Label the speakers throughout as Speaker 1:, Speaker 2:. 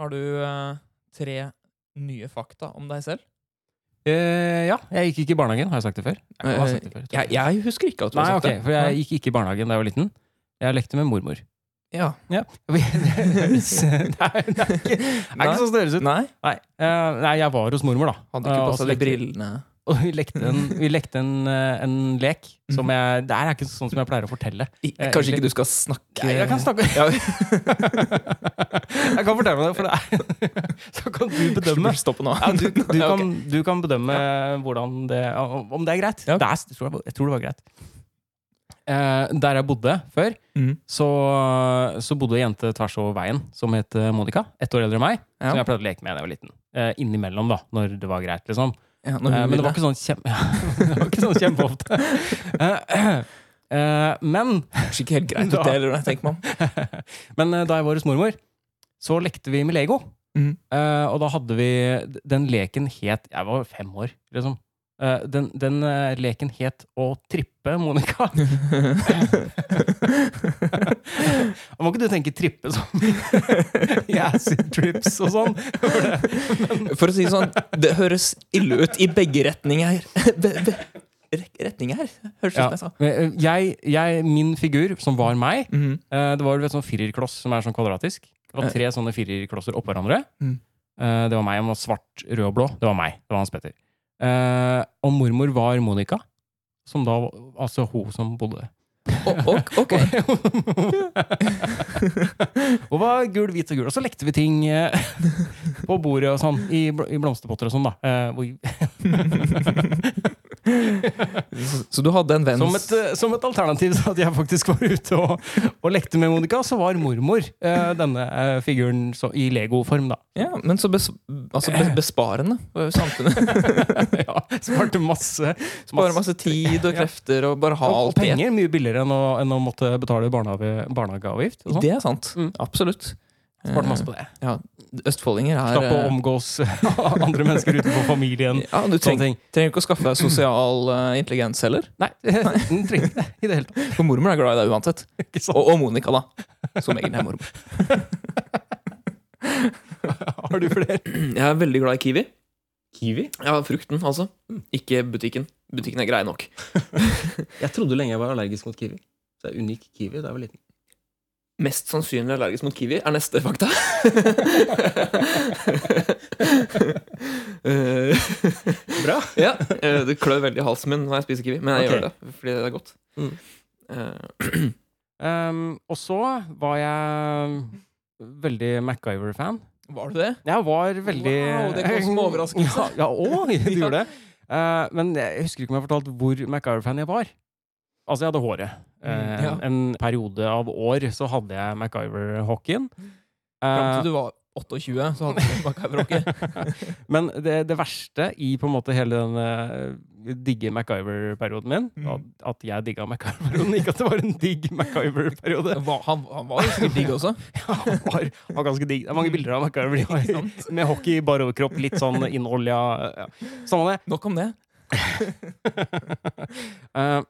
Speaker 1: Har du eh, tre nye fakta om deg selv?
Speaker 2: Eh, ja, jeg gikk ikke i barnehagen. Har jeg sagt det før? Jeg må ha sagt det før.
Speaker 1: Jeg, jeg husker ikke at du
Speaker 2: Nei,
Speaker 1: har sagt
Speaker 2: ok,
Speaker 1: det.
Speaker 2: for jeg gikk ikke i barnehagen da jeg var liten. Jeg lekte med mormor.
Speaker 1: Ja.
Speaker 2: Ja. Nei, det er ikke det er ikke sånn det høres ut.
Speaker 1: Nei?
Speaker 2: Nei. eh, nei, jeg var hos mormor, da.
Speaker 1: Hadde ikke
Speaker 2: Eh, og
Speaker 1: på
Speaker 2: så
Speaker 1: seg de
Speaker 2: lekte-
Speaker 1: brillene.
Speaker 2: Og vi lekte en, vi lekte en, eh, en lek som jeg Det her er ikke sånn som jeg pleier å fortelle.
Speaker 1: I-
Speaker 2: Eh,
Speaker 1: Kanskje
Speaker 2: egentlig-
Speaker 1: ikke du skal snakke
Speaker 2: Jeg, jeg kan snakke
Speaker 1: Ja.
Speaker 2: Jeg kan fortelle det, for det er Så kan du bedømme.
Speaker 1: Stopp nå.
Speaker 2: Ja, du, du,
Speaker 1: Ja, ok.
Speaker 2: kan, du kan bedømme hvordan det Om det er greit.
Speaker 1: Ja.
Speaker 2: Det er, jeg, tror det var, jeg tror det var greit. Eh, der jeg bodde før,
Speaker 1: Mm.
Speaker 2: så, så bodde ei jente tvers over veien som het eh, Monica. Ett år eldre enn meg. Som
Speaker 1: Ja.
Speaker 2: jeg pleide å leke med da jeg var liten. Eh, innimellom, da, når det var greit, liksom.
Speaker 1: Ja, når hun
Speaker 2: Eh, Men det
Speaker 1: ville.
Speaker 2: var ikke sånn kjempe Det var ikke sånn kjempeofte. Eh, eh, Men
Speaker 1: Kanskje ikke helt greit ut,
Speaker 2: Da-
Speaker 1: det heller, tenker man.
Speaker 2: Men eh, da jeg var hos mormor, så lekte vi med Lego.
Speaker 1: Mhm.
Speaker 2: Eh, og da hadde vi Den leken het Jeg var fem år, liksom. Eh, den den eh, leken het Å trippe, Monica. Må ikke du tenke trippe som i acid trips og sånn? For det-
Speaker 1: For å si det sånn, det høres ille ut i begge retninger. Be, be, re- retninger? Høres
Speaker 2: Ja.
Speaker 1: ut som jeg sa.
Speaker 2: Men, eh, Jeg, jeg, min figur, som var meg,
Speaker 1: Mhm.
Speaker 2: Eh, Det var du vet, sånn firerkloss som er sånn kvadratisk. Det var tre sånne firerklosser oppå hverandre.
Speaker 1: Mm.
Speaker 2: Eh, Det var meg. Han var svart, rød og blå. Det var meg. Det var Hans Petter. Eh, Og mormor var Monica, som da var- Altså hun som bodde
Speaker 1: O- ok, ok.
Speaker 2: Hun var gul, hvit og gul. Og så lekte vi ting eh, på bordet og sånn. I, bl i blomsterpotter og sånn, da. Eh, hvor-
Speaker 1: Så- Så du hadde en venn
Speaker 2: Som et, eh, som et alternativ til at jeg faktisk var ute og, og lekte med Monica, så var mormor eh, denne eh, figuren så, i legoform, da.
Speaker 1: Ja, men så bes, altså bes, besparende for samfunnet.
Speaker 2: ja, sparte masse,
Speaker 1: Bare masse tid og krefter og bare ha
Speaker 2: og, og
Speaker 1: alt i ett.
Speaker 2: penger. Mye billigere enn å, enn å måtte betale barnehage, barnehageavgift. Og sånn.
Speaker 1: Det er sant.
Speaker 2: Mm.
Speaker 1: Absolutt.
Speaker 2: Sparte masse på det.
Speaker 1: Eh, Østfoldinger er
Speaker 2: Slapp å
Speaker 1: eh,
Speaker 2: omgås andre mennesker utenfor familien.
Speaker 1: ja, Du
Speaker 2: Sånne
Speaker 1: trenger,
Speaker 2: ting.
Speaker 1: trenger ikke å skaffe deg sosial eh, intelligens heller.
Speaker 2: Nei, den trenger ikke det i det hele tatt.
Speaker 1: For mormor er glad i deg uansett.
Speaker 2: Ikke sånn. sant?
Speaker 1: Og, og Monica, da. Som egentlig er mormor.
Speaker 2: Har du flere?
Speaker 1: Jeg er veldig glad i kiwi.
Speaker 2: Kiwi?
Speaker 1: Ja, frukten, altså. Ikke butikken. Butikken er grei nok.
Speaker 2: Jeg trodde lenge jeg var allergisk mot kiwi. Så jeg unngikk kiwi da jeg var liten.
Speaker 1: Mest sannsynlig allergisk mot kiwi er neste fakta. Eh,
Speaker 2: Bra.
Speaker 1: ja, eh, det klør veldig i halsen min når jeg spiser kiwi, men jeg
Speaker 2: Ok.
Speaker 1: gjør det fordi det er godt.
Speaker 2: Mm.
Speaker 1: Eh,
Speaker 2: Um, og så var jeg veldig MacGyver-fan.
Speaker 1: var du det?
Speaker 2: Jeg var veldig
Speaker 1: Wow, det kom som overraskelse.
Speaker 2: Ja, ja å, du gjorde det. Eh, men jeg husker ikke om jeg fortalte hvor MacGyver-fan jeg var. Altså, jeg hadde håret. Eh,
Speaker 1: Mm, ja.
Speaker 2: En periode av år så hadde jeg MacGyver-hockeyen.
Speaker 1: Fram
Speaker 2: Eh,
Speaker 1: til du var 28, så hadde du macabre-rocke.
Speaker 2: men det, det verste i på en måte hele den eh, digge MacGyver-perioden min,
Speaker 1: Mm.
Speaker 2: at, at jeg digga MacGyver-perioden, ikke at det var en digg MacGyver-periode.
Speaker 1: Han, han var jo sikkert digg også.
Speaker 2: Ja, han var, han var ganske digg. Det er
Speaker 1: Mm.
Speaker 2: mange bilder av MacGyver de har. med hockey, bare overkropp, litt sånn innolja. Ja. Samme det.
Speaker 1: Nok om det.
Speaker 2: Eh,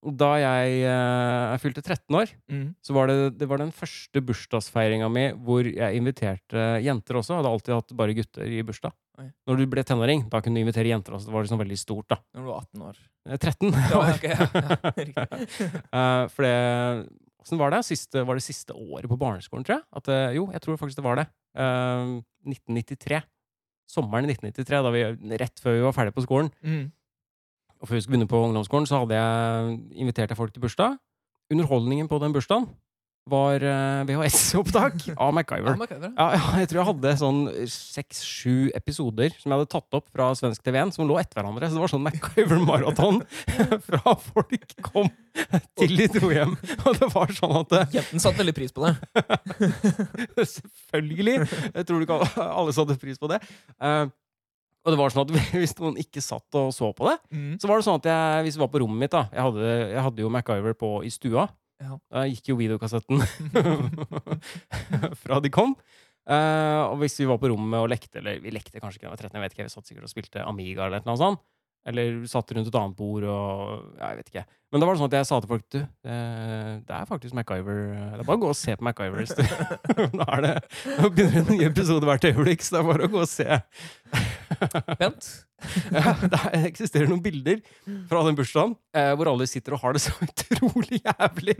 Speaker 2: Da jeg, eh, jeg fylte 13 år,
Speaker 1: Mm.
Speaker 2: så var det, det var den første bursdagsfeiringa mi hvor jeg inviterte jenter også. Jeg hadde alltid hatt bare gutter i bursdag.
Speaker 1: Oi.
Speaker 2: Når du ble tenåring, da kunne du invitere jenter også. Det var liksom veldig stort, da.
Speaker 1: Når du var 18 år.
Speaker 2: Eh, 13
Speaker 1: Ja,
Speaker 2: år.
Speaker 1: ok, ja, ja, riktig.
Speaker 2: Eh, for det Åssen var det? Siste, var det siste året på barneskolen, tror jeg? At, eh, jo, jeg tror faktisk det var det. Eh, 1993. Sommeren i 1993, da vi, rett før vi var ferdig på skolen.
Speaker 1: Mm.
Speaker 2: Og før vi skulle begynne på ungdomsskolen, så hadde jeg invitert jeg folk til bursdag. Underholdningen på den bursdagen var eh, VHS-opptak
Speaker 1: Ja,
Speaker 2: av MacGyver.
Speaker 1: MacGyver, ja.
Speaker 2: Ja, ja, jeg tror jeg hadde sånn seks-sju episoder som jeg hadde tatt opp fra svensk TV1, som lå etter hverandre. Så det var sånn MacGyver-maraton fra folk kom til de dro hjem. Og det var sånn at eh,
Speaker 1: Jentene satte veldig pris på det.
Speaker 2: Selvfølgelig! Jeg tror ikke alle- alle satte pris på det. Eh, Og det var sånn at hvis noen ikke satt og så på det,
Speaker 1: Mm.
Speaker 2: så var det sånn at jeg, hvis jeg var på rommet mitt da, jeg hadde, jeg hadde jo MacGyver på i stua.
Speaker 1: Ja.
Speaker 2: Da gikk jo videokassetten fra de kom. Eh, og hvis vi var på rommet og lekte, eller vi lekte kanskje ikke da jeg var 13, jeg vet ikke, vi satt sikkert og spilte Amiga eller noe sånt, Eller satt rundt et annet bord og ja, Jeg vet ikke. Men da var det sånn at jeg sa til folk Du, eh, det er faktisk MacGyver. eh, Det er bare å gå og se på MacGyver. hvis du- Nå er det Nå begynner en ny episode hvert øyeblikk, så det er bare å gå og se.
Speaker 1: Vent.
Speaker 2: Ja, det eksisterer noen bilder fra den bursdagen eh, hvor alle sitter og har det så utrolig jævlig.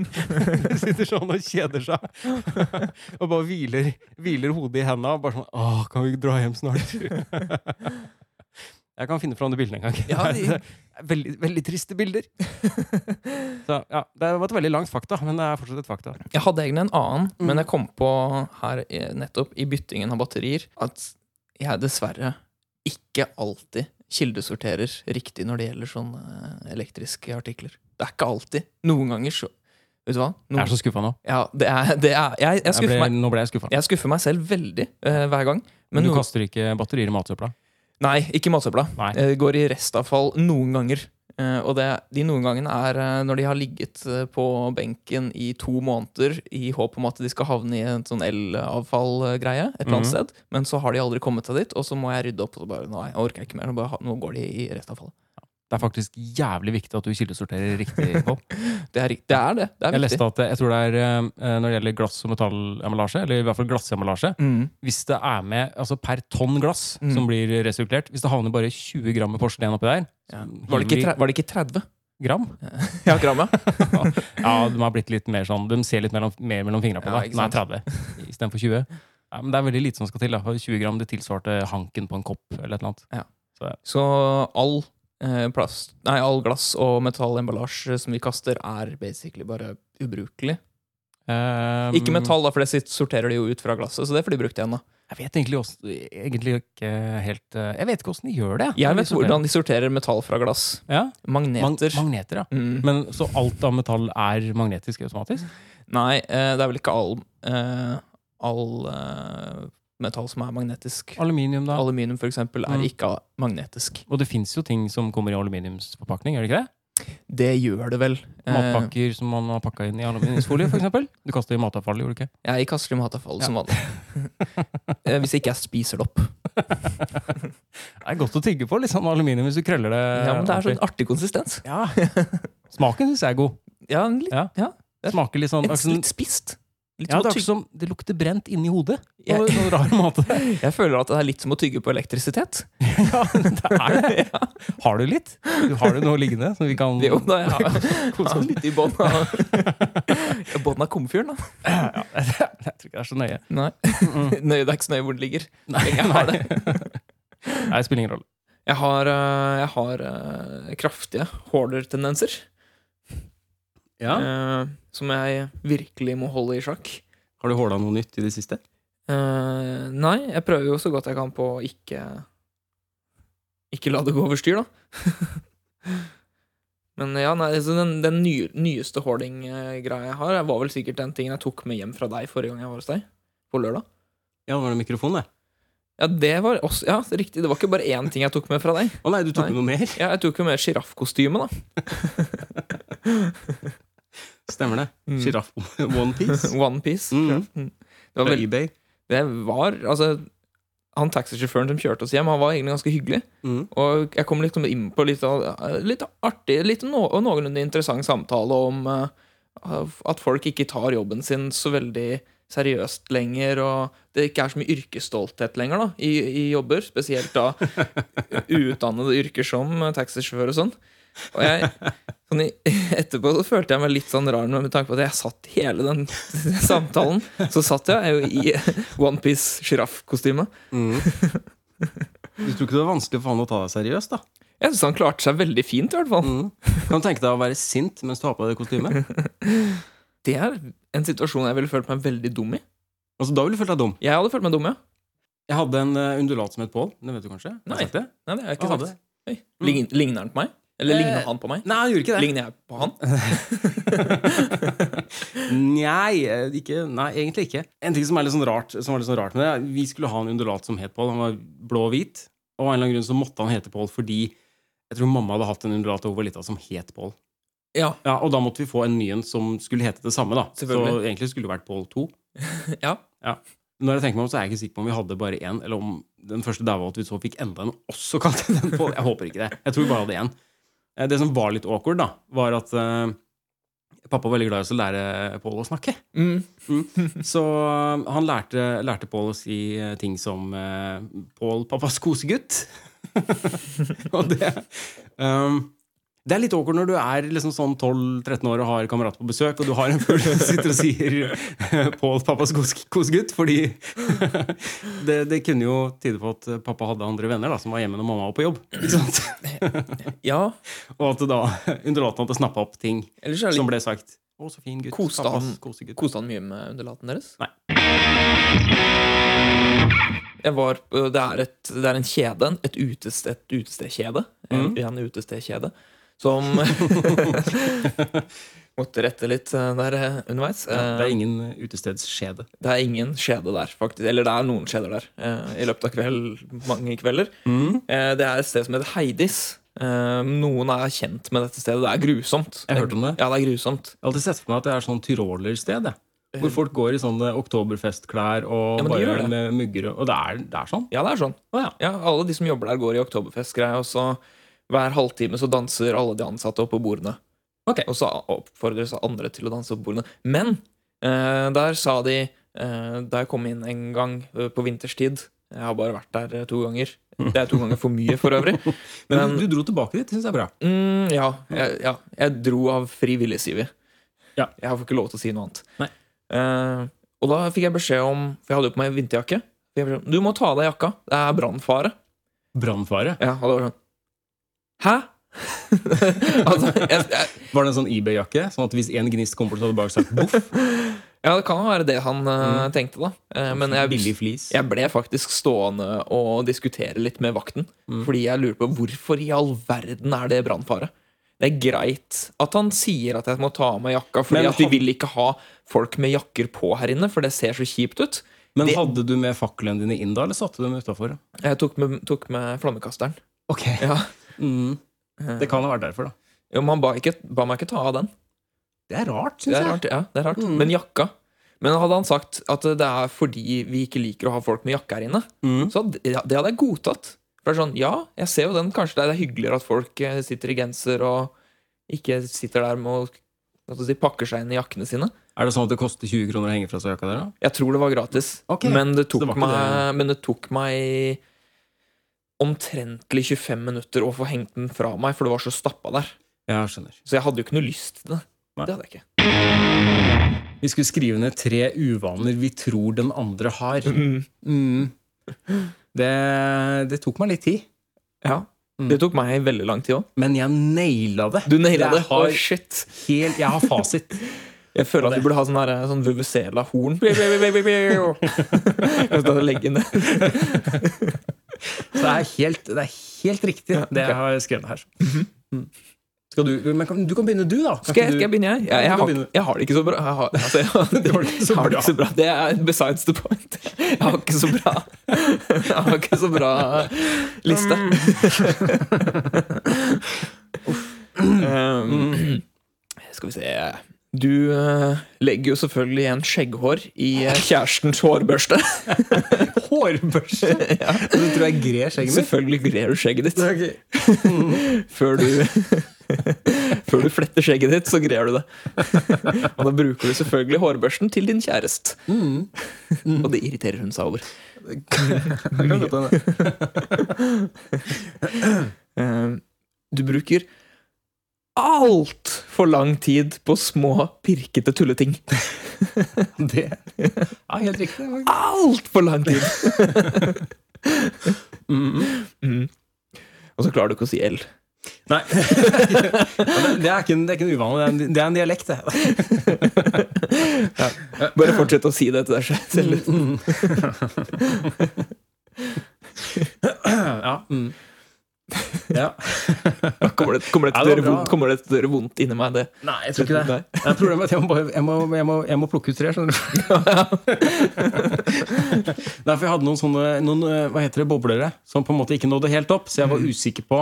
Speaker 2: De sitter sånn og kjeder seg og bare hviler, hviler hodet i henda. Bare sånn Åh, kan vi ikke dra hjem snart? Jeg kan finne fram det bildet en gang.
Speaker 1: Ja,
Speaker 2: det
Speaker 1: de-
Speaker 2: er veldig, veldig triste bilder. Så ja, Det var et veldig langt fakta, men det er fortsatt et fakta.
Speaker 1: Jeg hadde egentlig en annen,
Speaker 2: Mm.
Speaker 1: men jeg kom på her i- nettopp i byttingen av batterier at jeg dessverre ikke alltid kildesorterer riktig når det gjelder sånne eh, elektriske artikler. Det er ikke alltid. Noen ganger så Vet du hva?
Speaker 2: Jeg
Speaker 1: Noen,
Speaker 2: er så skuffa nå.
Speaker 1: ja, det er, det er, jeg, jeg,
Speaker 2: Jeg
Speaker 1: skuffer
Speaker 2: ble,
Speaker 1: meg,
Speaker 2: nå ble jeg skuffa.
Speaker 1: jeg skuffer meg selv veldig eh, hver gang. Men
Speaker 2: Men du
Speaker 1: noen,
Speaker 2: kaster ikke batterier i matsøpla?
Speaker 1: nei, ikke matsøpla.
Speaker 2: Nei.
Speaker 1: Eh, går i restavfall noen ganger. Eh, og det, de noen gangene er eh, når de har ligget eh, på benken i to måneder i håp om at de skal havne i en sånn elavfallgreie et eller annet
Speaker 2: Mhm.
Speaker 1: sted, men så har de aldri kommet seg dit, og så må jeg rydde opp. Og så bare, nei, jeg orker ikke mer, nå, bare, ha- nå går de i restavfallet.
Speaker 2: Det er faktisk jævlig viktig at du kildesorterer riktig. Pål.
Speaker 1: Det er, ri- det er det. Det er
Speaker 2: Jeg
Speaker 1: viktig.
Speaker 2: leste at jeg tror det er eh, når det gjelder glass- og metallemballasje, eller i hvert fall glassemballasje
Speaker 1: Mm.
Speaker 2: Hvis det er med altså per tonn glass
Speaker 1: Mm.
Speaker 2: som blir resirkulert Hvis det havner bare 20 gram med porselen oppi der
Speaker 1: Ja.
Speaker 2: så hiver
Speaker 1: Var, det ikke
Speaker 2: vi-
Speaker 1: tre, var det ikke 30?
Speaker 2: gram?
Speaker 1: Ja, grammet.
Speaker 2: Ja, de har blitt litt mer sånn De ser litt mellom, mer mellom fingrene på
Speaker 1: Ja,
Speaker 2: deg.
Speaker 1: ikke
Speaker 2: Den er 30 istedenfor 20. Ja, men det er veldig lite som skal til. da For 20 gram det tilsvarte hanken på en kopp. eller et eller annet
Speaker 1: Så all eh, plast, nei, all glass og metallemballasje som vi kaster, er basically bare ubrukelig.
Speaker 2: Ehm,
Speaker 1: Ikke metall, da, for det sit- sorterer de jo ut fra glasset. Så det får de brukt igjen, da.
Speaker 2: Jeg vet egentlig, også, egentlig ikke helt eh, Jeg vet ikke åssen de gjør det.
Speaker 1: Jeg vet hvordan de sorterer metall fra glass.
Speaker 2: ja?
Speaker 1: Magneter.
Speaker 2: Mag magneter, ja.
Speaker 1: Mm.
Speaker 2: Men så alt av metall er magnetisk automatisk?
Speaker 1: Nei, eh, det er vel ikke all, eh, all eh, metall som er magnetisk.
Speaker 2: Aluminium, da?
Speaker 1: Aluminium, for eksempel, er
Speaker 2: Mm.
Speaker 1: ikke magnetisk.
Speaker 2: Og det fins jo ting som kommer i aluminiumsforpakning, gjør det ikke det?
Speaker 1: Det gjør det vel. Eh,
Speaker 2: Matpakker som man har pakka inn i aluminiumsfolie, f.eks. Du kaster i matavfallet, gjorde du ikke?
Speaker 1: jeg kaster dem i matavfall
Speaker 2: Ja.
Speaker 1: som vanlig. Eh, Hvis ikke jeg spiser det opp.
Speaker 2: Det er godt å tygge på, litt sånn aluminium, hvis du krøller det.
Speaker 1: Ja, men Det er sånn
Speaker 2: ordentlig.
Speaker 1: artig konsistens.
Speaker 2: ja. Smaken syns jeg er god.
Speaker 1: Ja, en litt,
Speaker 2: Smaker litt sånn
Speaker 1: en,
Speaker 2: det er ikke sånn-
Speaker 1: litt spist. Litt
Speaker 2: ja,
Speaker 1: som å
Speaker 2: det, er ikke
Speaker 1: tygge.
Speaker 2: som, det lukter brent inni hodet. På
Speaker 1: Jeg,
Speaker 2: noen rar måte.
Speaker 1: jeg føler at det er litt som å tygge på elektrisitet.
Speaker 2: Ja, det er det. Har du litt? Du har du noe liggende som vi kan
Speaker 1: Jo, da, jeg har,
Speaker 2: kose
Speaker 1: har
Speaker 2: oss med?
Speaker 1: litt i bånn av Bånn av komfyren, da.
Speaker 2: Ja, Jeg tror ikke det er så nøye.
Speaker 1: Nei.
Speaker 2: Mm, mm.
Speaker 1: Nøye, det er ikke så nøye hvor det ligger.
Speaker 2: Nei,
Speaker 1: Jeg har det.
Speaker 2: Nei, det spiller ingen rolle.
Speaker 1: Jeg har, øh, jeg har øh, kraftige hoarder-tendenser øh, som jeg virkelig må holde i sjakk.
Speaker 3: Har du håla noe nytt i det siste?
Speaker 1: Eh, nei, jeg prøver jo så godt jeg kan på å ikke Ikke la det gå over styr, da. Men ja, nei, så den, den ny, nyeste hoarding-greia jeg har, var vel sikkert den tingen jeg tok med hjem fra deg forrige gang jeg var hos deg. På lørdag.
Speaker 3: Ja, det var det mikrofon, det.
Speaker 1: Ja, det var også, ja, det er riktig. Det var ikke bare én ting jeg tok med fra deg.
Speaker 3: Å nei, du tok
Speaker 1: Nei.
Speaker 3: med noe mer?
Speaker 1: Ja, jeg tok jo med sjiraffkostyme, da.
Speaker 3: Stemmer det.
Speaker 1: Mm.
Speaker 3: Sjiraff One Piece.
Speaker 1: One Piece.
Speaker 3: Mm.
Speaker 1: Mm. Det,
Speaker 3: Fra
Speaker 1: var vel-
Speaker 3: eBay.
Speaker 1: det var Altså, han taxisjåføren som kjørte oss hjem, han var egentlig ganske hyggelig.
Speaker 3: Mm.
Speaker 1: Og jeg kom liksom inn på litt, av- litt artig litt no, og noenlunde interessant samtale om eh, at folk ikke tar jobben sin så veldig seriøst lenger, og det ikke er så mye yrkesstolthet lenger da, i, i jobber. Spesielt da uutdannede yrker som eh, taxisjåfør og sånn. Og jeg, sånn i, etterpå så følte jeg meg litt sånn rar med tanke på at jeg satt hele den samtalen. Så satt jeg jo i onepiece-sjiraffkostyme.
Speaker 3: Mm. Du tror ikke det var vanskelig for han å ta deg seriøst, da?
Speaker 1: Jeg syns han klarte seg veldig fint, i hvert fall.
Speaker 3: Mm. Kan du tenke deg å være sint mens du har på deg det kostymet?
Speaker 1: Det er en situasjon jeg ville følt meg veldig dum i.
Speaker 3: Altså, da ville du følt deg dum.
Speaker 1: Jeg hadde følt meg dum, ja.
Speaker 3: Jeg hadde en eh, undulat som het Pål. Det vet du kanskje? Har jeg
Speaker 1: Nei.
Speaker 3: sagt det?
Speaker 1: Nei, det har jeg
Speaker 3: Hva
Speaker 2: Ah,
Speaker 1: ikke
Speaker 3: hadde
Speaker 1: sagt. Oi. Lign- Ligner han på meg? Eller
Speaker 3: Eh,
Speaker 1: ligner han på meg?
Speaker 3: Nei, han gjorde ikke det.
Speaker 1: Ligner jeg på han?
Speaker 3: Nei, eh, ikke, nei, egentlig ikke. En ting som er litt sånn rart, som var litt sånn rart med det, er at vi skulle ha en undulat som het Pål. Han var blå og hvit. Og av en eller annen grunn så måtte han hete Pål fordi jeg tror mamma hadde hatt en undulat over lita som het Pål.
Speaker 1: Ja.
Speaker 3: Ja, og da måtte vi få en ny en som skulle hete det samme. da. Så
Speaker 1: Selvfølgelig.
Speaker 3: egentlig skulle det vært Pål 2.
Speaker 1: Ja.
Speaker 3: Når jeg tenker meg om, så er jeg ikke sikker på om vi hadde bare én, eller om
Speaker 2: den første dauvalgte vi så, fikk enda en også kalte den Pål. Jeg håper ikke det. Jeg tror vi bare hadde én. Eh, Det som var litt awkward, da, var at eh, pappa var veldig glad i å lære Pål å snakke.
Speaker 1: Mm.
Speaker 2: Så eh, han lærte, lærte Pål å si eh, ting som eh, Pål, pappas kosegutt. og det um, Det er litt awkward når du er liksom sånn 12-13 år og har kamerater på besøk, og du har en fugl som sitter og sier 'Pål, pappas kos- kosegutt', fordi det, det kunne jo tyde på at pappa hadde andre venner da, som var hjemme når mamma var på jobb. Ikke sant?
Speaker 1: Ja,
Speaker 2: Og at det da underlåten hadde snappa opp ting
Speaker 1: ellers er det
Speaker 2: som
Speaker 1: litt
Speaker 2: ble sagt. Å, så fin gutt.
Speaker 1: Koste
Speaker 2: Pappas
Speaker 1: han-
Speaker 2: kosegutt.
Speaker 1: Koste han mye med underlaten deres?
Speaker 2: Nei.
Speaker 1: Jeg var, det, er et, det er en kjede, et, utested, et utestedkjede. En,
Speaker 2: Mm.
Speaker 1: en utestedkjede som Måtte rette litt eh, der eh, underveis.
Speaker 2: Ja,
Speaker 1: Eh,
Speaker 2: det er ingen utestedsskjede.
Speaker 1: Det er ingen skjede der, faktisk. Eller det er noen skjeder der eh, i løpet av kveld, mange kvelder. Eh, Det er et sted som heter Heidis. Eh, Noen er kjent med dette stedet. Det er grusomt.
Speaker 2: Jeg har hørt om det.
Speaker 1: Ja, det er grusomt.
Speaker 2: Jeg har alltid sett for meg at det er sånn tyrolersted. jeg. Hvor folk går i sånne oktoberfestklær og
Speaker 1: Eh. Ja, men de gjør
Speaker 2: bare
Speaker 1: det.
Speaker 2: med mugger. Og og det er, det er sånn.
Speaker 1: Ja, det er sånn.
Speaker 2: Å ja.
Speaker 1: Ja, alle de som jobber der, går i oktoberfestgreie, og så hver halvtime så danser alle de ansatte opp på bordene.
Speaker 2: Ok.
Speaker 1: Og så oppfordres andre til å danse opp på bordene. Men eh, der sa de eh, Da jeg kom inn en gang eh, på vinterstid Jeg har bare vært der eh, to ganger. Det er to ganger for mye, for øvrig.
Speaker 2: Men,
Speaker 1: Men-
Speaker 2: du dro tilbake dit. Det syns jeg er bra.
Speaker 1: Mm, ja, jeg, ja. Jeg dro av fri vilje, sier vi.
Speaker 2: Ja.
Speaker 1: Jeg får ikke lov til å si noe annet.
Speaker 2: Nei.
Speaker 1: Eh, og da fikk jeg beskjed om For jeg hadde jo på meg vinterjakke. Fikk jeg beskjed om, Du må ta av deg jakka. Det er brannfare.
Speaker 2: Brannfare.
Speaker 1: Ja, og det var sånn Hæ? altså, jeg, jeg,
Speaker 2: Var det en sånn eBay-jakke? Sånn at hvis en gnist kommer på, så hadde du bare sagt boff?
Speaker 1: ja, det kan jo være det han eh,
Speaker 2: Mm.
Speaker 1: tenkte, da. Eh, men jeg,
Speaker 2: Billig flis.
Speaker 1: jeg ble faktisk stående og diskutere litt med vakten.
Speaker 2: Mm.
Speaker 1: Fordi jeg lurer på hvorfor i all verden er det brannfare? Det er greit at han sier at jeg må ta av meg jakka, fordi
Speaker 2: Men
Speaker 1: at vi
Speaker 2: han-
Speaker 1: vil ikke ha folk med jakker på her inne, for det ser så kjipt ut.
Speaker 2: Men
Speaker 1: Det-
Speaker 2: hadde du med faklene dine inn da, eller satte du dem utafor?
Speaker 1: Jeg tok med, tok med flammekasteren.
Speaker 2: Okay.
Speaker 1: Ja.
Speaker 2: Mm.
Speaker 1: Eh.
Speaker 2: Det kan ha vært derfor, da.
Speaker 1: Jo, men han ba, ikke, ba meg ikke ta av den.
Speaker 2: Det er rart, syns
Speaker 1: Det
Speaker 2: jeg.
Speaker 1: er rart, ja, det er rart.
Speaker 2: Mm.
Speaker 1: Men jakka Men hadde han sagt at det er fordi vi ikke liker å ha folk med jakke her inne,
Speaker 2: Mm.
Speaker 1: så hadde- ja, det hadde jeg godtatt. For det er sånn, ja, jeg ser jo den, kanskje det er hyggeligere at folk eh, sitter i genser og ikke sitter der med å hva skal jeg si, pakker seg inn i jakkene sine.
Speaker 2: Er det sånn at det koster 20 kroner å henge fra seg jakka der, da?
Speaker 1: Jeg tror det var gratis,
Speaker 2: Ok,
Speaker 1: men, det
Speaker 2: så
Speaker 1: tok
Speaker 2: det var ikke
Speaker 1: meg, men det tok meg omtrentlig 25 minutter å få hengt den fra meg, for det var så stappa der.
Speaker 2: Ja, skjønner.
Speaker 1: Så jeg hadde jo ikke noe lyst til det.
Speaker 2: Nei.
Speaker 1: Det hadde jeg ikke.
Speaker 2: Vi skulle skrive ned tre uvaner vi tror den andre har. Mm. Det, det tok meg litt tid,
Speaker 1: Ja,
Speaker 2: Mm.
Speaker 1: Det tok meg veldig lang tid òg.
Speaker 2: men jeg naila det.
Speaker 1: Du naila det.
Speaker 2: Jeg har,
Speaker 1: Å, shit.
Speaker 2: helt, jeg har fasit.
Speaker 1: Jeg føler at du burde ha sånn, der, sånn Vuvuzela-horn. Bli, bli, bli, bli, bli. Kan du ta og legge ned?
Speaker 2: Så det er helt, det er helt riktig,
Speaker 1: Ja,
Speaker 2: det
Speaker 1: ok. Mhm.
Speaker 2: jeg har skrevet her. Mm. Skal du, men kan, du kan begynne, du, da. Kan
Speaker 1: Skal jeg, skal jeg
Speaker 2: ikke du,
Speaker 1: begynne, jeg? Jeg, jeg,
Speaker 2: du kan
Speaker 1: har,
Speaker 2: begynne.
Speaker 1: jeg har det ikke så bra. Jeg har, altså, jeg har,
Speaker 2: Det var ikke så
Speaker 1: jeg har det
Speaker 2: bra.
Speaker 1: ikke så bra. Det er besides the point. Jeg har ikke så bra Jeg har ikke så bra liste.
Speaker 2: Mm.
Speaker 1: Um, skal vi se Du eh, legger jo selvfølgelig igjen skjegghår i eh, kjærestens hårbørste.
Speaker 2: Hårbørste! Du tror jeg grer skjegget mitt?
Speaker 1: Selvfølgelig grer du skjegget ditt.
Speaker 2: Ok.
Speaker 1: Før du, før du fletter skjegget ditt, så greier du det. Og da bruker du selvfølgelig hårbørsten til din kjæreste.
Speaker 2: Mm.
Speaker 1: Og det irriterer hun seg over.
Speaker 2: Det kan godt hende.
Speaker 1: Eh, Du bruker altfor lang tid på små, pirkete tulleting.
Speaker 2: Det Ja, helt riktig.
Speaker 1: Altfor lang tid!
Speaker 2: Mm.
Speaker 1: Mm. Og så klarer du ikke å si L.
Speaker 2: Nei. Det er ikke en, det er ikke en uvane, det er en, det er en dialekt, det.
Speaker 1: Bare fortsett å si det til deg selv.
Speaker 2: Mm. ja. Mm. ja.
Speaker 1: Da Kommer det, kommer det, til, å
Speaker 2: Ja, det
Speaker 1: gjøre
Speaker 2: var bra.
Speaker 1: vondt, kommer det til å gjøre vondt inni meg, det?
Speaker 2: Nei, jeg tror ikke det. Det er problemet at jeg må, bare, jeg må, jeg må, jeg må plukke ut tre, skjønner du. Nei, for jeg hadde noen sånne noen, eh, hva heter det, boblere som på en måte ikke nådde helt opp, så jeg var usikker på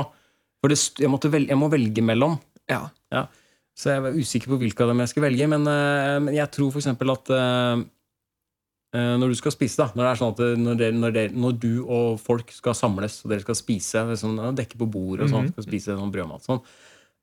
Speaker 2: For det, st- jeg, måtte vel, jeg må velge mellom.
Speaker 1: Ja.
Speaker 2: Så jeg var usikker på hvilke av dem jeg skulle velge, men, eh, men jeg tror f.eks. at eh, eh, når du skal spise, da. Når det er sånn at eh, når, dere, når, dere, når du og folk skal samles, og dere skal spise sånn, ja, Dekke på bordet og
Speaker 1: Mhm.
Speaker 2: sånn, skal spise sånn brødmat sånn.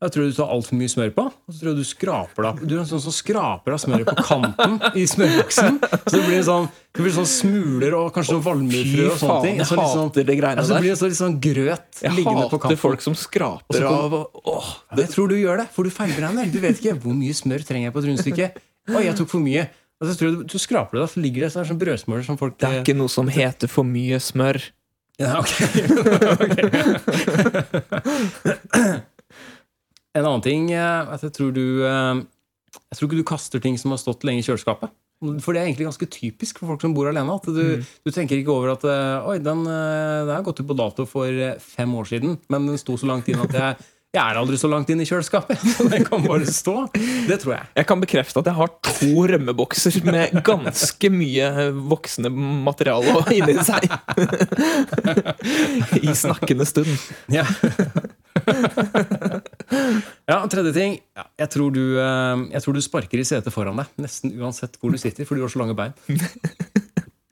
Speaker 2: Jeg tror du tar altfor mye smør på, og så tror jeg du skraper det av. Du er en sånn som skraper av smøret på kanten i smørboksen. Så det blir sånn, det blir sånn smuler og kanskje sånn valmuefrø og sånne ting.
Speaker 1: jeg
Speaker 2: Og så, litt sånn-
Speaker 1: hater de
Speaker 2: ja,
Speaker 1: greiene
Speaker 2: så
Speaker 1: der.
Speaker 2: blir det så litt sånn grøt
Speaker 1: Jeg
Speaker 2: liggende på
Speaker 1: hater
Speaker 2: kanten.
Speaker 1: folk som skraper
Speaker 2: så kom-
Speaker 1: av og, åh,
Speaker 2: Ja, Jeg tror du gjør det, for du feilberegner. Du vet ikke hvor mye smør trenger jeg på et rundstykke. Oi, jeg tok for mye. Og så, tror jeg, du- så skraper du det, så ligger det sånn, sånn brødsmøler som folk
Speaker 1: Det er ikke noe som heter for mye smør.
Speaker 2: ja, ok. En annen ting eh, at jeg tror du eh, Jeg tror ikke du kaster ting som har stått lenge i kjøleskapet. For det er egentlig ganske typisk for folk som bor alene. At du, du tenker ikke over at eh, Oi, den, eh, den har gått ut på dato for eh, fem år siden, men den sto så langt inn at jeg jeg er aldri så langt inn i kjøleskapet, så den kan bare stå. Det tror jeg.
Speaker 1: Jeg kan bekrefte at jeg har to rømmebokser med ganske mye voksende materiale inni seg. I snakkende stund.
Speaker 2: Ja. ja, og tredje ting. Ja, Jeg tror, du, eh, jeg tror du sparker i setet foran deg, nesten uansett hvor du sitter, for du har så lange bein.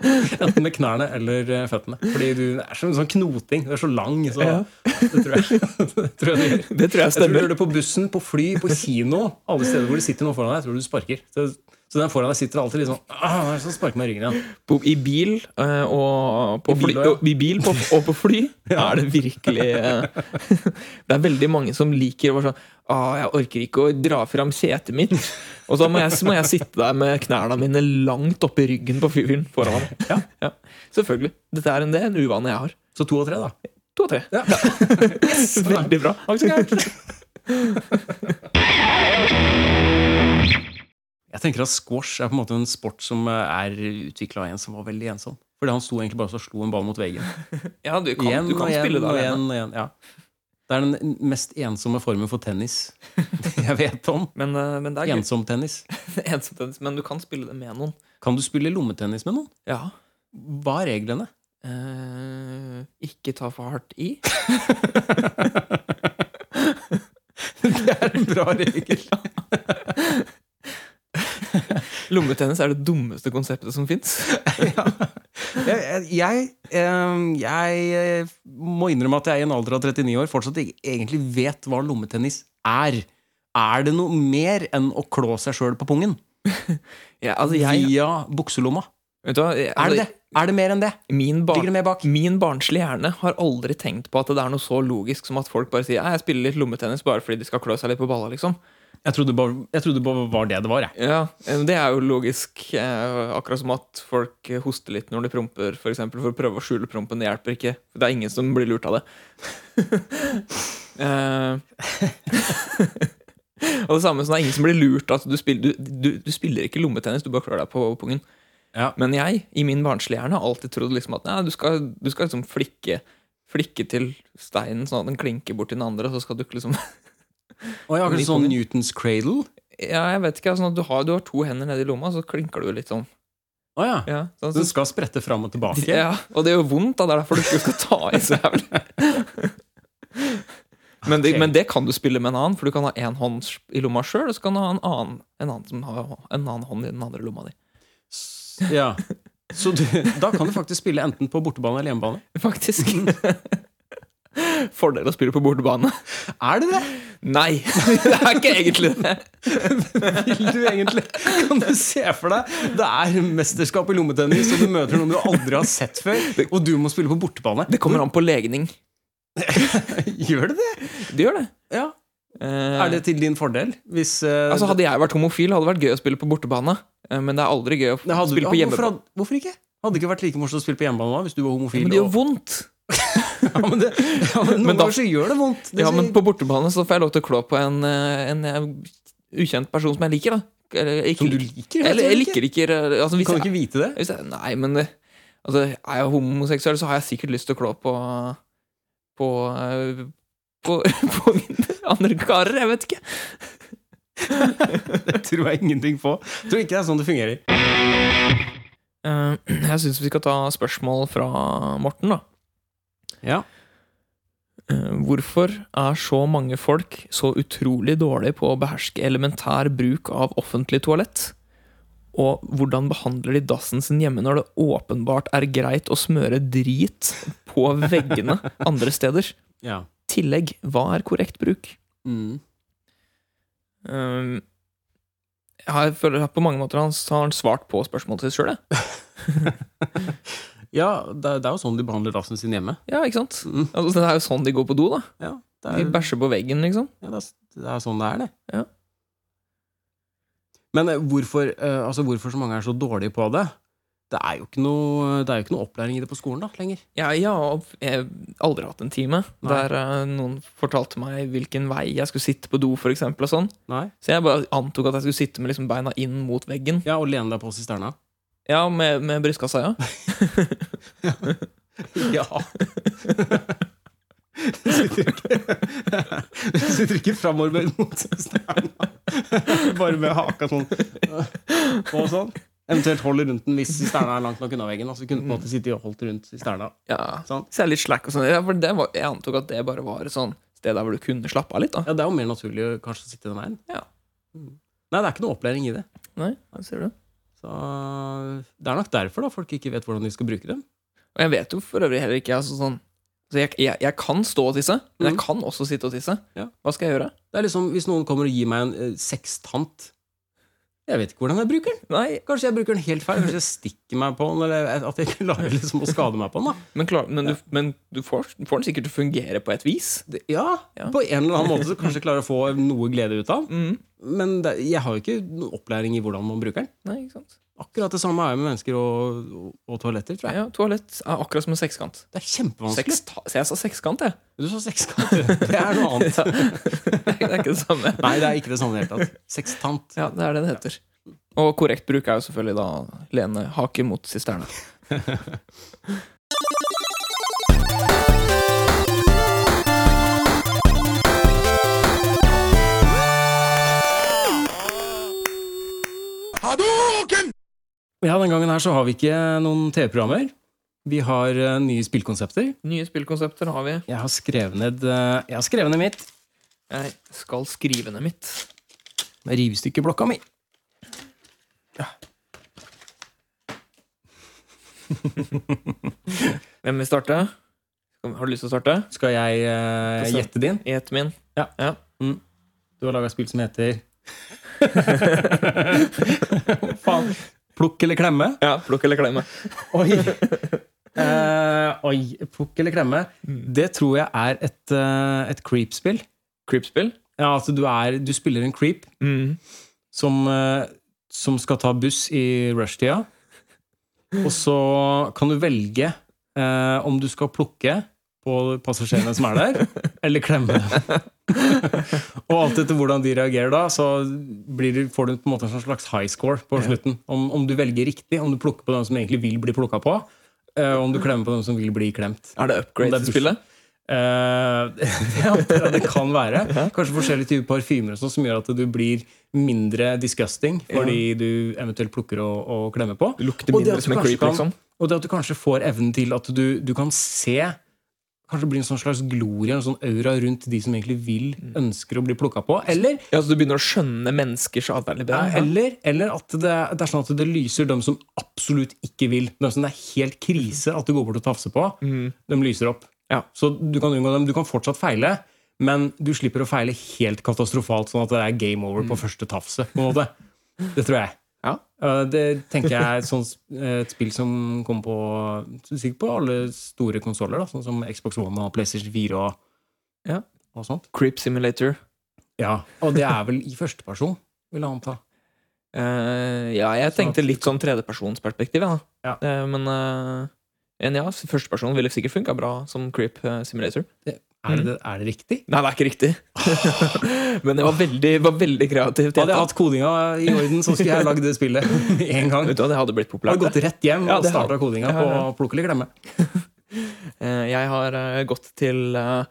Speaker 2: Enten med knærne eller eh, føttene. Fordi du det er som en sånn knoting. Du er så lang. Så
Speaker 1: Ja.
Speaker 2: det tror jeg, det tror jeg
Speaker 1: Det tror
Speaker 2: du gjør.
Speaker 1: jeg
Speaker 2: Jeg tror du
Speaker 1: stemmer.
Speaker 2: gjør det på bussen, på fly, på kino. Alle steder hvor det sitter noen foran deg. Jeg tror du sparker. Så, så den foran deg sitter alltid litt sånn ah, det er sånn sparker meg i ryggen igjen.
Speaker 1: På- I bil eh, og på
Speaker 2: I bil
Speaker 1: fly,
Speaker 2: også, ja.
Speaker 1: og, i bil på, og på fly er det virkelig eh, Det er veldig mange som liker å være sånn Å, jeg orker ikke å dra fram setet mitt. Og så må jeg, så må jeg sitte der med knærne mine langt oppi ryggen på fyren foran meg.
Speaker 2: Ja.
Speaker 1: Ja. Selvfølgelig. Dette er en, det er en uvane jeg har.
Speaker 2: Så to og tre, da.
Speaker 1: To av tre.
Speaker 2: Ja.
Speaker 1: Veldig bra.
Speaker 2: Jeg tenker at squash er på en måte en sport som eh, er utvikla av en som var veldig ensom. Fordi han sto egentlig bare og slo en ball mot veggen.
Speaker 1: Ja, du kan,
Speaker 2: Igjen
Speaker 1: du
Speaker 2: og
Speaker 1: kan
Speaker 2: igjen
Speaker 1: spille det
Speaker 2: og
Speaker 1: alene.
Speaker 2: igjen og igjen. Ja. Det er den mest ensomme formen for tennis jeg vet om.
Speaker 1: Men, eh, men det er gøy.
Speaker 2: Ensomtennis.
Speaker 1: Ensomtennis. Men du kan spille det med noen.
Speaker 2: Kan du spille lommetennis med noen?
Speaker 1: Ja.
Speaker 2: Hva er reglene?
Speaker 1: Eh, ikke ta for hardt i.
Speaker 2: Det er en bra regel.
Speaker 1: Lommetennis er det dummeste konseptet som fins.
Speaker 2: Jeg, jeg, eh, jeg eh, må innrømme at jeg i en alder av 39 år fortsatt ikke egentlig vet hva lommetennis er. Er det noe mer enn å klå seg sjøl på pungen?
Speaker 1: Ja, altså, jeg,
Speaker 2: Via bukselomma?
Speaker 1: vet du hva, jeg,
Speaker 2: Er det
Speaker 1: altså,
Speaker 2: det? Er det mer enn det?
Speaker 1: Min, bar
Speaker 2: Ligger det mer bak?
Speaker 1: min barnslige hjerne har aldri tenkt på at det er noe så logisk som at folk bare sier «Nei, jeg spiller litt lommetennis bare fordi de skal klø seg litt på balla. liksom
Speaker 2: Jeg trodde bare, jeg trodde bare var det det var, jeg.
Speaker 1: Ja, eh, Det er jo logisk. eh, Akkurat som at folk eh, hoster litt når de promper, for, eksempel, for å prøve å skjule prompen. Det hjelper ikke. Det er ingen som blir lurt av det. Eh, og det samme som det er ingen som blir lurt. Altså, du, spiller, du, du, du spiller ikke lommetennis, du bare klør deg på pungen.
Speaker 2: Ja.
Speaker 1: Men jeg, i min barnslige hjerne, har alltid trodd liksom at nei, du skal, du skal liksom flikke, flikke til steinen sånn at den klinker bort til den andre, og så skal du ikke liksom
Speaker 2: Og
Speaker 1: Litt
Speaker 2: jeg har akkurat sånn
Speaker 1: pungen.
Speaker 2: Newtons cradle.
Speaker 1: Ja, jeg vet ikke. Altså, du, har, du har to hender nedi lomma, så klinker du litt sånn.
Speaker 2: Å ja.
Speaker 1: Ja, sånn,
Speaker 2: Den skal sprette fram og tilbake.
Speaker 1: Ja, og det gjør vondt, da. Det er derfor du ikke skal ta i så jævlig. Men det,
Speaker 2: Ok.
Speaker 1: men det kan du spille med en annen, for du kan ha én hånd i lomma sjøl, og så kan du ha en annen, en, annen som har, en annen hånd i den andre lomma di.
Speaker 2: S- ja. Så du, da kan du faktisk spille enten på bortebane eller hjemmebane.
Speaker 1: Faktisk. Fordel å spille på bortebane.
Speaker 2: Er det det?
Speaker 1: Nei, det er ikke egentlig det.
Speaker 2: Vil du egentlig? Kan du se for deg det er mesterskap i lommetennis, og du møter noen du aldri har sett før, og du må spille på bortebane?
Speaker 1: Det kommer an på legning.
Speaker 2: Gjør det det?
Speaker 1: Det gjør det.
Speaker 2: Ja.
Speaker 1: Eh,
Speaker 2: Er det til din fordel? Hvis eh,
Speaker 1: altså, hadde jeg vært homofil, hadde det vært gøy å spille på bortebane. eh, Men det er aldri gøy å
Speaker 2: det hadde,
Speaker 1: spille på
Speaker 2: ja, hvorfor,
Speaker 1: hjemmebane.
Speaker 2: hadde- hvorfor ikke? Hadde det ikke vært like morsomt å spille på hjemmebane da, hvis du var homofil?
Speaker 1: Men det
Speaker 2: og-
Speaker 1: gjør vondt.
Speaker 2: Ja, men, det, ja, men noen
Speaker 1: Men da-
Speaker 2: ganger så gjør det vondt. Det
Speaker 1: Ja,
Speaker 2: sier-
Speaker 1: men på bortebane så får jeg lov til å klå på en, eh, en eh, ukjent person som jeg liker, da. Eller, jeg ikke
Speaker 2: som du
Speaker 1: liker.
Speaker 2: liker?
Speaker 1: Eller jeg
Speaker 2: ikke.
Speaker 1: liker ikke eh, altså, hvis,
Speaker 2: Kan du
Speaker 1: jeg,
Speaker 2: ikke vite det?
Speaker 1: hvis jeg Nei, men eh, altså, er jeg homoseksuell, så har jeg sikkert lyst til å klå på På eh, På, på mine andre karer. Jeg vet ikke.
Speaker 2: Det tror jeg ingenting på. Jeg tror ikke det er sånn det fungerer.
Speaker 1: Eh, Jeg syns vi skal ta spørsmål fra Morten, da.
Speaker 2: Ja.
Speaker 1: Eh, Hvorfor er så mange folk så utrolig dårlige på å beherske elementær bruk av offentlig toalett? Og hvordan behandler de dassen sin hjemme når det åpenbart er greit å smøre drit på veggene andre steder?
Speaker 2: Ja. Mm.
Speaker 1: Tillegg, hva er korrekt bruk? Um, jeg føler at på mange måter han, har han svart på spørsmålet sitt sjøl,
Speaker 2: ja det, det er jo sånn de behandler dassen sin hjemme.
Speaker 1: ja, ikke sant?
Speaker 2: Mm.
Speaker 1: Altså, det er jo sånn de går på do, da.
Speaker 2: Ja, det
Speaker 1: De
Speaker 2: er,
Speaker 1: bæsjer på veggen, liksom.
Speaker 2: ja, det er, det er sånn det er, det.
Speaker 1: Ja.
Speaker 2: Men eh, hvorfor, eh, altså, hvorfor så mange er så dårlige på det? Det er jo ikke noe, det er jo ikke noe opplæring i det på skolen da, lenger.
Speaker 1: Jeg, jeg har jeg har aldri hatt en time
Speaker 2: Nei.
Speaker 1: der eh, noen fortalte meg hvilken vei jeg skulle sitte på do, for eksempel, og sånn.
Speaker 2: Nei.
Speaker 1: Så jeg bare antok at jeg skulle sitte med liksom beina inn mot veggen.
Speaker 2: Ja, og lene deg på sisterna.
Speaker 1: Ja, med, med brystkassa, ja.
Speaker 2: Ja. Du sitter ikke, du sitter ikke framover mot sisterna. Bare med haka sånn og sånn. Eventuelt holder rundt den hvis sisterna er langt nok unna veggen. Altså kunne du på en måte sitte og holdt rundt sisterna.
Speaker 1: ja.
Speaker 2: Sånn.
Speaker 1: Så jeg er litt slack og sånn. Ja, for det var, jeg antok at det bare var et sånn sted der hvor du kunne slappe av litt, da.
Speaker 2: Ja, det er jo mer naturlig å kanskje sitte den veien.
Speaker 1: Ja.
Speaker 2: Mm. Nei, det er ikke noe opplæring i det.
Speaker 1: Nei, der ser du.
Speaker 2: Så det er nok derfor da folk ikke vet hvordan de skal bruke dem.
Speaker 1: Og jeg vet jo for øvrig heller ikke altså, sånn så jeg, jeg, jeg kan stå og tisse, men jeg
Speaker 2: Mhm.
Speaker 1: kan også sitte og tisse.
Speaker 2: Ja.
Speaker 1: Hva skal jeg gjøre?
Speaker 2: Det er liksom Hvis noen kommer og gir meg en eh, sextant Jeg vet ikke hvordan jeg bruker den.
Speaker 1: Nei,
Speaker 2: Kanskje jeg bruker den helt feil. Kanskje jeg stikker meg på den, eller at jeg klarer liksom å skade meg på den. da
Speaker 1: men, klar, men, du, men du får, får den sikkert til å fungere på et vis.
Speaker 2: det, ja,
Speaker 1: Ja.
Speaker 2: På en eller annen måte så kanskje jeg klarer å få noe glede ut av den.
Speaker 1: Mhm.
Speaker 2: Men det, jeg har jo ikke noen opplæring i hvordan man bruker den.
Speaker 1: Nei, ikke sant?
Speaker 2: Akkurat det samme er jo med mennesker og, og, og toaletter. tror jeg
Speaker 1: Ja, toalett er akkurat som en sekskant.
Speaker 2: Det er kjempevanskelig.
Speaker 1: Seks, så jeg sa sekskant, jeg.
Speaker 2: Du sa sekskant. Det er noe annet.
Speaker 1: Det er ikke det samme.
Speaker 2: Nei, det er ikke det samme i det hele tatt. Sextant.
Speaker 1: Ja, det er det det heter. Og korrekt bruk er jo selvfølgelig da lene hake mot sisterna.
Speaker 2: Ja, den gangen her så har vi ikke noen TV-programmer. Vi har eh, nye spillkonsepter.
Speaker 1: Nye spillkonsepter har vi.
Speaker 2: Jeg har skrevet ned, eh, jeg har skrevet ned mitt
Speaker 1: Jeg skal skrive ned mitt.
Speaker 2: rivestykkeblokka mi.
Speaker 1: Hvem vil starte? Har du lyst til å starte?
Speaker 2: Skal jeg eh,
Speaker 1: Få se.
Speaker 2: gjette din?
Speaker 1: Gjett min.
Speaker 2: Du har laga spill som heter Faen. Plukk eller klemme?
Speaker 1: Ja, plukk eller klemme.
Speaker 2: Oi. Eh, oi. Plukk eller klemme? Det tror jeg er et, eh, et creep-spill.
Speaker 1: Creep-spill?
Speaker 2: Ja, altså du, er, du spiller en creep som, eh, som skal ta buss i rushtida. Og så kan du velge eh, om du skal plukke på passasjerene som er der, eller klemme dem. og alt etter hvordan de reagerer da, så blir du, får du på en måte en sånn slags high score på slutten. Om, om du velger riktig, om du plukker på dem som egentlig vil bli plukka på, eh, om du klemmer på dem som vil bli klemt.
Speaker 1: Er det
Speaker 2: Om det
Speaker 1: upgrade
Speaker 2: er
Speaker 1: til spillet?
Speaker 2: Eh, ja, det kan være. Kanskje forskjellige typer parfymer og sånn som gjør at du blir mindre disgusting fordi du eventuelt plukker og, og klemmer på.
Speaker 1: Det lukter
Speaker 2: Og
Speaker 1: mindre
Speaker 2: det at du
Speaker 1: som en
Speaker 2: kanskje
Speaker 1: creep,
Speaker 2: kan-
Speaker 1: liksom.
Speaker 2: Og det at du kanskje får evnen til at du, du kan se Kanskje det blir en sånn slags glorie, en sånn aura rundt de som egentlig vil,
Speaker 1: Mm.
Speaker 2: ønsker å bli plukka på. Eller,
Speaker 1: Ja, så du begynner å skjønne menneskers atferd litt bedre? ja.
Speaker 2: eller, eller at det, det er sånn at det lyser dem som absolutt ikke vil. Dem som det er helt krise at du går bort og tafser på. De lyser opp.
Speaker 1: Ja.
Speaker 2: Så du kan unngå dem. Du kan fortsatt feile, men du slipper å feile helt katastrofalt, sånn at det er game over på første tafse. På en måte. Det tror jeg.
Speaker 1: Ja.
Speaker 2: Eh, Det tenker jeg er et sånt, eh, et spill som kommer på sikkert på alle store konsoller, sånn som Xbox One og PlayStation 4 og,
Speaker 1: Ja.
Speaker 2: og sånt.
Speaker 1: Creep Simulator.
Speaker 2: Ja, Og det er vel i førsteperson, vil jeg anta.
Speaker 1: Eh, ja, jeg tenkte
Speaker 2: at-
Speaker 1: litt sånn tredjepersonsperspektiv, ja.
Speaker 2: Ja.
Speaker 1: Eh, men eh, en ja, førsteperson ville sikkert funka bra som Creep eh, Simulator.
Speaker 2: Er det, er det riktig?
Speaker 1: Nei, det er ikke riktig. men det var veldig, var veldig kreativt.
Speaker 2: Hadde jeg
Speaker 1: gjetta.
Speaker 2: hatt kodinga i orden, så skulle jeg lagd det spillet én gang.
Speaker 1: Vet du hva, det hadde blitt
Speaker 2: Jeg
Speaker 1: populært.
Speaker 2: hadde gått rett hjem
Speaker 1: Ja,
Speaker 2: og
Speaker 1: det har-
Speaker 2: starta kodinga
Speaker 1: Ja,
Speaker 2: på
Speaker 1: ja.
Speaker 2: plukk eller glemme.
Speaker 1: Eh, Jeg har eh, gått til eh,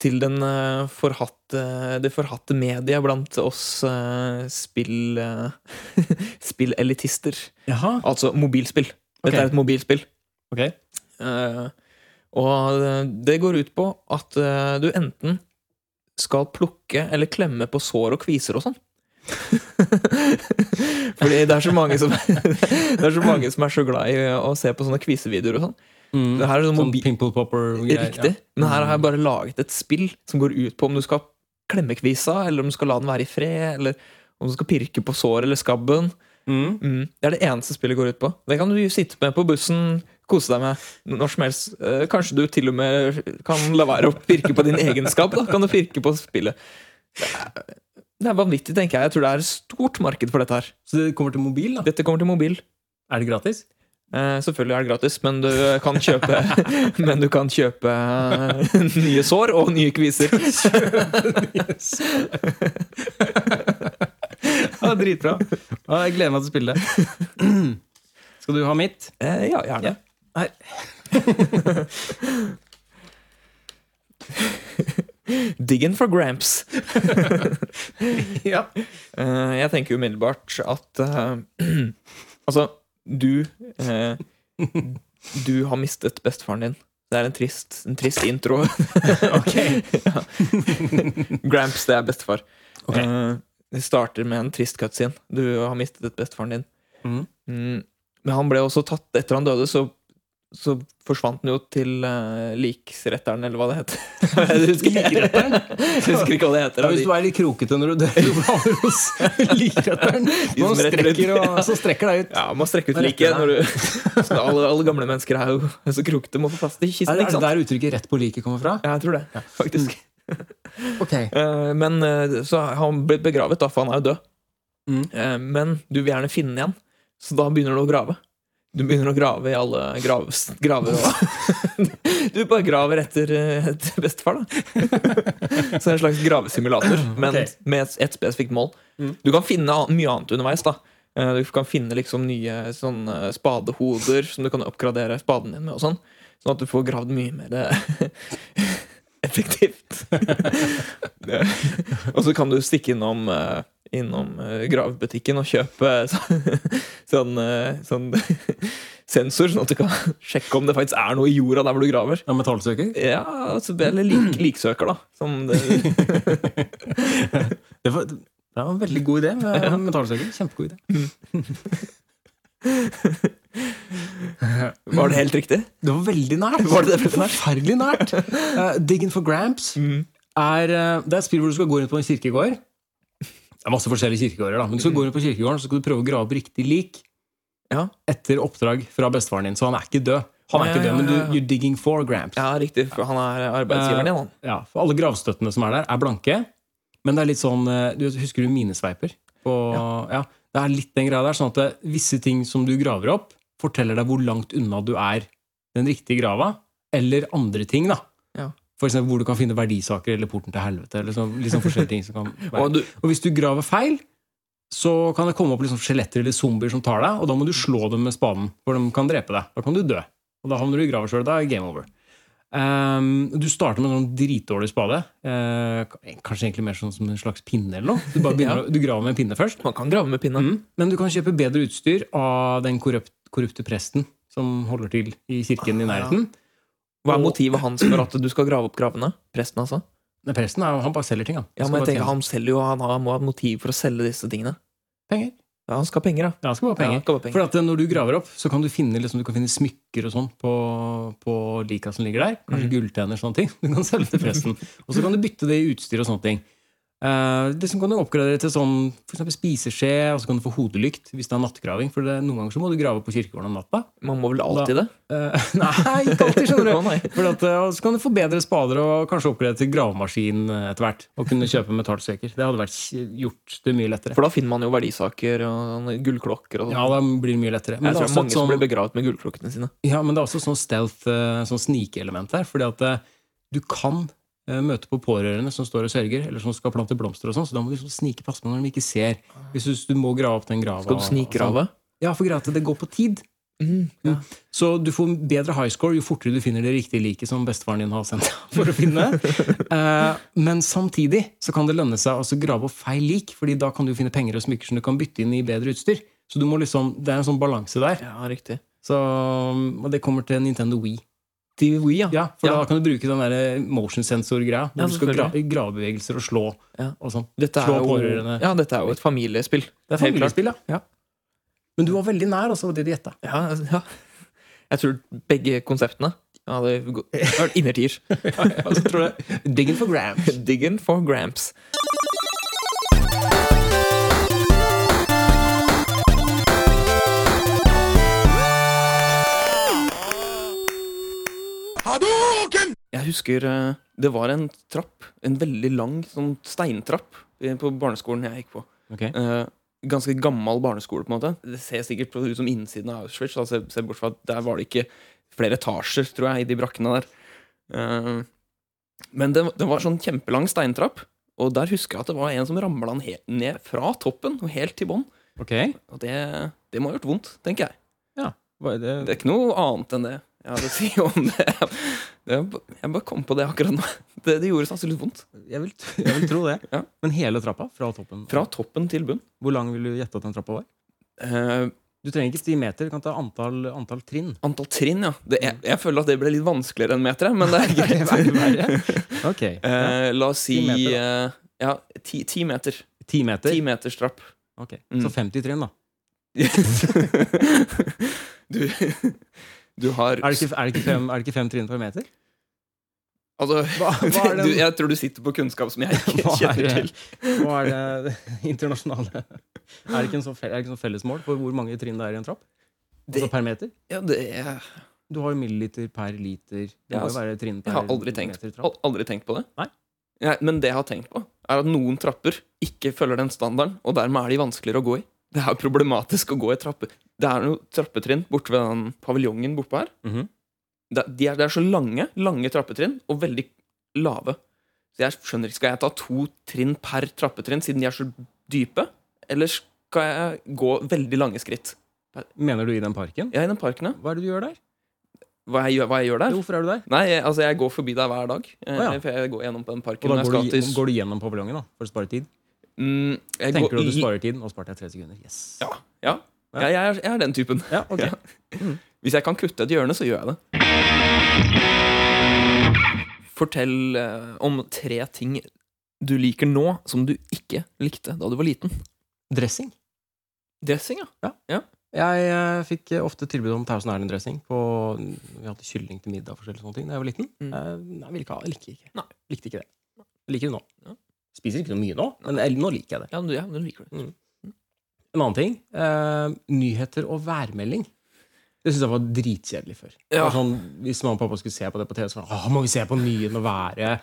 Speaker 1: til den eh, forhatte, det forhatte mediet blant oss eh, spill eh, spillelitister.
Speaker 2: Jaha,
Speaker 1: Altså mobilspill. Dette
Speaker 2: Ok.
Speaker 1: er et mobilspill.
Speaker 2: ok.
Speaker 1: Eh, og eh, det går ut på at eh, du enten skal plukke eller klemme på sår og kviser og sånn. Fordi det er så mange som Det er så mange som er så glad i å se på sånne kvisevideoer og sånn. Det her er sånn
Speaker 2: Sånn
Speaker 1: mobi-
Speaker 2: pimple popper-greier.
Speaker 1: Riktig. Men her har jeg bare laget et spill som går ut på om du skal klemme kvisa, eller om du skal la den være i fred, eller om du skal pirke på såret eller skabben.
Speaker 2: Ja. Mm.
Speaker 1: Mm. Det er det eneste spillet går ut på. Det kan du jo sitte med på bussen, kose deg med når som helst. Eh, Kanskje du til og med kan la være å pirke på din egenskap. Da kan du pirke på spillet. Det er, det er vanvittig, tenker jeg. Jeg tror det er et stort marked for dette her.
Speaker 2: Så det kommer til mobil, da?
Speaker 1: Dette kommer til mobil.
Speaker 2: Er det gratis?
Speaker 1: Eh, selvfølgelig er det gratis, men du kan kjøpe Men du kan kjøpe eh, nye sår og nye kviser.
Speaker 2: Ja, Dritbra. Ja, jeg gleder meg til å spille det. Skal du ha mitt?
Speaker 1: Eh, ja, gjerne.
Speaker 2: Ja. Her.
Speaker 1: Diggin' for gramps.
Speaker 2: Ja.
Speaker 1: Eh, jeg tenker umiddelbart at eh, Altså, du eh, Du har mistet bestefaren din. Det er en trist, en trist intro. Ja. Gramps, det er bestefar.
Speaker 2: Ok.
Speaker 1: Eh, det starter med en trist cutscene. Du har mistet bestefaren din.
Speaker 2: Mhm.
Speaker 1: Mm, men han ble også tatt Etter han døde, så, så forsvant han jo til eh, liksretteren, eller hva det heter. jeg, husker, jeg husker ikke hva det heter.
Speaker 2: Ja, hvis du er litt krokete når du dør, så havner du hos likretteren.
Speaker 1: De som
Speaker 2: Noen
Speaker 1: retter ut.
Speaker 2: strekker, og, så strekker deg ut.
Speaker 1: Ja, man strekker ut
Speaker 2: Hva
Speaker 1: liket
Speaker 2: heter
Speaker 1: når du så alle, alle gamle mennesker er jo er så krokete, må få plass til kisten,
Speaker 2: Er
Speaker 1: ikke
Speaker 2: det, er det
Speaker 1: sant?
Speaker 2: der uttrykket 'rett på liket' kommer fra?
Speaker 1: Ja, jeg tror det, faktisk.
Speaker 2: Ok.
Speaker 1: Eh, Men eh, Så han ble begravet, da, for han er jo død.
Speaker 2: Mm.
Speaker 1: Eh, Men du vil gjerne finne den igjen, så da begynner du å grave. Du begynner å grave i alle grav, graver og Du bare graver etter, eh, etter bestefar, da. Så det er en slags gravesimulator, men
Speaker 2: Ok.
Speaker 1: med et spesifikt mål.
Speaker 2: Mm.
Speaker 1: Du kan finne an- mye annet underveis, da. Eh, Du kan finne liksom nye sånne spadehoder som du kan oppgradere spaden din med, og sånn. Sånn at du får gravd mye mer eh, effektivt. Det- og så kan du stikke innom, eh, innom eh, gravbutikken og kjøpe så- sånn, eh, sånn sensor, sånn at du kan sjekke om det faktisk er noe i jorda der hvor du graver.
Speaker 2: Ja, metallsøker?
Speaker 1: Ja, altså, Eller lik, liksøker, da. Som det,
Speaker 2: Det var, det var en veldig god idé. med Metallsøker. Kjempegod idé.
Speaker 1: var det helt riktig?
Speaker 2: Det var veldig nært.
Speaker 1: Var det det ble for nært?
Speaker 2: Forferdelig nært. Eh, Digging for Gramps
Speaker 1: Mm.
Speaker 2: er, eh, det er et spill hvor du skal gå rundt på en kirkegård. Det er masse forskjellige kirkegårder, da. men du skal gå rundt på kirkegården så skal du prøve å grave opp riktig lik
Speaker 1: Ja.
Speaker 2: etter oppdrag fra bestefaren din. Så han er ikke død. Han er
Speaker 1: Ja,
Speaker 2: ikke
Speaker 1: ja,
Speaker 2: død, men du,
Speaker 1: ja, ja.
Speaker 2: you're digging for Gramps.
Speaker 1: Ja, riktig. For han er arbeidsgiveren din, han.
Speaker 2: Ja, for alle gravstøttene som er der, er blanke. Men det er litt sånn eh, du, Husker du minesveiper? Og, ja. det er litt den greia der. Sånn at det, visse ting som du graver opp, forteller deg hvor langt unna du er den riktige grava. Eller andre ting, da.
Speaker 1: Ja.
Speaker 2: For eksempel hvor du kan finne verdisaker eller porten til helvete. Eller sånn, liksom forskjellige ting som kan være.
Speaker 1: Eh, Og du,
Speaker 2: Og hvis du graver feil, så kan det komme opp liksom skjeletter eller zombier som tar deg, og da må du slå dem med spaden, for de kan drepe deg. Da kan du dø. Og da havner du i grava sjøl. Da er game over. Ehm, du starter med en sånn dritdårlig spade. Eh, kanskje egentlig mer sånn som en slags pinne eller noe. Du, bare begynner, å- du graver med en pinne først.
Speaker 1: man kan grave med pinne.
Speaker 2: Mm. Men du kan kjøpe bedre utstyr av den korrupt, korrupte presten som holder til i
Speaker 1: Ah,
Speaker 2: kirken i
Speaker 1: ja.
Speaker 2: nærheten.
Speaker 1: Hva er motivet hans for at du skal grave opp gravene? Presten, altså?
Speaker 2: Nei, presten er, jo- han bare selger ting, han.
Speaker 1: Ja,
Speaker 2: Skal
Speaker 1: men jeg
Speaker 2: bare
Speaker 1: tenker
Speaker 2: tjene
Speaker 1: Han selger jo, han har, må ha et motiv for å selge disse tingene.
Speaker 2: penger.
Speaker 1: Ja, Han skal ha penger, da.
Speaker 2: Ja, han skal bare ha
Speaker 1: Ja,
Speaker 2: penger.
Speaker 1: han skal ha penger.
Speaker 2: For at eh, når du graver opp, så kan du finne, liksom, du kan finne smykker og sånn på, på lika som ligger der. Kanskje
Speaker 1: Mm.
Speaker 2: gulltenner og sånne ting. Du kan selge til presten. og så kan du bytte det i utstyr og sånne ting. Eh, det som kan du oppgradere til sånn for eksempel spiseskje, og så kan du få hodelykt hvis det er nattgraving. For det, noen ganger så må du grave på kirkegården om natta.
Speaker 1: Man må vel alltid det?
Speaker 2: Eh, nei, ikke alltid, skjønner
Speaker 1: Å,
Speaker 2: du.
Speaker 1: nei.
Speaker 2: For at, eh, og så kan du få bedre spader og kanskje oppgradere til gravemaskin eh, etter hvert. Og kunne kjøpe metallsøker. Det hadde vært gjort det mye lettere.
Speaker 1: For da finner man jo verdisaker og sånne gullklokker og sånn.
Speaker 2: Ja, da blir det mye lettere. Men
Speaker 1: jeg
Speaker 2: det er
Speaker 1: tror det er
Speaker 2: også et
Speaker 1: mange
Speaker 2: sånn-
Speaker 1: som blir begravet med gullklokkene sine.
Speaker 2: Ja, men det er også sånn stealth, eh, sånn snikelement her. Fordi at eh, du kan eh, møte på pårørende som står og sørger, eller som skal plante blomster og sånn, så da må du liksom snike passe på når de ikke ser. Hvis du, du må grave opp den grava. sånn.
Speaker 1: Skal du
Speaker 2: altså.
Speaker 1: snikgrave?
Speaker 2: Ja, for greia er at det går på tid.
Speaker 1: Mm. Ja.
Speaker 2: Så du får bedre high score jo fortere du finner det riktige liket som bestefaren din har sendt deg for å finne. Eh, Men samtidig så kan det lønne seg å altså grave opp feil lik, Fordi da kan du finne penger og smykker som du kan bytte inn i bedre utstyr. Så du må liksom, det er en sånn balanse der.
Speaker 1: ja, riktig.
Speaker 2: Så, og det kommer til Nintendo Wii.
Speaker 1: Til Wii, ja.
Speaker 2: Ja, for
Speaker 1: Ja.
Speaker 2: da kan du bruke den der eh, motion sensor-greia.
Speaker 1: Ja,
Speaker 2: Når du skal gra
Speaker 1: selvfølgelig.
Speaker 2: gravebevegelser og slå
Speaker 1: Ja.
Speaker 2: og sånn.
Speaker 1: Dette er,
Speaker 2: Slå
Speaker 1: jo,
Speaker 2: pårørende.
Speaker 1: ja, dette er jo et familiespill.
Speaker 2: Det er
Speaker 1: Helt klart.
Speaker 2: familiespill, ja.
Speaker 1: Ja.
Speaker 2: Men du var veldig nær, altså, var det de gjetta.
Speaker 1: Ja, ja. Jeg tror begge konseptene hadde gå- vært innertier.
Speaker 2: Altså, tror jeg- Digging for gram.
Speaker 1: Diggen for Gramps. Jeg husker eh,
Speaker 4: Det var en trapp, en veldig lang sånn steintrapp eh, på barneskolen jeg gikk på. Eh, ganske gammel barneskole, på en måte. Det ser sikkert ut som innsiden av Auschwitz. Da, se, se bort fra at Der var det ikke flere etasjer, tror jeg, i de brakkene der. Eh, men det, det var sånn kjempelang steintrapp, og der husker jeg at det var en som ramla ned fra toppen og helt til bånn.
Speaker 5: Ok.
Speaker 4: Og det, det må ha gjort vondt, tenker jeg.
Speaker 2: Hva er det?
Speaker 4: Det er ikke noe annet enn det jeg hadde å si om det. det er ba- jeg bare kom på det akkurat nå. Det, det gjorde sannsynligvis vondt.
Speaker 2: Jeg, vil, t- jeg vil tro det.
Speaker 4: Ja.
Speaker 2: Men hele trappa? Fra toppen?
Speaker 4: Fra toppen til bunn.
Speaker 2: Hvor lang vil du gjette at den trappa var?
Speaker 4: Eh,
Speaker 2: Du trenger ikke si meter, du kan ta antall, antall trinn.
Speaker 4: antall trinn, ja. Det, jeg, jeg føler at det ble litt vanskeligere enn meter, jeg, men det er
Speaker 2: Mm. Det er
Speaker 4: greit.
Speaker 2: verre. Ok.
Speaker 4: Eh, la oss si
Speaker 2: Ti meter,
Speaker 4: eh, ja, ti, ti meter.
Speaker 2: Ti meter?
Speaker 4: Ti meters trapp.
Speaker 2: Ok,
Speaker 4: Mm.
Speaker 2: Så 50 trinn, da.
Speaker 4: du, du har
Speaker 2: Er det ikke, er det ikke, fem, er det ikke fem trinn per meter?
Speaker 4: Altså,
Speaker 2: Hva, hva er
Speaker 4: du,
Speaker 2: den-
Speaker 4: jeg tror du sitter på kunnskap som jeg ikke
Speaker 2: Hva er
Speaker 4: kjenner til.
Speaker 2: det- Hva er det internasjonale Er det ikke en sånn, fe- er det ikke sånn fellesmål for hvor mange trinn det er i en trapp? Altså
Speaker 4: Det-
Speaker 2: per meter?
Speaker 4: Ja, det er
Speaker 2: Du har jo milliliter per liter. Det
Speaker 4: Ja,
Speaker 2: må jo
Speaker 4: altså,
Speaker 2: være trinn per
Speaker 4: Jeg har aldri tenkt,
Speaker 2: meter trapp.
Speaker 4: al- aldri tenkt på det.
Speaker 2: Nei.
Speaker 4: Nei, men det jeg har tenkt på, er at noen trapper ikke følger den standarden, og dermed er de vanskeligere å gå i. Det er problematisk å gå i trapper. Det er noen trappetrinn borte ved den paviljongen bortpå her.
Speaker 2: Mhm.
Speaker 4: det, de er, det er så lange, lange trappetrinn, og veldig lave. Så jeg skjønner ikke, skal jeg ta to trinn per trappetrinn, siden de er så dype? Eller skal jeg gå veldig lange skritt? Mhm.
Speaker 2: Mener du i den parken?
Speaker 4: Jeg er i den parken, ja.
Speaker 2: Hva er det du gjør der?
Speaker 4: Hva jeg, gjør- hva jeg gjør der?
Speaker 2: Jo, Hvorfor er du der?
Speaker 4: Nei, jeg, altså jeg går forbi deg hver dag. eh,
Speaker 2: Å, ja.
Speaker 4: For jeg går gjennom på den
Speaker 2: Og
Speaker 4: parken.
Speaker 2: da
Speaker 4: når jeg
Speaker 2: går du,
Speaker 4: skal til-
Speaker 2: går du gjennom paviljongen da, for å spare tid?
Speaker 4: mm, jeg
Speaker 2: Tenker du
Speaker 4: går,
Speaker 2: at du
Speaker 4: li-
Speaker 2: sparer tid? Nå sparte jeg tre sekunder. Yes.
Speaker 4: Ja. Ja,
Speaker 2: Ja.
Speaker 4: ja jeg, er, jeg er den typen.
Speaker 2: Ja, ok.
Speaker 4: Ja. Hvis jeg kan kutte et hjørne, så gjør jeg det. Fortell eh, om tre ting du liker nå, som du ikke likte da du var liten.
Speaker 2: Dressing.
Speaker 4: Dressing, ja.
Speaker 2: Jeg eh, fikk eh, ofte tilbud om Thousand Island-dressing. på- Vi hadde kylling til middag og forskjellige sånne ting da jeg var liten.
Speaker 4: Mm.
Speaker 2: Eh, Nei, jeg ville ikke ha jeg likte ikke.
Speaker 4: Nei.
Speaker 2: Likte ikke det. Jeg liker det nå.
Speaker 4: Ja.
Speaker 2: Spiser ikke noe mye nå, men jeg, nå liker jeg det.
Speaker 4: Ja, du, ja, du liker det.
Speaker 2: En annen ting. eh, nyheter og værmelding. Det syns jeg var dritkjedelig før. Det
Speaker 4: Ja.
Speaker 2: var Sånn, hvis mamma og pappa skulle se på det på TV, så var det sånn, må vi se på nyhetene og været.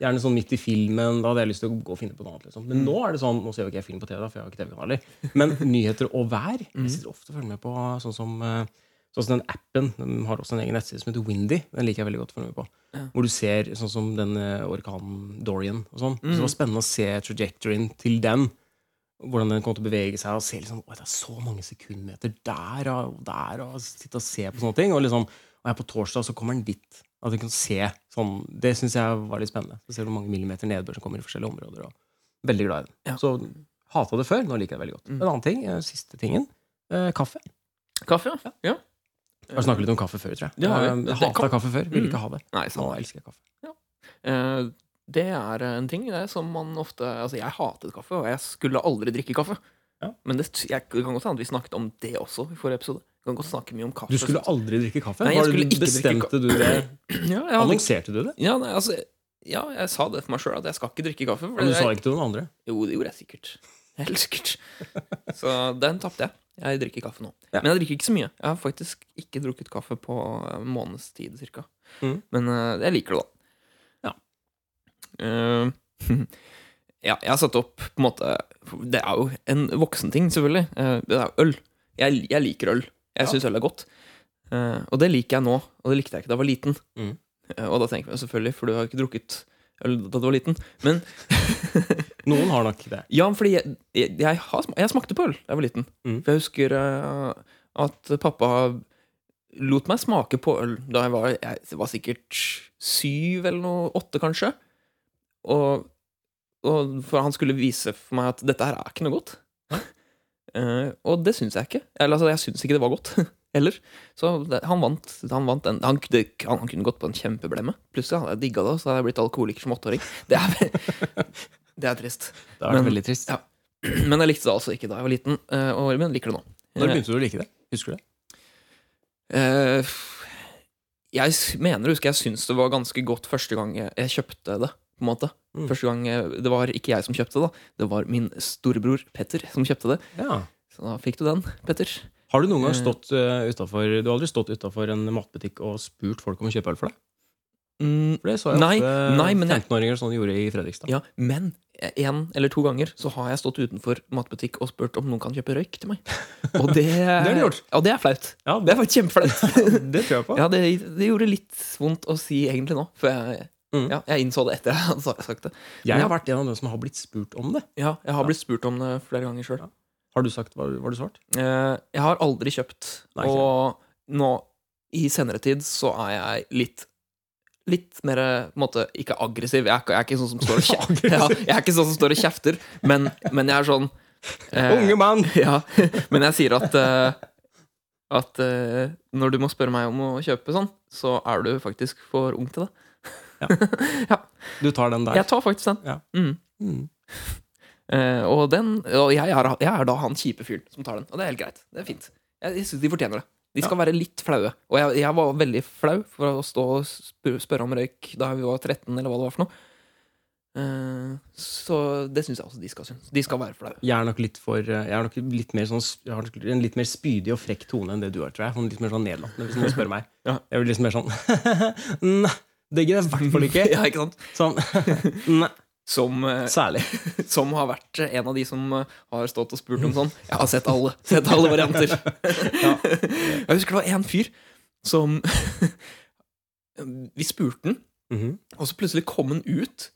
Speaker 2: Gjerne sånn midt i filmen. Da hadde jeg lyst til å gå og finne på noe annet. Liksom. Men nå er det sånn, nå ser jo ikke jeg film på TV, da, for jeg har ikke TV-kanaler. Men nyheter og vær Jeg sitter ofte og følger med på sånn som, eh, sånn som den appen. Den har også en egen nettside som heter Windy. Den liker jeg veldig godt å følge med på. Hvor du ser sånn som den eh, orkanen Dorian og sånn. Så det var spennende å se trajectoryen til den hvordan den kom til å bevege seg, og se liksom, «Oi, det er så mange sekundmeter der og der, og sitte og se på sånne ting. Og liksom, og her på torsdag så kommer den dit. At jeg kan se sånn, Det syns jeg var litt spennende. Så ser du hvor mange millimeter nedbør som kommer i forskjellige områder. Og veldig glad i den.
Speaker 4: Ja.
Speaker 2: Så hata det før, nå liker jeg det veldig godt. En annen ting, eh, siste tingen, eh, kaffe.
Speaker 4: Kaffe, ja. ja.
Speaker 2: Vi har snakket litt om kaffe før, tror jeg.
Speaker 4: Det har vi.
Speaker 2: Eh,
Speaker 4: Det-
Speaker 2: Jeg
Speaker 4: det
Speaker 2: hata
Speaker 4: kan-
Speaker 2: kaffe før. Ville
Speaker 4: Mm.
Speaker 2: ikke ha det.
Speaker 4: Nei,
Speaker 2: Nå
Speaker 4: sant.
Speaker 2: elsker jeg kaffe.
Speaker 1: Eh, det er eh, en ting det, som man ofte Altså, jeg hatet kaffe, og jeg skulle aldri drikke kaffe.
Speaker 2: Ja.
Speaker 1: Men det, jeg, det kan godt hende at vi snakket om det også i forrige episode. Vi kan godt snakke mye om kaffe.
Speaker 2: Du skulle aldri drikke kaffe?
Speaker 1: Nei, jeg
Speaker 2: Var det-
Speaker 1: skulle ikke drikke
Speaker 2: bestemte du det?
Speaker 1: ja, jeg hadde,
Speaker 2: Annonserte du det?
Speaker 1: ja, nei, altså, ja, jeg sa det for meg sjøl, at jeg skal ikke drikke kaffe. for
Speaker 2: Men du
Speaker 1: jeg-
Speaker 2: sa ikke til noen andre?
Speaker 1: Jo, det gjorde jeg sikkert. Helt sikkert. Så den tapte jeg. Jeg drikker kaffe nå.
Speaker 2: Ja.
Speaker 1: Men jeg drikker ikke så mye. Jeg har faktisk ikke drukket kaffe på en måneds tid, cirka.
Speaker 2: Mhm.
Speaker 1: Men eh, jeg liker det, da. Ja. ja, jeg har satt opp på en måte Det er jo en voksenting, selvfølgelig. Eh, det er jo øl. Jeg, jeg liker øl. Jeg syns øl er godt. Eh, og det liker jeg nå, og det likte jeg ikke da jeg var liten.
Speaker 2: Mhm.
Speaker 1: Eh, og da tenker jeg selvfølgelig, for du har jo ikke drukket øl da du var liten. Men
Speaker 2: Noen har nok det.
Speaker 1: Eh, ja, fordi jeg, jeg, jeg, har, sma- jeg smakte på øl da jeg var liten.
Speaker 2: Mm.
Speaker 1: For jeg husker eh, at pappa lot meg smake på øl da jeg var, jeg var sikkert syv eller noe, åtte kanskje. Og, og for han skulle vise for meg at dette her er ikke noe godt. Eh, og det syns jeg ikke. Eller altså, jeg syns ikke det var godt. heller. Så det, han vant. Han, vant den. Han, det, han, han kunne gått på en kjempeblemme. Plutselig hadde jeg digga det, og så hadde jeg blitt alkoholiker som åtteåring. Det er, det er trist.
Speaker 5: Det har vært
Speaker 1: Men-
Speaker 5: veldig trist.
Speaker 1: ja. Men jeg likte det altså ikke da jeg var liten, eh, og men liker det nå.
Speaker 2: Når begynte du å like det? Husker du det?
Speaker 1: Eh, Jeg s- mener å huske jeg syns det var ganske godt første gang jeg jeg kjøpte det. på en måte
Speaker 2: Mm.
Speaker 1: Første gang eh, Det var ikke jeg som kjøpte det, da. Det var min storebror Petter som kjøpte det.
Speaker 2: Ja.
Speaker 1: Så da fikk du den, Petter.
Speaker 2: Har du noen gang
Speaker 1: Eh.
Speaker 2: stått uh, utenfor, Du har aldri stått utafor en matbutikk og spurt folk om å kjøpe øl for deg?
Speaker 1: Mm,
Speaker 2: For det så jeg
Speaker 1: Nei,
Speaker 2: ofte
Speaker 1: nei, men jeg-
Speaker 2: 15-åringer sånn gjorde i Fredrikstad.
Speaker 1: ja, Men én eller to ganger så har jeg stått utenfor matbutikk og spurt om noen kan kjøpe røyk til meg. Og det,
Speaker 2: har du gjort.
Speaker 1: Ja, det er flaut.
Speaker 2: Ja,
Speaker 1: Det er faktisk kjempeflaut.
Speaker 2: det tror jeg på.
Speaker 1: Ja, det, det gjorde litt vondt å si egentlig nå, for jeg,
Speaker 2: Mm.
Speaker 1: ja, jeg innså det etter jeg hadde sa- sagt det.
Speaker 2: Jeg har vært en av dem som har blitt spurt om det.
Speaker 1: Ja, jeg har blitt spurt om det flere ganger sjøl.
Speaker 2: Har du sagt hva hva har du svart?
Speaker 1: Jeg har aldri kjøpt,
Speaker 2: Nei, ikke
Speaker 1: og nå i senere tid så er jeg litt Litt mer på en måte, ikke aggressiv. Jeg er ikke, jeg er ikke sånn som står og kjefter, ja, jeg er ikke sånn som står og kjefter men, men jeg er sånn eh,
Speaker 2: Unge mann!
Speaker 1: Ja, men jeg sier at eh, At eh, når du må spørre meg om å kjøpe sånn, så er du faktisk for ung til det.
Speaker 2: Du tar den der.
Speaker 1: Jeg tar faktisk den.
Speaker 2: Ja.
Speaker 1: Mm.
Speaker 2: Mm.
Speaker 1: Eh, og den, og jeg, er, jeg er da han kjipe fyren som tar den. Og det er helt greit. Det er fint. Jeg, jeg synes de fortjener det. De skal være litt flaue. Og jeg, jeg var veldig flau for å stå og spør, spørre om røyk da vi var 13, eller hva det var for noe. Eh, så det syns jeg også de skal synes. De skal være flaue.
Speaker 2: Jeg er nok litt for eh, Jeg er nok litt mer sånn Jeg har nok en litt mer spydig og frekk tone enn det du har, tror jeg. Sånn litt mer sånn nedlatende, hvis noen spør meg.
Speaker 1: Ja.
Speaker 2: Jeg blir liksom mer sånn Nei, det gidder jeg i hvert fall ikke.
Speaker 1: Ja, ikke sant?
Speaker 2: Sånn Nei,
Speaker 1: Som, eh,
Speaker 2: særlig.
Speaker 1: som har vært en av de som eh, har stått og spurt om sånn. Jeg har sett alle, sett alle varianter. Jeg husker det var en fyr som Vi spurte den,
Speaker 2: Mhm.
Speaker 1: og så plutselig kom han ut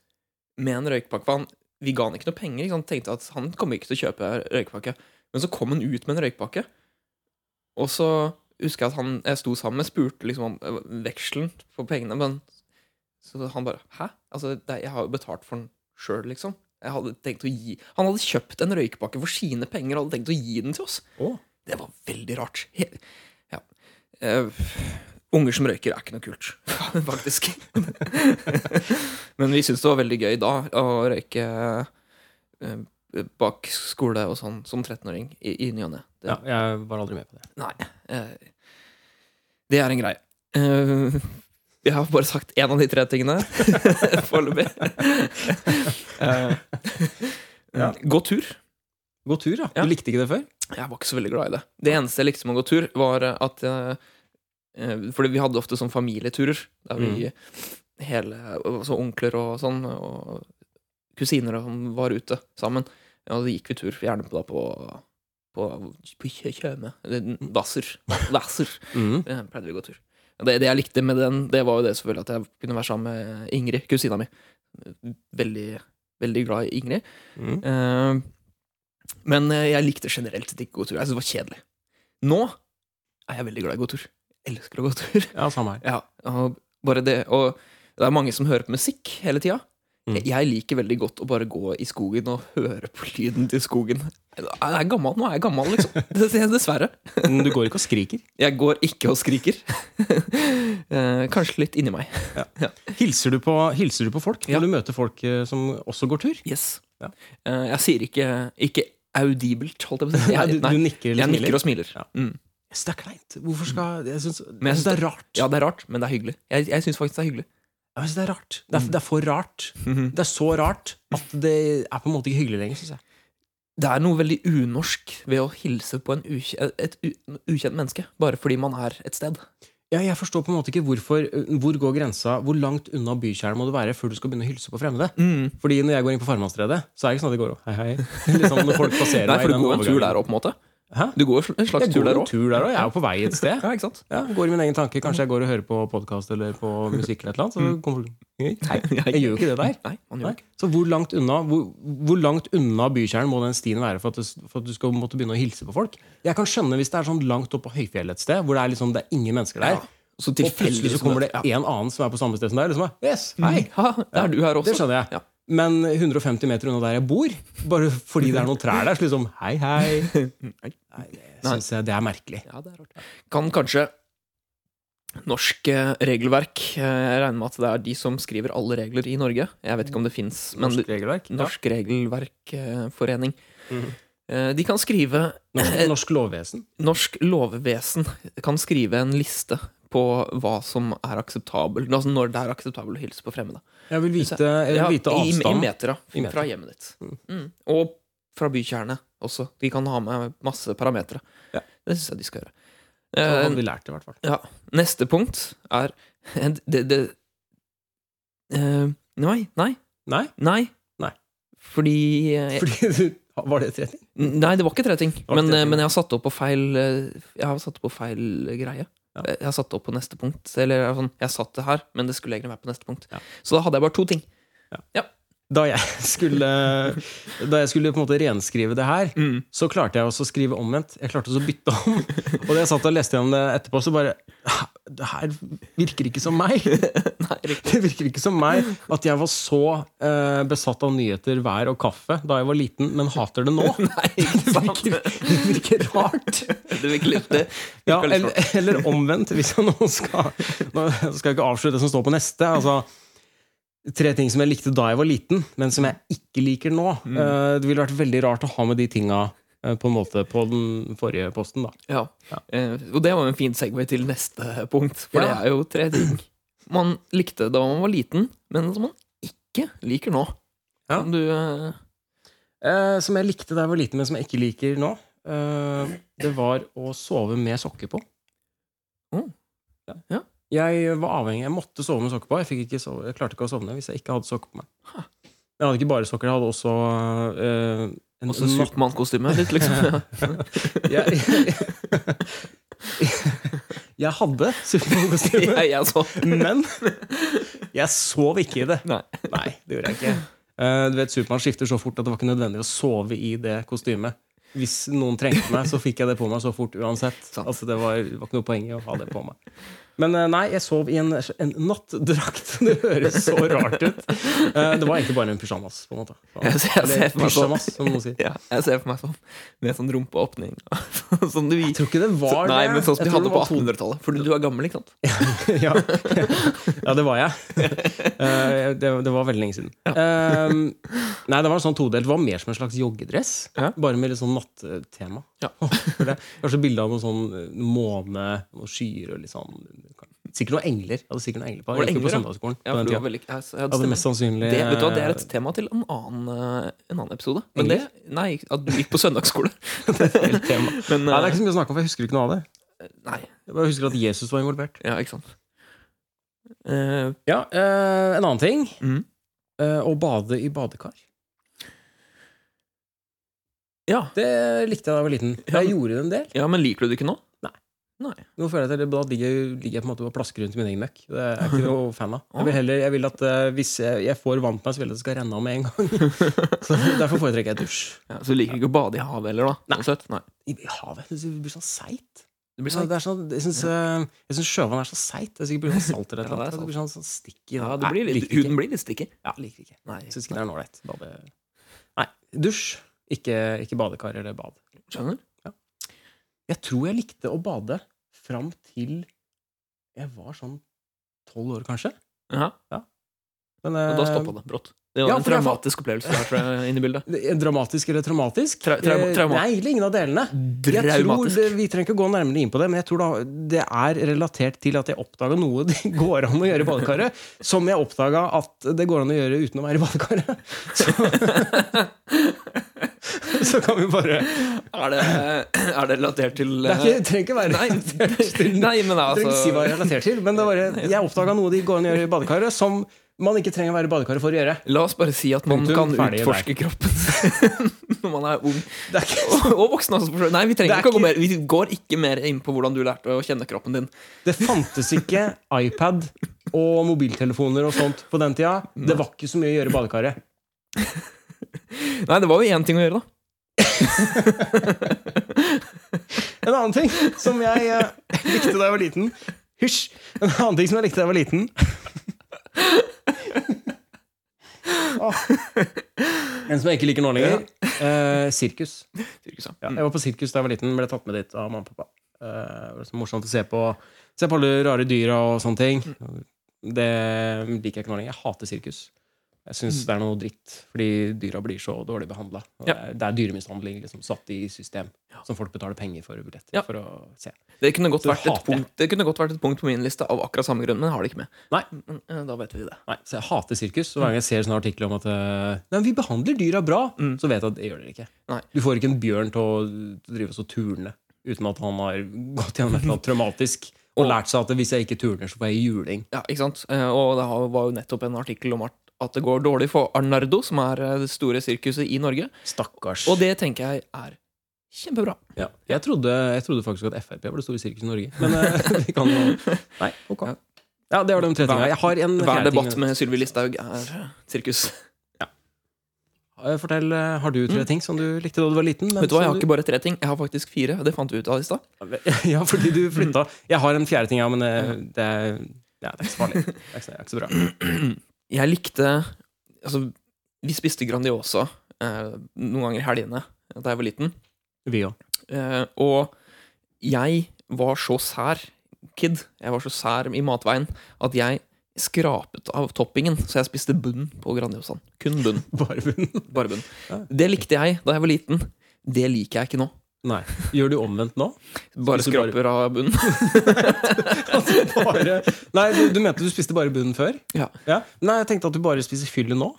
Speaker 1: med en røykpakke. For han, vi ga han ikke noe penger. Ikke sant? Tenkte at han kommer ikke til å kjøpe røykpakke. Men så kom han ut med en røykpakke, og så husker jeg at han jeg sto sammen med, spurte liksom om eh, vekselen på pengene, men så han bare Hæ? Altså, det, er- jeg har jo betalt for den sjøl, liksom. Jeg hadde tenkt å gi Han hadde kjøpt en røykpakke for sine penger og hadde tenkt å gi den til oss.
Speaker 2: Å.
Speaker 1: Det var veldig rart. He ja. Eh, unger som røyker, er ikke noe kult, faktisk. Men vi syntes det var veldig gøy da å røyke eh, bak skole og sånn som 13-åring i, i ny og ne. Det-
Speaker 2: Ja, jeg var aldri med på det.
Speaker 1: Nei. eh, Det er en greie. Eh, Jeg har bare sagt én av de tre tingene foreløpig. Eh,
Speaker 2: Ja.
Speaker 1: Gå tur.
Speaker 2: God tur, da.
Speaker 1: Ja.
Speaker 2: Du likte ikke det før?
Speaker 1: Jeg var ikke så veldig glad i det. Det eneste jeg likte med å gå tur, var at eh, eh, Fordi vi hadde ofte sånn familieturer, der vi hele altså onkler og sånn, og kusiner og sånn, var ute sammen. Ja, og så gikk vi tur, gjerne på, da, på, på, på Kjø- Tjøme. Eller Hvasser. Hvasser.
Speaker 2: Mhm.
Speaker 1: Det Eh, pleide vi å gå tur. Det, det jeg likte med den, det var jo det selvfølgelig at jeg kunne være sammen med Ingrid, kusina mi. Veldig, veldig glad i Ingrid.
Speaker 2: Mhm.
Speaker 1: Eh, men eh, jeg likte generelt sett ikke å gå tur. Jeg syntes det var kjedelig. Nå er jeg veldig glad i å gå tur. Jeg elsker å gå tur.
Speaker 2: Ja, samme her.
Speaker 1: Ja, og bare det Og det er mange som hører på musikk hele tida.
Speaker 2: Mm.
Speaker 1: Jeg- Jeg liker veldig godt å bare gå i skogen og høre på lyden til skogen. Jeg er gammel, Nå er jeg gammel, liksom. Dessverre.
Speaker 2: Men du går ikke og skriker.
Speaker 1: Jeg går ikke og skriker. Eh, Kanskje litt inni meg.
Speaker 2: Hilser du på, hilser du på folk
Speaker 1: Ja.
Speaker 2: når du møter folk eh, som også går tur?
Speaker 1: Yes.
Speaker 2: Ja.
Speaker 1: Eh, Jeg sier ikke, ikke audibelt, holdt jeg på å si.
Speaker 2: Nei, du,
Speaker 1: Jeg,
Speaker 2: du
Speaker 1: nei,
Speaker 2: nikker eller
Speaker 1: jeg
Speaker 2: smiler?
Speaker 1: nikker og smiler.
Speaker 2: Ja.
Speaker 1: Mm.
Speaker 2: Jeg synes det er kleint. Hvorfor skal Jeg syns
Speaker 1: Men jeg
Speaker 2: det er rart.
Speaker 1: Ja, det er rart, men det er hyggelig. Jeg, jeg syns faktisk det er hyggelig.
Speaker 2: Jeg synes det er rart. Det er, det er for rart. Det er så rart at det er på en måte ikke hyggelig lenger, syns jeg.
Speaker 1: Det er noe veldig unorsk ved å hilse på en ukj- et u- ukjent menneske, bare fordi man er et sted.
Speaker 2: Ja, jeg forstår på en måte ikke hvorfor eh, Hvor går grensa? Hvor langt unna bykjernen må du være før du skal begynne å hilse på fremmede? Fordi når jeg går inn på Farmannstredet, så er det ikke sånn at det går opp. Hei, hei. Liksom når folk passerer
Speaker 1: Nei,
Speaker 2: meg i
Speaker 1: for du
Speaker 2: den
Speaker 1: går en tur
Speaker 2: overgangen.
Speaker 1: der òg, på en måte.
Speaker 2: Hæ?
Speaker 1: Du går en slags
Speaker 2: Jeg
Speaker 1: tur
Speaker 2: går
Speaker 1: der
Speaker 2: en
Speaker 1: òg.
Speaker 2: tur der òg. Jeg er jo på vei et sted.
Speaker 1: Ja, ikke sant?
Speaker 2: Ja, går i min egen tanke. Kanskje jeg går og hører på podkast eller på musikk eller et eller annet. Så kommer folk Hei. Jeg gjør jo ikke det der.
Speaker 1: Nei, man gjør
Speaker 2: Nei.
Speaker 1: ikke
Speaker 2: Så hvor langt unna hvor, hvor langt unna bykjernen må den stien være for at, det, for at du skal måtte begynne å hilse på folk? Jeg kan skjønne hvis det er sånn langt opp på høyfjellet et sted, hvor det er, liksom, det er ingen mennesker der.
Speaker 1: Ja, Så
Speaker 2: Og plutselig så kommer det en annen som er på samme sted som deg. Liksom, yes, hei,
Speaker 1: Hei, ha, det er du her
Speaker 2: Det
Speaker 1: også.
Speaker 2: skjønner jeg.
Speaker 1: Ja.
Speaker 2: Men 150 meter unna der jeg bor, bare fordi det er noen trær der, så liksom Hei, hei. Nei, det syns jeg det er merkelig.
Speaker 1: Ja, det er rart. Kan kanskje norsk eh, regelverk eh, Jeg regner med at det er de som skriver alle regler i Norge. Jeg vet ikke om det fins, men
Speaker 2: Norsk regelverk? Ja.
Speaker 1: Norsk Regelverkforening. Eh, De kan skrive
Speaker 2: Norsk, norsk lovvesen?
Speaker 1: Norsk lovvesen kan skrive en liste på hva som er akseptabel Altså når det er akseptabel å hilse på fremmede.
Speaker 2: Jeg vil vite, jeg
Speaker 1: Ja,
Speaker 2: vil vite
Speaker 1: i, I
Speaker 2: avstand.
Speaker 1: meter, da.
Speaker 2: I meter.
Speaker 1: Fra hjemmet ditt. Mm. Og fra bykjernet også. De kan ha med masse parametere.
Speaker 2: Ja.
Speaker 1: Det syns jeg de skal gjøre.
Speaker 2: Da
Speaker 1: Eh,
Speaker 2: hadde vi lært det, i hvert fall.
Speaker 1: ja. Neste punkt er det, det, eh, Nei, nei,
Speaker 2: Nei?
Speaker 1: nei.
Speaker 2: Nei.
Speaker 1: Fordi, eh,
Speaker 2: Fordi du Var det tre ting?
Speaker 1: Nei, det var ikke tre ting.
Speaker 2: var ikke
Speaker 1: Men,
Speaker 2: tre
Speaker 1: eh,
Speaker 2: ting.
Speaker 1: men jeg har satt det opp på feil eh, Jeg har satt det på feil greie.
Speaker 2: Ja.
Speaker 1: Jeg har satt det opp på neste punkt. Eller jeg er sånn, jeg satt det her, men det skulle egentlig være på neste punkt.
Speaker 2: Ja.
Speaker 1: Så da hadde jeg bare to ting.
Speaker 2: Da jeg skulle, da jeg skulle på en måte renskrive det her,
Speaker 1: Mm.
Speaker 2: så klarte jeg også å skrive omvendt. Jeg klarte også å bytte om. Og da jeg satt og leste gjennom det etterpå, så bare Det her virker ikke som meg!
Speaker 1: Nei, riktig.
Speaker 2: Det virker ikke som meg at jeg var så eh, besatt av nyheter, vær og kaffe da jeg var liten, men hater det nå.
Speaker 1: Nei, ikke
Speaker 2: Det
Speaker 1: sant.
Speaker 2: virker, det virker rart.
Speaker 1: Det virker litt eh, det.
Speaker 2: Ja,
Speaker 1: virker litt
Speaker 2: eller, eller omvendt, hvis jeg nå skal Nå skal jeg ikke avslutte det som står på neste. Altså, tre ting som jeg likte da jeg var liten, men som jeg ikke liker nå.
Speaker 1: Mm.
Speaker 2: Eh, det ville vært veldig rart å ha med de tinga eh, på en måte på den forrige posten, da.
Speaker 1: Ja.
Speaker 2: Ja.
Speaker 1: Eh, og det var jo en fin segway til neste punkt, for
Speaker 2: Ja.
Speaker 1: det er jo tre ting man likte da man var liten, men som man ikke liker nå.
Speaker 2: Ja.
Speaker 1: Kan Du, eh,
Speaker 2: Eh, som jeg likte da jeg var liten, men som jeg ikke liker nå. eh, det var å sove med sokker på.
Speaker 1: Mm.
Speaker 2: Ja.
Speaker 1: Ja.
Speaker 2: Jeg var avhengig, jeg måtte sove med sokker på. Jeg, fikk ikke sove, jeg klarte ikke å sovne hvis jeg ikke hadde sokker på meg. Jeg hadde ikke bare sokker, jeg hadde også eh, en
Speaker 1: også
Speaker 2: natt-
Speaker 1: Supermann-kostymet ditt, liksom.
Speaker 2: jeg, jeg hadde Supermann-kostyme,
Speaker 1: jeg, jeg så.
Speaker 2: men jeg sov ikke i det.
Speaker 1: Nei.
Speaker 2: Nei, det gjorde jeg ikke. Eh, du vet, Supermann skifter så fort at det var ikke nødvendig å sove i det kostymet. Hvis noen trengte meg, så fikk jeg det på meg så fort uansett.
Speaker 1: Sant.
Speaker 2: Altså, det var, det var ikke noe poeng i å ha det på meg. Men eh, nei, jeg sov i en, en nattdrakt. Det høres så rart ut. Eh, det var egentlig bare en pysjamas, på en måte.
Speaker 1: Jeg ser- jeg ser
Speaker 2: Eller
Speaker 1: for meg sånn.
Speaker 2: pysjamas, som noen sier.
Speaker 1: Ja, jeg ser for meg sånn med sånn rumpeåpning. Som du
Speaker 2: Jeg tror ikke det var det.
Speaker 1: Nei, men sånn som de
Speaker 2: Jeg tror
Speaker 1: hadde
Speaker 2: det
Speaker 1: på
Speaker 2: var to-
Speaker 1: 1800-tallet. Fordi du er gammel, ikke sant?
Speaker 2: ja. ja, det var jeg. Eh, det, det var veldig lenge siden. Eh, nei, det var en sånn todelt. Det var mer som en slags joggedress.
Speaker 1: Ja.
Speaker 2: Bare med litt sånn nattema.
Speaker 1: Ja.
Speaker 2: For det- Kanskje bilde av noen sånn eh, måne og skyer og litt sånn Sikkert noen engler. Jeg hadde sikkert noen engler på.
Speaker 1: Var det
Speaker 2: Jeg gikk jo på
Speaker 1: engler,
Speaker 2: søndagsskolen
Speaker 1: Ja,
Speaker 2: på
Speaker 1: for
Speaker 2: den
Speaker 1: du var
Speaker 2: tida.
Speaker 1: veldig, jeg, jeg hadde
Speaker 2: Jeg hadde eh,
Speaker 1: stemmen.
Speaker 2: mest sannsynlig
Speaker 1: det, vet du hva, det er et tema til en annen, eh, en annen episode. Men det, nei, at du gikk på søndagsskole.
Speaker 2: helt eh,
Speaker 1: Men,
Speaker 2: tema. Nei, det er
Speaker 1: eh,
Speaker 2: ikke så mye å snakke om, for jeg husker ikke noe av det.
Speaker 1: nei,
Speaker 2: Jeg bare husker at Jesus var involvert.
Speaker 1: ja, ikke sant. Eh,
Speaker 2: Ja, eh, En annen ting.
Speaker 1: Mm.
Speaker 2: eh, å bade i badekar.
Speaker 1: ja.
Speaker 2: Det likte jeg da jeg var liten.
Speaker 1: Ja.
Speaker 2: Jeg gjorde det en del.
Speaker 1: ja, men liker du det ikke nå?
Speaker 2: Nå føler jeg at jeg, da ligger, jeg- ligger jeg på en måte og plasker rundt i min egen møkk. Det er jeg ikke noe fan av. Jeg vil heller, jeg vil at eh, Hvis jeg, jeg får vann på meg, så vil jeg at det skal renne av med en gang. Så Derfor foretrekker jeg dusj.
Speaker 1: Ja, så du liker ikke å bade i havet heller, da?
Speaker 2: Nei.
Speaker 1: sånn sett? nei.
Speaker 2: I i havet jeg synes det blir sånn seigt.
Speaker 1: Det blir
Speaker 2: Sånn,
Speaker 1: sånn,
Speaker 2: det er sånn- Jeg syns eh, jeg synes sjøvann er så seigt. Det er sikkert blir sånn salt eller
Speaker 1: Ja,
Speaker 2: et eller annet.
Speaker 1: det er
Speaker 2: Det blir sånn, sånn stikk i
Speaker 1: ja, det
Speaker 2: Nei,
Speaker 1: blir litt,
Speaker 2: liker ikke.
Speaker 1: huden blir litt stikkig.
Speaker 2: Ja, liker ikke.
Speaker 1: Nei,
Speaker 2: Syns ikke det er noe ålreit. Bade- Nei, dusj. Ikke, ikke badekar eller bad.
Speaker 1: skjønner.
Speaker 2: Jeg tror jeg likte å bade fram til jeg var sånn tolv år, kanskje.
Speaker 1: Ja,
Speaker 2: Men,
Speaker 1: og da
Speaker 2: eh,
Speaker 1: stoppa det brått. Det var
Speaker 2: ja,
Speaker 1: en
Speaker 2: for jeg fa-
Speaker 1: traumatisk opplevelse der, tror jeg, inne i bildet.
Speaker 2: Dramatisk eller traumatisk?
Speaker 1: Tra- trauma-
Speaker 2: Eh,
Speaker 1: trauma-
Speaker 2: Nei, egentlig ingen av delene. Jeg tror
Speaker 1: Draumatisk.
Speaker 2: det, vi trenger ikke gå nærmere inn på det, men jeg tror da, det er relatert til at jeg oppdaga noe det går an å gjøre i badekaret, som jeg oppdaga at det går an å gjøre uten å være i badekaret. Så, så kan vi bare
Speaker 1: Er det, er det relatert til eh,
Speaker 2: Det er ikke, trenger ikke være
Speaker 1: Nei,
Speaker 2: relatert til
Speaker 1: nei, men
Speaker 2: Jeg trenger
Speaker 1: altså
Speaker 2: ikke si hva jeg relaterer til, men det er bare, jeg oppdaga noe det går an å gjøre i badekaret, som man ikke trenger å være i badekaret for å gjøre.
Speaker 1: La oss bare si at man
Speaker 2: Punktum,
Speaker 1: kan
Speaker 2: ferdig,
Speaker 1: utforske kroppen når man er ung.
Speaker 2: Det er ikke
Speaker 1: Og, og voksen også. for så vidt. Nei, vi trenger
Speaker 2: Det er
Speaker 1: ikke å gå
Speaker 2: ikke-
Speaker 1: mer Vi går ikke mer inn på hvordan du lærte å kjenne kroppen din.
Speaker 2: Det fantes ikke iPad og mobiltelefoner og sånt på den tida. Det var ikke så mye å gjøre i badekaret.
Speaker 1: Nei, det var jo én ting å gjøre, da.
Speaker 2: En annen ting som jeg eh, likte da jeg var liten Hysj! En annen ting som jeg likte da jeg var liten En som jeg ikke liker nå lenger. eh, sirkus.
Speaker 1: Sirkus, ja.
Speaker 2: Jeg var på sirkus da jeg var liten, ble tatt med dit av mamma og pappa. Eh, det var så morsomt å se på, se på alle rare dyra og sånne ting.
Speaker 1: Mm.
Speaker 2: Det liker jeg ikke nå lenger. Jeg hater sirkus. Jeg syns det er noe dritt, fordi dyra blir så dårlig behandla.
Speaker 1: Mm. Ja.
Speaker 2: Det er dyremishandling liksom, satt i system, som folk betaler penger for billetter
Speaker 1: Ja.
Speaker 2: for å se.
Speaker 1: Det kunne, godt
Speaker 2: Så
Speaker 1: vært et
Speaker 2: hater jeg.
Speaker 1: punkt, det kunne godt vært et punkt på min liste av akkurat samme grunn, men jeg har det ikke med.
Speaker 2: Nei.
Speaker 1: Men, eh, da vet vi det.
Speaker 2: Nei, så jeg hater sirkus. Så
Speaker 1: Mm.
Speaker 2: hver gang jeg ser sånne artikler om at eh, Nei, vi behandler dyra bra, så vet jeg at det gjør dere ikke.
Speaker 1: Nei.
Speaker 2: Du får ikke en bjørn til å drive og turne uten at han har gått gjennom et eller annet traumatisk og lært seg at hvis jeg ikke turner, så får jeg juling.
Speaker 1: Ja, ikke sant? Eh, Og det har- var jo nettopp en artikkel om at at det går dårlig for Arnardo, som er eh, det store sirkuset i Norge.
Speaker 2: Stakkars.
Speaker 1: Og det tenker jeg er kjempebra.
Speaker 2: ja. jeg, trodde, jeg trodde faktisk at Frp var det store sirkuset i Norge. Men eh, vi kan jo Nei, ok.
Speaker 1: Ja.
Speaker 2: Ja, det var de tre tingene. Jeg har en
Speaker 1: Hver
Speaker 2: fjerde ting.
Speaker 1: debatt med Sylvi Listhaug er eh, sirkus.
Speaker 2: Eh, Fortell, eh, har du tre ting som du likte da du var liten?
Speaker 1: Mm.
Speaker 2: men
Speaker 1: Vet du hva, Jeg
Speaker 2: som
Speaker 1: har ikke bare tre ting, jeg har faktisk fire. Det fant vi ut av i stad.
Speaker 2: Ja, fordi du flytta.
Speaker 1: Mm.
Speaker 2: Jeg har en fjerde ting, ja, men eh, det, er- ja, det er ikke så farlig. Det er ikke så, det er ikke så bra.
Speaker 1: Jeg likte Altså, vi spiste Grandiosa eh, noen ganger i helgene da jeg var liten.
Speaker 2: Vi òg.
Speaker 1: Eh, og jeg var så sær kid, jeg var så sær i matveien, at jeg skrapet av toppingen, så jeg spiste bunn på Grandiosaen. Kun bunn.
Speaker 2: Bare bunnen.
Speaker 1: Bare bunn.
Speaker 2: Ja.
Speaker 1: Det likte jeg da jeg var liten. Det liker jeg ikke nå.
Speaker 2: Nei. Gjør du omvendt nå?
Speaker 1: Bare
Speaker 2: Spiser bare-
Speaker 1: skraper av bunnen.
Speaker 2: Bare, nei, du, du mente du spiste bare bunnen før?
Speaker 1: Ja.
Speaker 2: Nei, jeg tenkte at du bare spiser fyllet nå.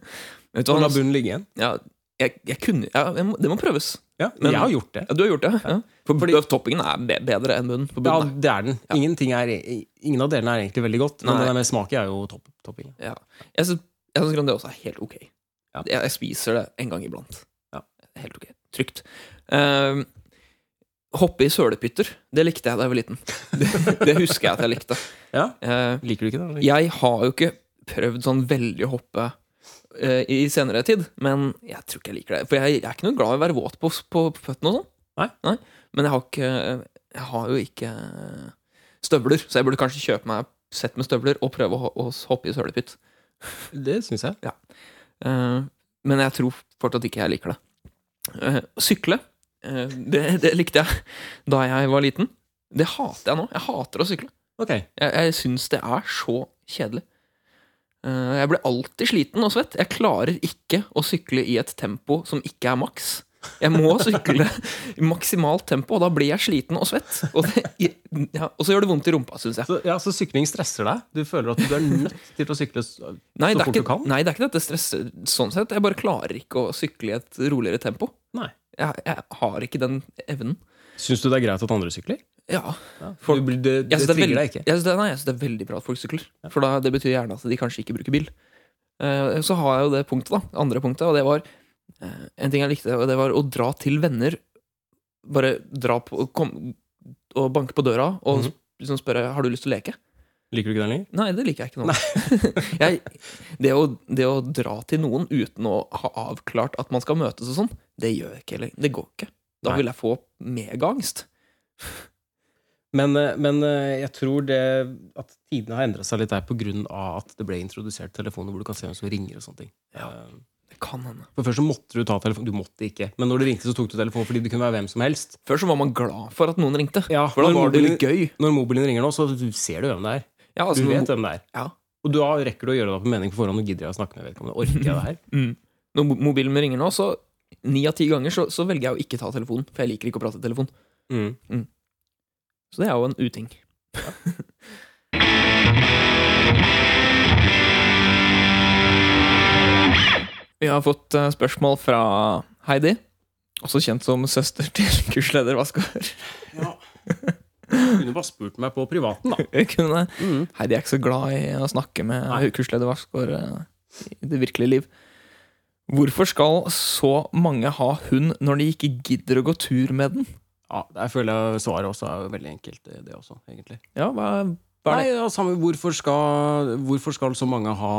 Speaker 1: Vet du
Speaker 2: Og
Speaker 1: hva,
Speaker 2: la
Speaker 1: Hans?
Speaker 2: bunnen ligge igjen.
Speaker 1: ja, jeg, jeg kunne ja, jeg må, Det må prøves.
Speaker 2: Ja, men
Speaker 1: Men-
Speaker 2: jeg har gjort det.
Speaker 1: Ja, du har gjort det? Ja. For
Speaker 2: Fordi-
Speaker 1: toppingen er be- bedre enn bunnen. På
Speaker 2: Ja,
Speaker 1: bunnen
Speaker 2: det er den. Ingenting er, e, ingen av delene er egentlig veldig godt. Men
Speaker 1: Nei.
Speaker 2: det der med smaken er jo topp, topping.
Speaker 1: ja. Jeg syns jeg syns Grandiosa er helt ok.
Speaker 2: Ja.
Speaker 1: Jeg, jeg spiser det en gang iblant.
Speaker 2: Ja.
Speaker 1: Helt ok. Trygt. Ehm, hoppe i sølepytter. Det likte jeg da jeg var liten. Det, det husker jeg at jeg likte.
Speaker 2: Ja.
Speaker 1: Ehm,
Speaker 2: Liker du ikke det? eller?
Speaker 1: jeg har jo ikke prøvd sånn veldig å hoppe eh, i senere tid, men jeg tror ikke jeg liker det. For jeg, jeg er ikke noe glad i å være våt på, på føttene og sånn.
Speaker 2: Nei.
Speaker 1: Men jeg har, ikke, jeg har jo ikke støvler, så jeg burde kanskje kjøpe meg et sett med støvler og prøve å, ho- å hoppe i sølepytt.
Speaker 2: Det syns jeg.
Speaker 1: Eh, men jeg tror fortsatt ikke jeg liker det. Eh, sykle, eh, det, det likte jeg da jeg var liten. Det hater jeg nå. Jeg hater å sykle.
Speaker 2: Ok.
Speaker 1: Jeg, jeg syns det er så kjedelig. Eh, Jeg blir alltid sliten og svett. Jeg klarer ikke å sykle i et tempo som ikke er maks. Jeg må sykle i maksimalt tempo, og da blir jeg sliten og svett. Og, det, ja, og så gjør det vondt i rumpa, syns jeg.
Speaker 2: Så, ja, så sykling stresser deg? Du føler at du er nødt til å sykle s-
Speaker 1: Nei, det er
Speaker 2: så fort du
Speaker 1: ikke,
Speaker 2: kan?
Speaker 1: nei, det er ikke dette stresset sånn sett. Jeg bare klarer ikke å sykle i et roligere tempo.
Speaker 2: Nei.
Speaker 1: Jeg, jeg har ikke den evnen.
Speaker 2: Syns du det er greit at andre sykler?
Speaker 1: Ja.
Speaker 2: Du blir- det det
Speaker 1: Jeg synes det, er
Speaker 2: trigger
Speaker 1: veldig,
Speaker 2: deg ikke.
Speaker 1: Jeg synes det, nei, jeg synes det er veldig bra at folk sykler. For da, det betyr gjerne at de kanskje ikke bruker bil. Eh, så har jeg jo det punktet, da. Andre punktet, og det var eh, En ting jeg likte, og det var å dra til venner. Bare dra på kom, og banke på døra og
Speaker 2: Mhm.
Speaker 1: liksom spørre har du lyst til å leke.
Speaker 2: Liker du ikke den lenger?
Speaker 1: Nei, det liker jeg ikke nå. jeg, det, å, det å dra til noen uten å ha avklart at man skal møtes og sånn, det gjør jeg ikke lenger. Det går ikke. Da
Speaker 2: Nei.
Speaker 1: vil jeg få megaangst.
Speaker 2: Men, eh, men eh, jeg tror det at tidene har endra seg litt der pga. at det ble introdusert telefoner hvor du kan se hvem som ringer. og sånne ting.
Speaker 1: Ja.
Speaker 2: Eh,
Speaker 1: Det kan hende.
Speaker 2: For Før så måtte du ta telefonen. Du måtte ikke, men når du ringte, så tok du telefonen fordi det kunne være hvem som helst.
Speaker 1: Før så var man glad for at noen ringte.
Speaker 2: Ja,
Speaker 1: For da
Speaker 2: når,
Speaker 1: var det
Speaker 2: mobilen,
Speaker 1: litt gøy.
Speaker 2: når mobilen ringer nå, så ser du hvem det er.
Speaker 1: Ja,
Speaker 2: Du
Speaker 1: altså,
Speaker 2: vet hvem det er.
Speaker 1: Ja.
Speaker 2: Og da rekker du å gjøre deg opp en mening på forhånd. Nå gidder jeg å snakke med vedkommende. Orker jeg det her?
Speaker 1: Mm. Når mo- mobilen min ringer nå, så ni av ti ganger så, så velger jeg å ikke ta telefonen. For jeg liker ikke å prate i telefon.
Speaker 2: Mm.
Speaker 1: Så det er jo en uting. Vi har fått eh, spørsmål fra Heidi, også kjent som søster til kursleder Vaskar.
Speaker 2: Ja. Du kunne bare spurt meg på privaten, da.
Speaker 1: Kunne
Speaker 2: Mm.
Speaker 1: Heidi er ikke så glad i å snakke med
Speaker 2: Nei.
Speaker 1: kursleder Vassgård eh, i det virkelige liv. Hvorfor skal så mange ha hund når de ikke gidder å gå tur med den?
Speaker 2: Ja, Der føler jeg svaret også er veldig enkelt, eh, det også, egentlig.
Speaker 1: Ja, hva, hva er det?
Speaker 2: Nei, ja, samme, hvorfor, skal, hvorfor skal så mange ha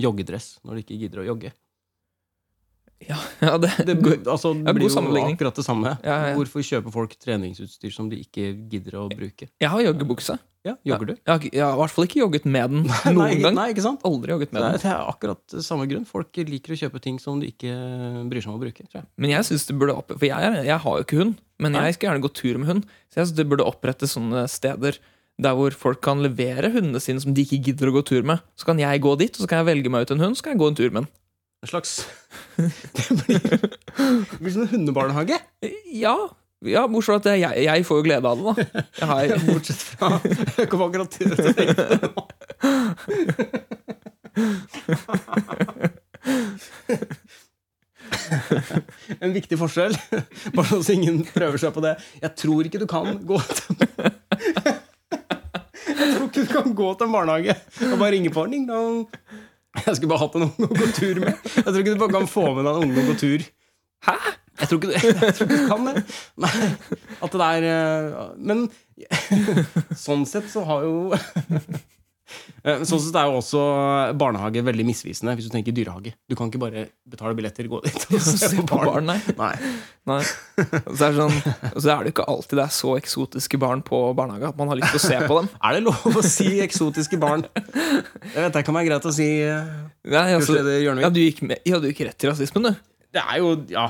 Speaker 2: joggedress når de ikke gidder å jogge?
Speaker 1: Ja, det,
Speaker 2: Det,
Speaker 1: går-
Speaker 2: altså, det
Speaker 1: Ja, god
Speaker 2: blir jo
Speaker 1: sammenligning.
Speaker 2: akkurat det samme.
Speaker 1: Ja, Eh, ja, ja.
Speaker 2: Hvorfor kjøper folk treningsutstyr som de ikke gidder å bruke?
Speaker 1: jeg har joggebukse.
Speaker 2: Ja, Jogger du?
Speaker 1: Jeg har, ikke- jeg har i hvert fall ikke jogget med den noen
Speaker 2: Nei,
Speaker 1: gang.
Speaker 2: nei, ikke sant?
Speaker 1: Aldri jogget med
Speaker 2: Det er,
Speaker 1: den.
Speaker 2: det er akkurat samme grunn. Folk liker å kjøpe ting som de ikke eh, bryr seg om å bruke. Tror jeg.
Speaker 1: Men jeg synes det burde opp... For jeg, er, jeg har jo ikke hund, men jeg skal gjerne gå tur med hund. Så jeg synes det burde opprettes sånne steder der hvor folk kan levere hundene sine som de ikke gidder å gå tur med. Så kan jeg gå dit, og så kan jeg velge meg ut en hund, så kan jeg gå en tur med den.
Speaker 2: En slags Det blir, det blir som en hundebarnehage!
Speaker 1: Ja, ja bortsett fra at jeg, jeg får jo glede av det, da. Jeg har,
Speaker 2: Bortsett fra Jeg kom akkurat til det. jeg tenkte nå. En viktig forskjell, bare så ingen prøver seg på det. Jeg tror ikke du kan gå til Jeg tror ikke du kan gå til en barnehage og bare ringe på ding dong. Jeg skulle bare hatt en unge å gå tur med. Jeg tror ikke du bare kan få med deg en unge og gå tur.
Speaker 1: Hæ?
Speaker 2: Jeg tror ikke du, jeg tror ikke du kan det. Nei, at det der eh, Men sånn sett så har jo Eh, Sånn sett er jo også barnehage veldig misvisende hvis du tenker dyrehage. Du kan ikke bare betale billetter, gå dit og se på barn.
Speaker 1: nei.
Speaker 2: Nei.
Speaker 1: Nei. Og så er det sånn, og så er det jo ikke alltid det er så eksotiske barn på barnehage at man har lyst til å se på dem.
Speaker 2: Er det lov å si eksotiske barn? Jeg vet det kan være greit å si eh,
Speaker 1: Nei, altså,
Speaker 2: kursleder
Speaker 1: ja,
Speaker 2: Hjørnevik.
Speaker 1: du gikk med, ja, du gikk rett til rasismen, du.
Speaker 2: Det er jo ja,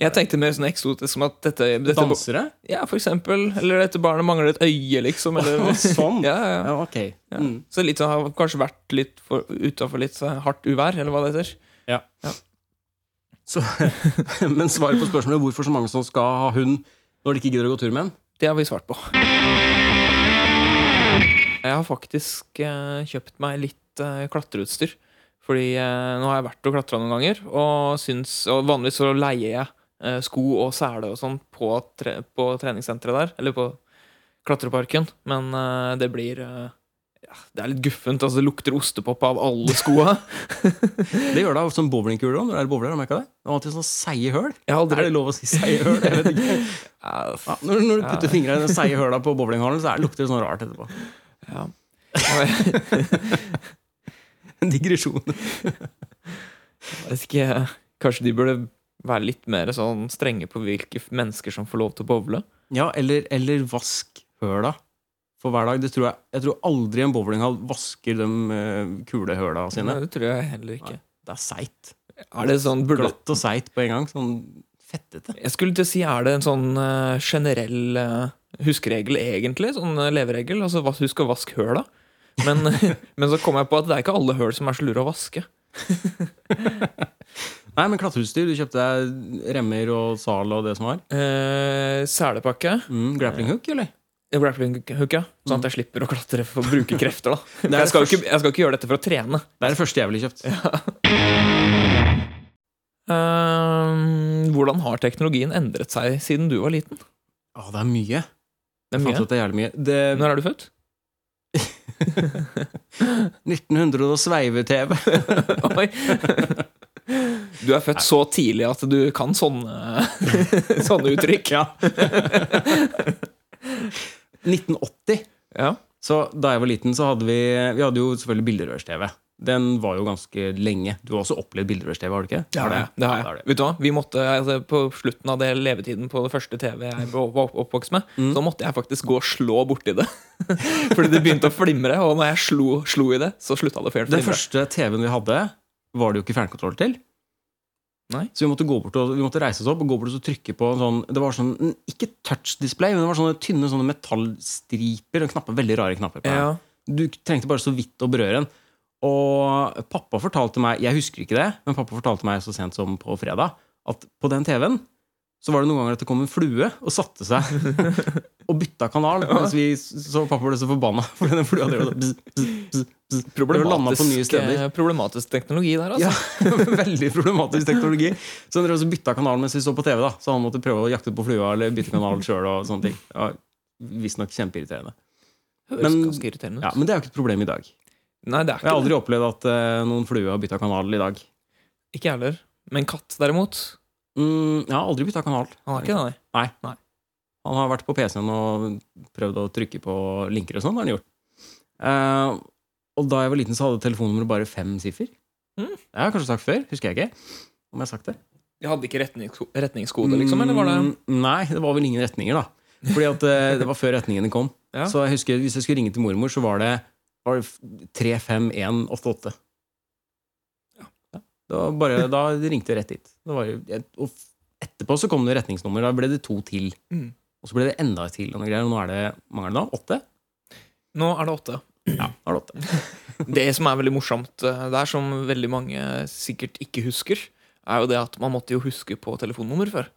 Speaker 1: Jeg tenkte mer sånn eksotisk som at dette, dette
Speaker 2: dansere.
Speaker 1: Ja, for eksempel. Eller dette barnet mangler et øye, liksom. Eller,
Speaker 2: Sånn.
Speaker 1: ja, ja, ja.
Speaker 2: Ja, ok. Mm.
Speaker 1: Så litt sånn, har kanskje vært litt for- utenfor litt så hardt uvær, eller hva det heter.
Speaker 2: Så, men svaret på spørsmålet hvorfor så mange som skal ha hund når de ikke gidder å gå tur med den
Speaker 1: Det har vi svart på. Jeg har faktisk eh, kjøpt meg litt eh, klatreutstyr. Fordi eh, nå har jeg vært og klatra noen ganger, og, syns, og vanligvis så leier jeg eh, sko og sele og sånn på, tre, på treningssenteret der, eller på klatreparken, men eh, det blir eh, ja, Det er litt guffent. Altså, det lukter ostepop av alle skoa.
Speaker 2: Det gjør det av sånn bowlingkuler òg, når det er bowler. har du merket Det Det er alltid sånn seige høl.
Speaker 1: Jeg har aldri
Speaker 2: Er det lov å si seige høl? Jeg vet ikke.
Speaker 1: Ja, f-
Speaker 2: Ja, når, når du putter fingra i den seige høla på bowlinghallen, så er det lukter det sånn rart etterpå.
Speaker 1: ja.
Speaker 2: En digresjon.
Speaker 1: Jeg vet ikke, Kanskje de burde være litt mer sånn strenge på hvilke f- mennesker som får lov til å bowle?
Speaker 2: Ja, eller, eller vask høla for hver dag. Det tror jeg, jeg tror aldri en bowlinghall vasker de eh, kule høla sine.
Speaker 1: Nei, det tror jeg heller ikke.
Speaker 2: Det er seigt.
Speaker 1: Er det sånn, burde,
Speaker 2: Glatt og seigt på en gang. Sånn fettete.
Speaker 1: jeg skulle til å si, er det en sånn eh, generell eh, huskeregel, egentlig? Sånn eh, leveregel? Altså, vas- husk å vaske høla. Men, men så kom jeg på at det er ikke alle høl som er så lure å vaske.
Speaker 2: Nei, men klatreutstyr. Du kjøpte deg remmer og sal og det som var.
Speaker 1: Eh, selepakke.
Speaker 2: Mm, grappling hook, eller?
Speaker 1: Grappling hook, ja. Sånn at jeg slipper å klatre for å bruke krefter, da. For
Speaker 2: er det
Speaker 1: Jeg skal jo
Speaker 2: første-
Speaker 1: ikke, jeg skal ikke gjøre dette for å trene.
Speaker 2: Det er det første jeg ville kjøpt.
Speaker 1: Eh, hvordan har teknologien endret seg siden du var liten?
Speaker 2: Å, det er mye.
Speaker 1: Det er
Speaker 2: Jeg fant
Speaker 1: mye.
Speaker 2: ut det er jævlig mye. Det,
Speaker 1: Når er du født?
Speaker 2: 1900 og sveive-TV.
Speaker 1: Oi. Du er født så tidlig at du kan sånne, sånne uttrykk.
Speaker 2: Ja. 1980.
Speaker 1: Ja.
Speaker 2: Så da jeg var liten, så hadde vi Vi hadde jo selvfølgelig bilderørs-TV. Den var jo ganske lenge. Du har også opplevd bilderørs-TV, har du ikke?
Speaker 1: Det har jeg. Det har
Speaker 2: Ja,
Speaker 1: jeg. Vet du hva? Vi måtte, altså, på slutten av det levetiden på det første TV jeg var opp- opp- oppvokst med,
Speaker 2: Mm.
Speaker 1: så måtte jeg faktisk gå og slå borti det. Fordi det begynte å flimre, og når jeg slo, slo i det, så slutta det å
Speaker 2: Den
Speaker 1: flimre.
Speaker 2: første TV-en vi hadde, var det jo ikke fjernkontroll til.
Speaker 1: Nei.
Speaker 2: Så vi måtte, gå bort og, vi måtte reise oss opp og gå bort og så trykke på en sånn Det var sånn, Ikke touch-display, men det var sånne tynne sånne metallstriper og knapper. Veldig rare knapper. på den.
Speaker 1: Ja.
Speaker 2: Du trengte bare så vidt å berøre den. Og pappa fortalte meg Jeg husker ikke det, men pappa fortalte meg så sent som på fredag at på den TV-en så var det noen ganger at det kom en flue og satte seg og bytta kanal. Mens vi, så pappa ble så forbanna for den flua drev og bzz, bzz, bzz, bzz. Det landa på nye
Speaker 1: Problematisk,
Speaker 2: steder.
Speaker 1: eh, problematisk teknologi der, altså.
Speaker 2: Ja, Veldig problematisk teknologi. Så han drev også bytta kanal mens vi så på TV, da så han måtte prøve å jakte på flua eller bytte kanal sjøl. Ja, Visstnok kjempeirriterende.
Speaker 1: Høres
Speaker 2: Men-
Speaker 1: ganske irriterende ut.
Speaker 2: Ja, men det er jo ikke et problem i dag.
Speaker 1: Nei, det er
Speaker 2: Jeg har
Speaker 1: ikke
Speaker 2: aldri opplevd at eh, noen flue har bytta kanal i dag.
Speaker 1: det. Ikke jeg heller. Men katt, derimot,
Speaker 2: Mm, jeg har aldri bytta kanal.
Speaker 1: han har ikke det, nei.
Speaker 2: Han har vært på PC-en og prøvd å trykke på linker og sånn. har han gjort. Eh, og da jeg var liten, så hadde telefonnummeret bare fem siffer.
Speaker 1: Mm.
Speaker 2: Det har jeg kanskje sagt før. Husker jeg ikke. om jeg har sagt det.
Speaker 1: De hadde ikke retnings retningskode, liksom? Eller var det
Speaker 2: Mm, Nei, det var vel ingen retninger, da. Fordi at eh, det var før retningene kom.
Speaker 1: Ja.
Speaker 2: Så jeg husker, hvis jeg skulle ringe til mormor, så var det, var det f- 35188. Det var bare, da ringte jeg rett dit. Det var, jo- jeg, og f- etterpå så kom det retningsnummer. Da ble det to til.
Speaker 1: Mm.
Speaker 2: Og så ble det enda et til. Og noe greier, og nå er det mangler det da? Åtte?
Speaker 1: Nå er det åtte.
Speaker 2: Ja, nå er det åtte.
Speaker 1: Det som er veldig morsomt eh, der, som veldig mange sikkert ikke husker, er jo det at man måtte jo huske på telefonnummer før.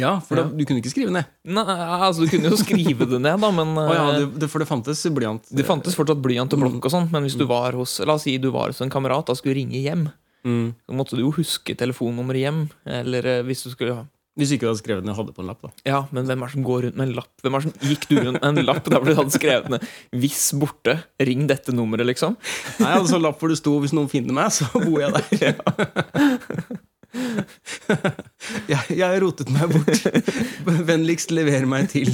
Speaker 2: Ja, for da,
Speaker 1: Ja.
Speaker 2: du kunne ikke skrive ned.
Speaker 1: Nei, altså Du kunne jo skrive det ned, da, men
Speaker 2: Å ja,
Speaker 1: eh,
Speaker 2: det, det, for det fantes blyant.
Speaker 1: det fantes fortsatt blyant og blokk og sånn. Men hvis du
Speaker 2: Mm.
Speaker 1: var hos La oss si du var hos en kamerat da skulle ringe hjem,
Speaker 2: Mm.
Speaker 1: så måtte du jo huske telefonnummeret hjem. Eller eh, hvis du skulle ha
Speaker 2: Hvis du ikke hadde skrevet ned hadde på en lapp, da.
Speaker 1: Ja, men hvem er det som går rundt med en lapp? Hvem er det som Gikk du rundt med en lapp der hvor du hadde skrevet ned 'Hvis borte, ring dette nummeret', liksom?
Speaker 2: Nei, jeg hadde sånn lapp hvor det sto 'Hvis noen finner meg, så bor jeg der'. jeg, jeg rotet meg bort. Vennligst lever meg til.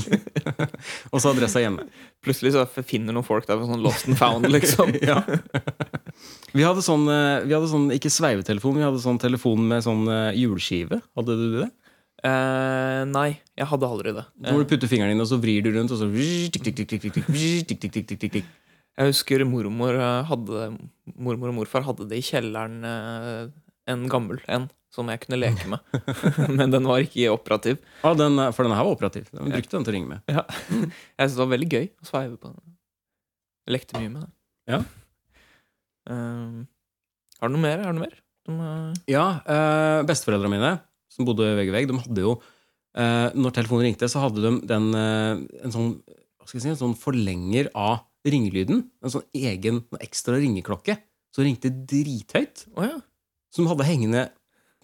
Speaker 2: Og så adressa hjemme.
Speaker 1: Plutselig så finner noen folk der med sånn lost and found, liksom.
Speaker 2: Ja. Vi hadde sånn, eh, vi hadde sånn ikke sveivetelefon, vi hadde sånn telefon med sånn eh, hjulskive. Hadde du det?
Speaker 1: Eh, nei, jeg hadde aldri det. Eh,
Speaker 2: Hvor du putter fingeren din, og så vrir du rundt, og så tikk, tikk, tikk, tikk, tikk, tikk, tikk, tikk, tikk, tikk, tikk, tikk.
Speaker 1: Jeg husker mormor eh, hadde Mormor og morfar hadde det i kjelleren eh, en gammel en som jeg kunne leke med. Men den var ikke operativ.
Speaker 2: Ja, den, eh, For den her var operativ. Den brukte den til å ringe med.
Speaker 1: Jeg syntes det var veldig gøy å sveive på den. Jeg lekte mye med den.
Speaker 2: Ja.
Speaker 1: Eh, har du noe mer? Har du noe mer? Som, eh,
Speaker 2: Ja, eh, besteforeldrene mine, som bodde vegg i vegg, de hadde jo eh, Når telefonen ringte, så hadde de den, eh, en sånn hva skal jeg si, en sånn forlenger av ringelyden. En sånn egen en ekstra ringeklokke som ringte drithøyt.
Speaker 1: Å ja.
Speaker 2: Som de hadde hengende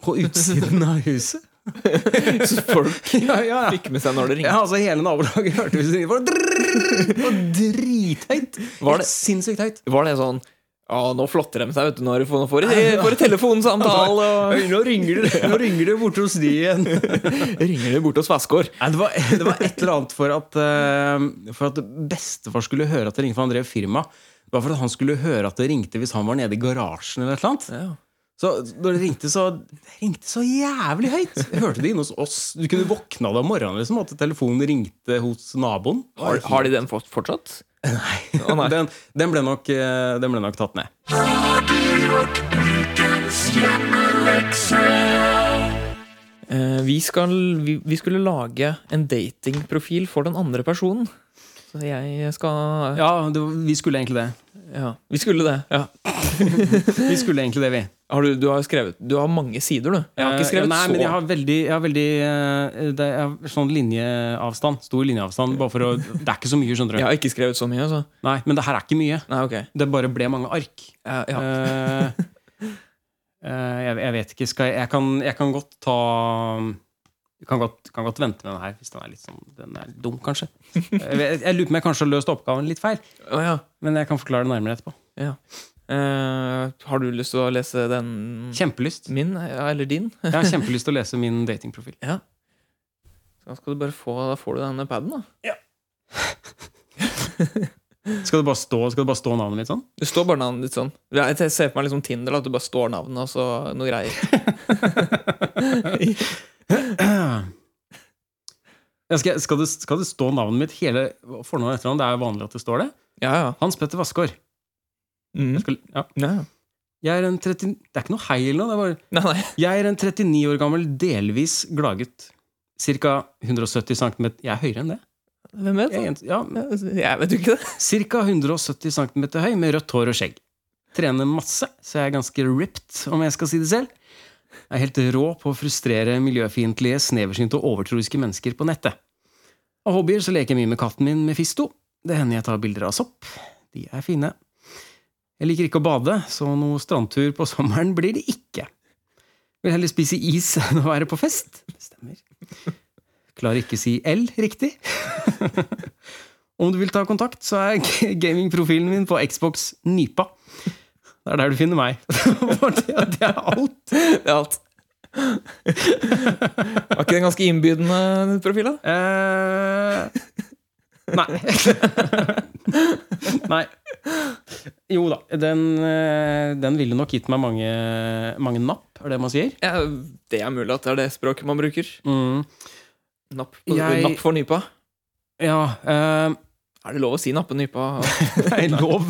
Speaker 2: på utsiden av huset.
Speaker 1: Så folk
Speaker 2: ja, ja, ja.
Speaker 1: fikk med seg når det
Speaker 2: ja,
Speaker 1: ringte.
Speaker 2: altså Hele nabolaget hørte hvis det ringte. for drrrr, Det var drithøyt!
Speaker 1: Var det-
Speaker 2: Sinnssykt høyt.
Speaker 1: Var det sånn Ja, nå flotter de seg, vet du, når de får, nå får de får de telefonsamtale, og
Speaker 2: Nå ringer det, nå ringer det borte hos de igjen.
Speaker 1: ringer de bort hos Vassgård.
Speaker 2: Nei, det, var, det var et eller annet for at, eh, for at bestefar skulle høre at det ringte, for han drev firma. Det var for at han skulle høre at det ringte hvis han var nede i garasjen. eller et eller annet.
Speaker 1: Ja.
Speaker 2: Så når det ringte, så det ringte så jævlig høyt! Jeg hørte det inne hos oss. Du kunne våkna deg om morgenen liksom, at telefonen ringte hos naboen.
Speaker 1: Har, har de den fått fortsatt? Å, nei.
Speaker 2: Den, den, ble nok, eh, den ble nok tatt ned.
Speaker 1: Eh, vi, skal, vi, vi skulle lage en datingprofil for den andre personen. Så jeg skal Ja.
Speaker 2: Ja, det, var- vi skulle egentlig det.
Speaker 1: Vi skulle det. Ja.
Speaker 2: Vi skulle egentlig det, vi.
Speaker 1: Har du, du har skrevet Du har mange sider, du. Jeg har ikke skrevet
Speaker 2: Eh, Nei,
Speaker 1: så
Speaker 2: men jeg har veldig, jeg har veldig eh, det er sånn linjeavstand. Stor linjeavstand. Bare for å, det er ikke så mye, skjønner du.
Speaker 1: Jeg har ikke skrevet så mye, så.
Speaker 2: Nei, men det her er ikke mye.
Speaker 1: Nei, ok.
Speaker 2: Det bare ble mange ark.
Speaker 1: Ja, ja.
Speaker 2: Eh, eh, jeg, jeg vet ikke. Skal jeg, jeg, kan, jeg kan godt ta jeg kan godt, kan godt vente med den her, hvis den er litt sånn, den er dum, kanskje. Jeg, vet- jeg lurer på om jeg kanskje har løst oppgaven litt feil,
Speaker 1: Å, ja.
Speaker 2: men jeg kan forklare det nærmere etterpå.
Speaker 1: Eh, har du lyst til å lese den
Speaker 2: Kjempelyst.
Speaker 1: min, ja, eller din?
Speaker 2: Jeg har kjempelyst til å lese min datingprofil.
Speaker 1: Da skal du bare få, da får du denne paden, da.
Speaker 2: Skal det bare stå, skal det bare stå navnet mitt sånn?
Speaker 1: Det står bare navnet ditt sånn. Ja, Jeg ser for meg liksom Tinder, da, at du bare står navnet og så noe greier.
Speaker 2: Ja, skal, jeg- skal, det, skal det stå navnet mitt hele fornavnet etter ham? Det er vanlig at det står det.
Speaker 1: Ja, ja.
Speaker 2: Hans Petter Vassgaard.
Speaker 1: Mm.
Speaker 2: Skal- Ja.
Speaker 1: ja. ja.
Speaker 2: Jeg er en 30, det er ikke noe heil nå. Det er bare,
Speaker 1: Nei, nei.
Speaker 2: jeg er en 39 år gammel, delvis glagutt. Cirka 170 cm Jeg er høyere enn det.
Speaker 1: Hvem vet?
Speaker 2: Jeg,
Speaker 1: da?
Speaker 2: er
Speaker 1: altså,
Speaker 2: en- ja, men-
Speaker 1: Jeg vet jo ikke det.
Speaker 2: cirka 170 cm høy, med rødt hår og skjegg. Trener masse, så jeg er ganske ripped, om jeg skal si det selv. Jeg er helt rå på å frustrere miljøfiendtlige, sneversynte og overtroiske mennesker på nettet. Av hobbyer så leker jeg mye med katten min Mefisto. Det hender jeg tar bilder av sopp. De er fine. Jeg liker ikke å bade, så noe strandtur på sommeren blir det ikke. Vil heller spise is enn å være på fest. Stemmer. Klarer ikke si L riktig. Om du vil ta kontakt, så er g- gamingprofilen min på Xbox Nypa. Det er der du finner meg. For det, det er alt.
Speaker 1: Det er alt. Var ikke det en ganske innbydende profil, da?
Speaker 2: Eh, nei. nei. Jo da. Den, eh, den ville nok gitt meg mange, mange napp, er det man sier.
Speaker 1: Ja, det er mulig at det er det språket man bruker.
Speaker 2: Mm.
Speaker 1: Napp, på,
Speaker 2: Jeg-
Speaker 1: napp for nypa.
Speaker 2: Ja. eh,
Speaker 1: Er det lov å si nappe nypa?
Speaker 2: Det er lov,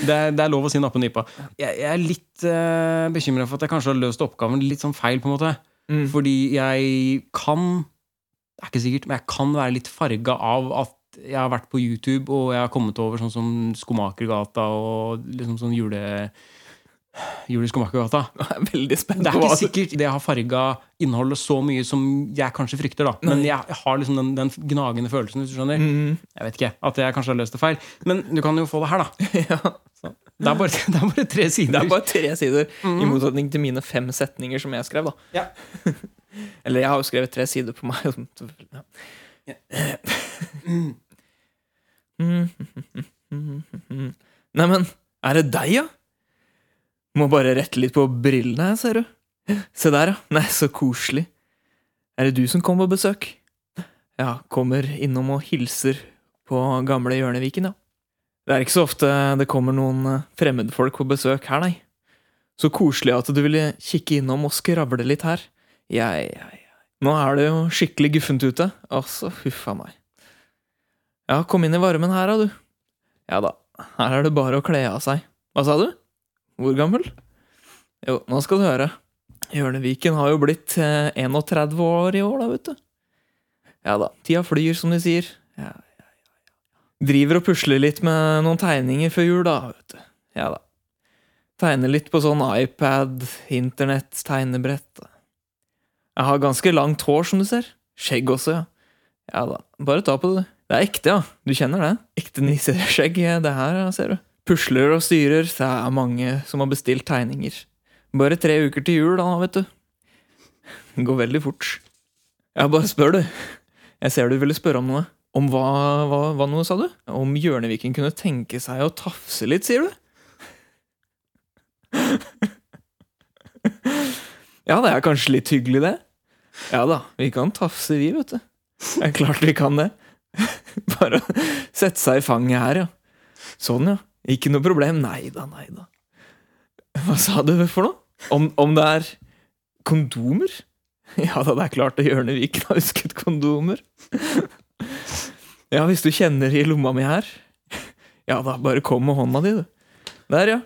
Speaker 2: det er, det er lov å si nappe nypa. Jeg, jeg er litt uh, bekymra for at jeg kanskje har løst oppgaven litt sånn feil, på en måte.
Speaker 1: Mm.
Speaker 2: Fordi jeg kan Det er ikke sikkert, men jeg kan være litt farga av at jeg har vært på YouTube, og jeg har kommet over sånn som Skomakergata og liksom sånn jule... Jule Skomakergata.
Speaker 1: Nå er jeg veldig spent
Speaker 2: Det er
Speaker 1: på hva
Speaker 2: ikke sikkert det har farga innholdet så mye som jeg kanskje frykter, da. Men jeg har liksom den, den gnagende følelsen, hvis du skjønner.
Speaker 1: Mm.
Speaker 2: Jeg vet ikke, At jeg kanskje har løst det feil. Men du kan jo få det her, da. Så, det, er bare, det er bare tre sider.
Speaker 1: Det er bare tre sider,
Speaker 2: Mhm.
Speaker 1: i motsetning til mine fem setninger som jeg skrev. da Eller jeg har jo skrevet tre sider på meg. Ja. Neimen, er det deg, ja? Må bare rette litt på brillene, her, ser du. Se der, ja. Nei, så koselig. Er det du som kommer på besøk? Ja, kommer innom og hilser på gamle Hjørneviken, ja. Det er ikke så ofte det kommer noen eh, fremmedfolk på besøk her, nei. Så koselig at du ville kikke innom og skravle litt her. Jeg, jeg, jeg. Nå er det jo skikkelig guffent ute. Altså, huffa meg. Ja, kom inn i varmen her, da, du. Ja da, her er det bare å kle av seg. Hva sa du? Hvor gammel? Jo, nå skal du høre. Hjørneviken har jo blitt eh, 31 år i år, da, vet du. Ja da, tida flyr, som de sier. Ja, Driver og pusler litt med noen tegninger før jul, da. Vet du. Ja da. Tegner litt på sånn iPad, internett, tegnebrett. da. Jeg har ganske langt hår, som du ser. Skjegg også, ja. Ja da. Bare ta på det, du. Det er ekte, ja. Du kjenner det? Ekte nisseskjegg, eh, det her, ja, ser du. Pusler og styrer, det er mange som har bestilt tegninger. Bare tre uker til jul, da, vet du. Det går veldig fort. Ja, bare spør, du. Jeg ser du ville spørre om noe. Om hva, hva, hva noe, sa du? Om Hjørneviken kunne tenke seg å tafse litt, sier du? ja, det er kanskje litt hyggelig, det. Ja da, vi kan tafse, vi, vet du. Det er klart vi kan det. Bare å sette seg i fanget her, ja. Sånn, ja. Ikke noe problem. Nei da, nei da. Hva sa du for noe? Om, om det er kondomer? Ja da, det er klart det Hjørneviken har husket kondomer. Ja, hvis du kjenner i lomma mi her Ja da, bare kom med hånda di, du. Der, ja.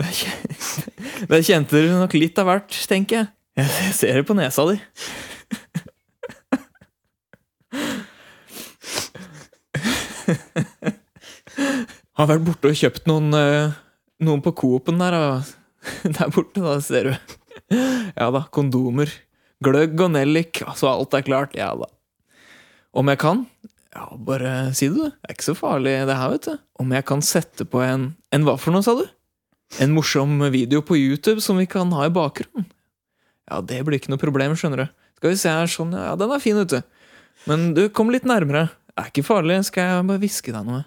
Speaker 1: Der kjen- Der kjente du nok litt av hvert, tenker jeg. Jeg ser det på nesa di. Har vært borte og kjøpt noen eh, Noen på Coop-en der, da. Der borte, da, ser du. Ja da, kondomer. Gløgg og nellik. Altså, alt er klart. Ja da. Om jeg kan? Ja, bare si det, du. Det er ikke så farlig, det her, vet du. Om jeg kan sette på en En hva for noe, sa du? En morsom video på YouTube som vi kan ha i bakgrunnen? Ja, det blir ikke noe problem, skjønner du. Skal vi se her, sånn, ja, den er fin, vet du. Men du, kom litt nærmere. Det er ikke farlig, skal jeg bare hviske deg noe?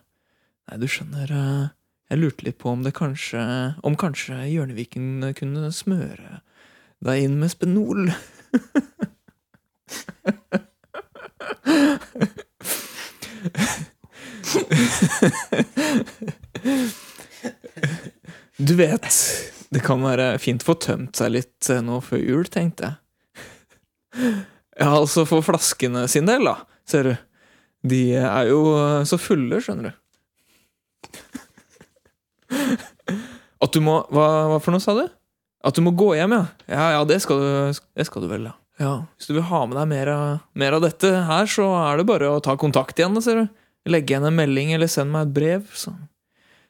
Speaker 1: Nei, du skjønner, eh, jeg lurte litt på om det kanskje Om kanskje Hjørneviken kunne smøre deg inn med spenol? Du vet, det kan være fint å få tømt seg litt eh, nå før jul, tenkte jeg. Ja, altså for flaskene sin del, da, ser du. De er jo eh, så fulle, skjønner du. At du må Hva, hva for noe, sa du? At du må gå hjem, ja. Ja, ja, det skal du, det skal du vel, ja. ja. Hvis du vil ha med deg mer av, mer av dette her, så er det bare å ta kontakt igjen, ser du. Legge igjen en melding, eller send meg et brev, så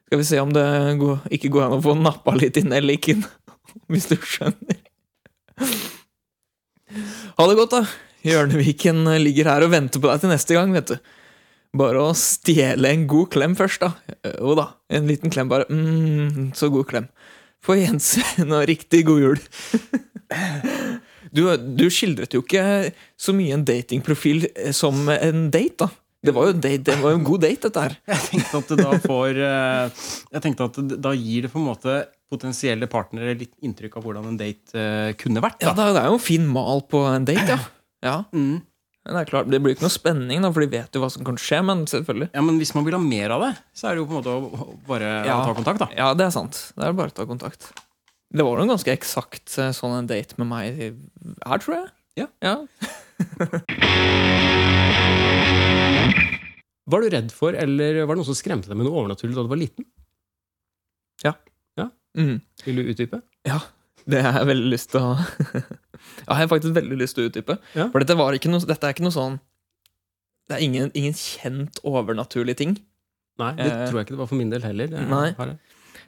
Speaker 1: skal vi se om det går, ikke går an å få nappa litt inn eller ikke inn, hvis du skjønner. Ha det godt, da. Hjørneviken ligger her og venter på deg til neste gang, vet du. Bare å stjele en god klem først, da. Jo da, en liten klem, bare. Mm, så god klem. På gjensyn og riktig god jul. Du, du skildret jo ikke så mye en datingprofil eh, som en date, da. Det var jo en, date, det var jo en god date, dette her.
Speaker 2: Jeg tenkte at det da får eh, Jeg tenkte at det- da gir det på en måte potensielle partnere litt inntrykk av hvordan en date eh, kunne vært.
Speaker 1: Ja, det
Speaker 2: Da.
Speaker 1: er- det er jo en fin mal på en date, ja. ja.
Speaker 2: Mm.
Speaker 1: Men det er klart, det blir ikke noe spenning, da, for de vet jo hva som kan skje. Men selvfølgelig.
Speaker 2: Ja, Men hvis man vil ha mer av det, så er det jo på en måte å å bare
Speaker 1: Ja.
Speaker 2: ta kontakt, da.
Speaker 1: Ja, det er sant. Det er bare å ta kontakt. Det var jo en ganske eksakt eh, sånn en date med meg her, tror jeg.
Speaker 2: Ja.
Speaker 1: ja.
Speaker 2: Var du redd for, eller var det noe som skremte deg med noe overnaturlig da du var liten?
Speaker 1: Mm.
Speaker 2: Vil du utdype?
Speaker 1: Det har jeg veldig lyst til å Ja, jeg har faktisk veldig lyst til å utdype.
Speaker 2: Ja.
Speaker 1: For dette, var ikke noe, dette er ikke noe sånn Det er ingen, ingen kjent overnaturlig ting.
Speaker 2: Nei, det
Speaker 1: Eh,
Speaker 2: tror jeg ikke det var for min del heller. Det er-
Speaker 1: nei.
Speaker 2: har jeg-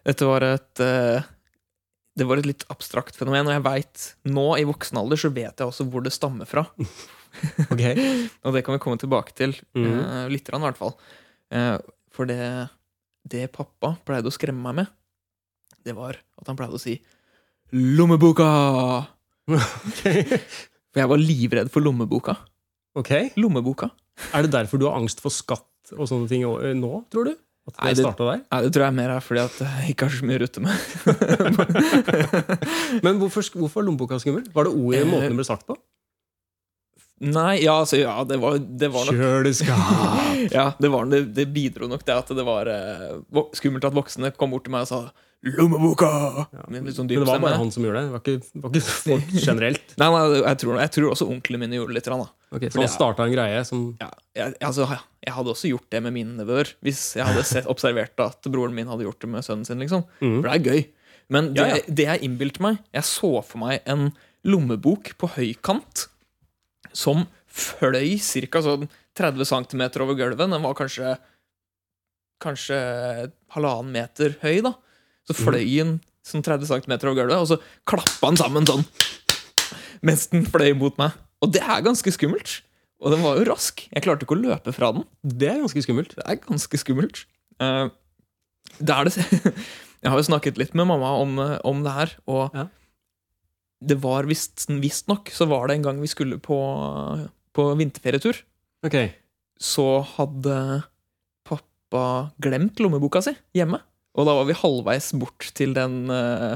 Speaker 1: Dette var et eh, Det var et litt abstrakt fenomen, og jeg veit nå, i voksen alder, så vet jeg også hvor det stammer fra. Og det kan vi komme tilbake til.
Speaker 2: Mhm.
Speaker 1: eh, litt, grann, i hvert fall. Eh, for det, det pappa pleide å skremme meg med, det var at han pleide å si 'lommeboka'! For jeg var livredd for lommeboka.
Speaker 2: ok.
Speaker 1: Lommeboka?
Speaker 2: Er det derfor du har angst for skatt og sånne ting å- nå, tror du? At
Speaker 1: Nei,
Speaker 2: det
Speaker 1: det-
Speaker 2: starta der?
Speaker 1: Nei, det tror jeg mer er fordi at jeg ikke har så mye å rutte med.
Speaker 2: Men hvorfor, sk- hvorfor er lommeboka skummel? Var det ordet i
Speaker 1: Eh,
Speaker 2: måten det ble sagt på?
Speaker 1: Nei, ja, altså, ja, det var, det var nok
Speaker 2: Kjøleskap!
Speaker 1: ja, det, var, det, det bidro nok det at det var eh, vok- skummelt at voksne kom bort til meg og sa 'lommeboka'!
Speaker 2: Ja.
Speaker 1: Med
Speaker 2: Men
Speaker 1: litt sånn
Speaker 2: det
Speaker 1: dyp
Speaker 2: var bare
Speaker 1: stemme.
Speaker 2: han som gjorde det? Det var ikke, det var ikke folk generelt?
Speaker 1: Nei, nei, jeg tror, jeg tror også onklene mine gjorde det litt. grann, Da.
Speaker 2: Ok,
Speaker 1: For
Speaker 2: så han
Speaker 1: det er-
Speaker 2: starta en greie som
Speaker 1: Ja, jeg, altså, ja, jeg hadde også gjort det med mine nevøer hvis jeg hadde sett, observert at broren min hadde gjort det med sønnen sin. liksom. For det er gøy. Men det,
Speaker 2: Mhm. Ja, ja.
Speaker 1: det jeg innbilte meg Jeg så for meg en lommebok på høykant som fløy ca. Sånn 30 cm over gulvet. Den var kanskje Kanskje halvannen meter høy, da. Så
Speaker 2: Mhm.
Speaker 1: fløy den sånn 30 cm over gulvet, og så klappa den sammen sånn mens den fløy mot meg. Og det er ganske skummelt. Og den var jo rask. Jeg klarte ikke å løpe fra den.
Speaker 2: Det er ganske skummelt.
Speaker 1: Det er ganske skummelt. Eh, det er det Jeg har jo snakket litt med mamma om, eh, om det her, og
Speaker 2: Ja.
Speaker 1: det var visst- visstnok så var det en gang vi skulle på, på vinterferietur,
Speaker 2: Ok,
Speaker 1: så hadde pappa glemt lommeboka si hjemme. Og da var vi halvveis bort til den, eh,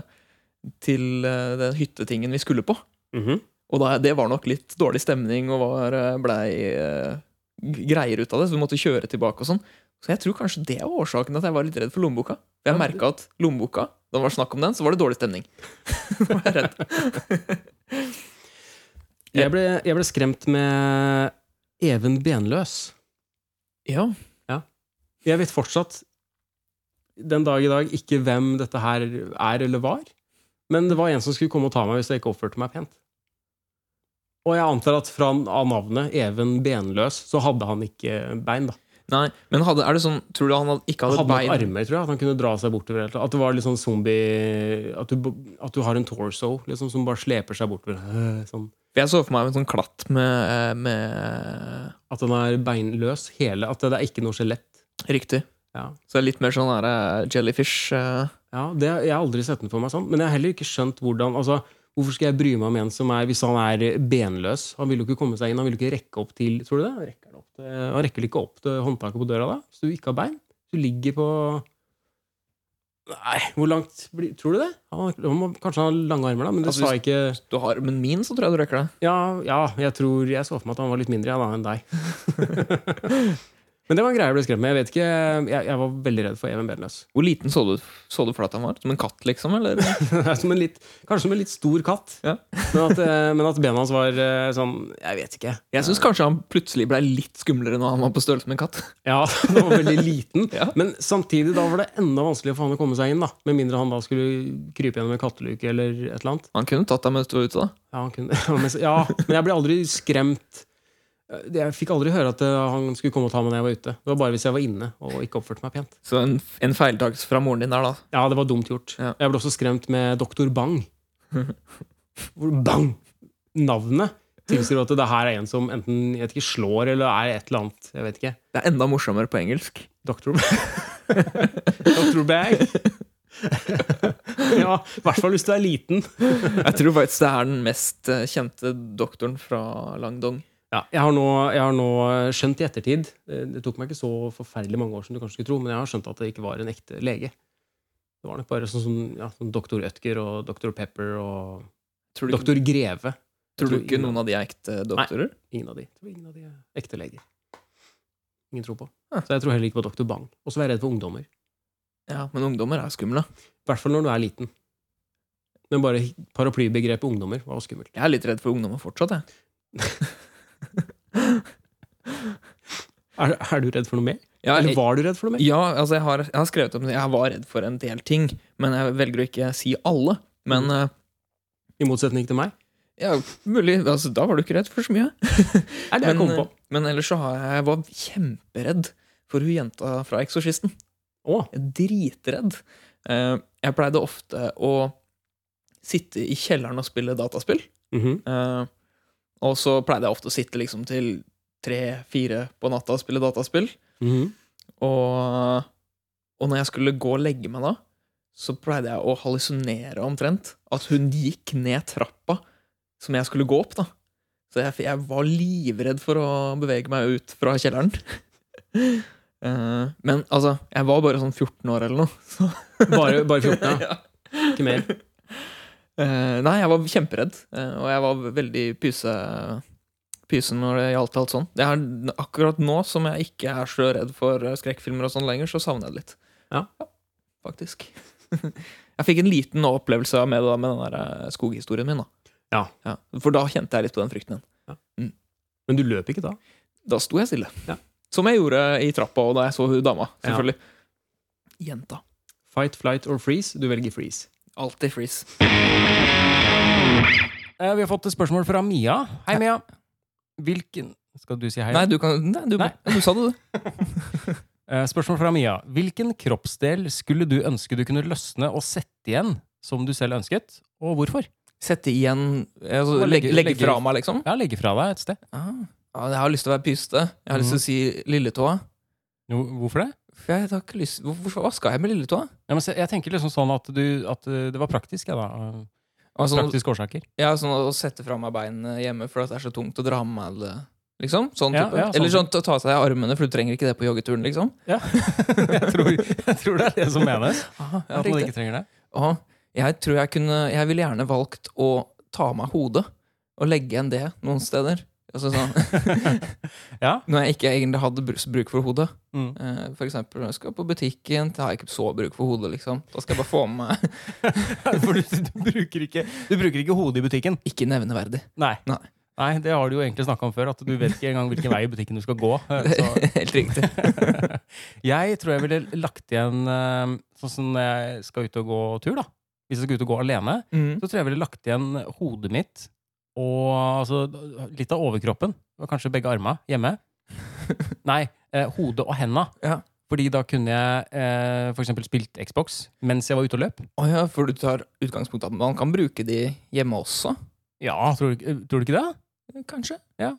Speaker 1: til eh, den hyttetingen vi skulle på.
Speaker 2: Mhm.
Speaker 1: Og da, det var nok litt dårlig stemning og var, eh, blei eh, g- greier ut av det, så vi måtte kjøre tilbake og sånn. Så jeg tror kanskje det er årsaken at jeg var litt redd for lommeboka. For
Speaker 2: Ja,
Speaker 1: jeg merket at lommeboka, da det var snakk om den, så var det dårlig stemning. Da var jeg redd.
Speaker 2: jeg, ble, jeg ble skremt med Even Benløs.
Speaker 1: Ja,
Speaker 2: Jeg vet fortsatt den dag i dag ikke hvem dette her er eller var. Men det var en som skulle komme og ta meg hvis jeg ikke oppførte meg pent. Og jeg antar at fra av navnet Even Benløs så hadde han ikke bein. da
Speaker 1: nei, men hadde, er det sånn, tror du han hadde- ikke
Speaker 2: Han
Speaker 1: hadde,
Speaker 2: hadde nok
Speaker 1: bein?
Speaker 2: armer, tror jeg. At han kunne dra seg bortover. eller noe. At det var litt sånn zombie At du, b- at du har en torso liksom, som bare sleper seg bortover. øh, Sånn.
Speaker 1: For jeg så for meg en sånn klatt med, eh, med
Speaker 2: At den er beinløs hele. At det er ikke noe skjelett.
Speaker 1: Riktig.
Speaker 2: Ja.
Speaker 1: Så det er litt mer sånn der, eh, jellyfish. eh,
Speaker 2: Ja, det, Jeg har aldri sett den for meg sånn. Men jeg har heller ikke skjønt hvordan altså, Hvorfor skal jeg bry meg om en som er Hvis han er benløs Han vil jo ikke komme seg inn, han vil jo ikke rekke opp til Tror du det? Han rekker, han opp til, han rekker vel ikke opp til håndtaket på døra da? Hvis du ikke har bein? Hvis Du ligger på Nei, hvor langt blir Tror du det? Han, han må, kanskje han har lange armer, da, men det
Speaker 1: Altså,
Speaker 2: sa jeg ikke
Speaker 1: Du har armen min, så tror jeg du rekker det.
Speaker 2: ja, ja, jeg tror jeg så for meg at han var litt mindre ja, da, enn deg. Men det var en greie jeg ble skremt med. Jeg vet ikke, jeg, jeg var veldig redd for Even Benløs.
Speaker 1: Hvor liten så du, så du for deg at han var? Som en katt, liksom? Eller?
Speaker 2: Det er som en litt, kanskje som en litt stor katt.
Speaker 1: Ja.
Speaker 2: men, at, eh, men at bena hans var eh, sånn Jeg vet ikke.
Speaker 1: Jeg syns kanskje han plutselig blei litt skumlere når han var på størrelse med en katt.
Speaker 2: Ja, Han var veldig liten.
Speaker 1: Ja.
Speaker 2: Men samtidig da var det enda vanskeligere for han å komme seg inn. da Med mindre han da skulle krype gjennom en katteluke eller et eller annet.
Speaker 1: Han kunne tatt deg mens du var ute, da.
Speaker 2: Ja, han kunne, ja, men, ja, men jeg ble aldri skremt. Jeg fikk aldri høre at eh, han skulle komme og ta meg når jeg var ute. Det var bare hvis jeg var inne og ikke oppførte meg pent.
Speaker 1: Så en, en feildags fra moren din der, da.
Speaker 2: Ja, det var dumt gjort.
Speaker 1: Ja.
Speaker 2: Jeg ble også skremt med Doktor Bang. Hvor Bang! Navnet tilsier at det her er en som enten jeg vet ikke, slår eller er et eller annet. Jeg vet ikke.
Speaker 1: Det er enda morsommere på engelsk.
Speaker 2: Doktor Doktor Bang. ja, i hvert fall hvis du er liten.
Speaker 1: Jeg tror faktisk det er den mest eh, kjente doktoren fra Langdong.
Speaker 2: Ja, jeg, har nå, jeg har nå skjønt i ettertid eh, Det tok meg ikke så forferdelig mange år som du kanskje skulle tro, men jeg har skjønt at det ikke var en ekte lege. Det var nok bare sånn som ja, sånn Doktor Ødker og Doktor Pepper og
Speaker 1: Tror du, ikke,
Speaker 2: Doktor Greve.
Speaker 1: tror du
Speaker 2: tror
Speaker 1: ikke
Speaker 2: ingen-
Speaker 1: noen av de er ekte doktorer?
Speaker 2: Ingen av de. Jeg tror ingen av de er ekte leger. Ingen tror på.
Speaker 1: Ah.
Speaker 2: Så jeg tror heller ikke på Dr. Bang. Og så var jeg redd for ungdommer.
Speaker 1: Ja, Men ungdommer er skumle.
Speaker 2: I hvert fall når du er liten. Men bare paraplybegrepet ungdommer var skummelt.
Speaker 1: Jeg er litt redd for ungdommer fortsatt. jeg
Speaker 6: Er, er du redd for noe mer?
Speaker 1: Ja,
Speaker 6: Eller
Speaker 1: jeg-
Speaker 6: var du redd for noe mer?
Speaker 1: Ja, altså jeg har, jeg har skrevet om det. Jeg var redd for en del ting, men jeg velger å ikke si alle. Men eh,
Speaker 6: I motsetning til meg?
Speaker 1: ja, mulig, altså, da var du ikke redd for så mye.
Speaker 6: Er det jeg
Speaker 1: Men,
Speaker 6: kom på.
Speaker 1: eh, men ellers så har jeg, jeg var kjemperedd for hun jenta fra Eksorsisten.
Speaker 6: Å.
Speaker 1: Jeg er Dritredd. Eh, Jeg pleide ofte å sitte i kjelleren og spille dataspill.
Speaker 6: Mhm.
Speaker 1: Eh, Og så pleide jeg ofte å sitte liksom til tre-fire på natta og spille dataspill.
Speaker 6: Mhm.
Speaker 1: Og, og når jeg skulle gå og legge meg da, så pleide jeg å hallusinere omtrent at hun gikk ned trappa som jeg skulle gå opp. da. Så jeg, jeg var livredd for å bevege meg ut fra kjelleren. Eh, men altså, jeg var bare sånn 14 år eller noe. Så,
Speaker 6: Bare, bare 14, ja.
Speaker 1: ja.
Speaker 6: Ikke mer.
Speaker 1: Eh, nei, jeg var kjemperedd, eh, og jeg var veldig pyse, pyse når det gjaldt alt sånn. Jeg er, akkurat nå som jeg ikke er så redd for eh, skrekkfilmer og sånn lenger, så savner jeg det litt.
Speaker 6: Ja.
Speaker 1: faktisk. jeg fikk en liten opplevelse av med, det da, med den der eh, skoghistorien min. da.
Speaker 6: Ja.
Speaker 1: For da kjente jeg litt på den frykten igjen.
Speaker 6: Men du løp ikke da?
Speaker 1: Da sto jeg stille.
Speaker 6: Ja.
Speaker 1: Som jeg gjorde i trappa, og da jeg så hun dama. selvfølgelig. Jenta.
Speaker 6: Fight, flight or freeze? Du velger freeze.
Speaker 1: Alltid freeze.
Speaker 2: Eh, Vi har fått et spørsmål fra Mia. Hei, Mia. Hvilken Skal du si hei?
Speaker 1: Nei, du kan Nei, du,
Speaker 2: Nei.
Speaker 1: du sa det, du.
Speaker 2: Eh, Spørsmål fra Mia. Hvilken kroppsdel skulle du ønske du kunne løsne og sette igjen som du selv ønsket, og hvorfor?
Speaker 1: Sette igjen altså,
Speaker 2: Bare
Speaker 1: legge,
Speaker 2: legge-
Speaker 1: legge
Speaker 2: legge-
Speaker 1: fra meg, liksom.
Speaker 2: Ja, legge fra deg et sted.
Speaker 1: Ah. Ja, jeg har lyst til å være pyste. Jeg har lyst
Speaker 2: Mm.
Speaker 1: til å si lilletåa.
Speaker 2: Jo, hvorfor det?
Speaker 1: For jeg har ikke lyst Hvorfor, Hva skal jeg med lilletåa?
Speaker 2: Ja, men se, jeg tenker liksom sånn at, du, at eh, det var praktisk, ja da. Eh,
Speaker 1: Altså,
Speaker 2: Praktiske årsaker.
Speaker 1: ja, sånn å sette fra meg beinet hjemme for at det er så tungt å dra med meg det. Liksom, sånn
Speaker 2: Ja,
Speaker 1: type.
Speaker 2: ja, sånn
Speaker 1: Eller sånn ta ta seg av armene, for du trenger ikke det på joggeturen. liksom
Speaker 2: jeg, tror, jeg tror det er det som menes.
Speaker 1: Aha, ja,
Speaker 2: At man
Speaker 1: riktig.
Speaker 2: ikke trenger sånn det.
Speaker 1: Aha. Jeg tror jeg kunne Jeg ville gjerne valgt å ta av meg hodet og legge igjen det noen steder. Altså sånn,
Speaker 2: Ja.
Speaker 1: når jeg ikke egentlig hadde brus- bruk for hodet.
Speaker 2: Mm.
Speaker 1: Eh, For eksempel når jeg skal på butikken, da har jeg ikke så bruk for hodet. liksom Da skal jeg bare få med meg
Speaker 2: For du, du, bruker ikke, du bruker ikke hodet i butikken.
Speaker 1: Ikke nevneverdig.
Speaker 2: Nei.
Speaker 1: Nei.
Speaker 2: Nei, det har du jo egentlig snakka om før, at du vet ikke engang hvilken vei i butikken du skal gå. eh, Så.
Speaker 1: Helt riktig.
Speaker 2: Jeg tror jeg ville lagt igjen eh, Sånn som når jeg skal ut og gå tur, da. Hvis jeg skal ut og gå alene,
Speaker 1: Mm.
Speaker 2: så tror jeg jeg ville lagt igjen hodet mitt og altså, litt av overkroppen. Og kanskje begge arma hjemme. Nei, eh, hodet og henda.
Speaker 1: Ja.
Speaker 2: Fordi da kunne jeg eh, f.eks. spilt Xbox mens jeg var ute og løp.
Speaker 1: Å ja, for du tar utgangspunkt i at man kan bruke de hjemme også,
Speaker 2: Ja, tror du, tror du ikke det?
Speaker 1: kanskje?
Speaker 2: Jeg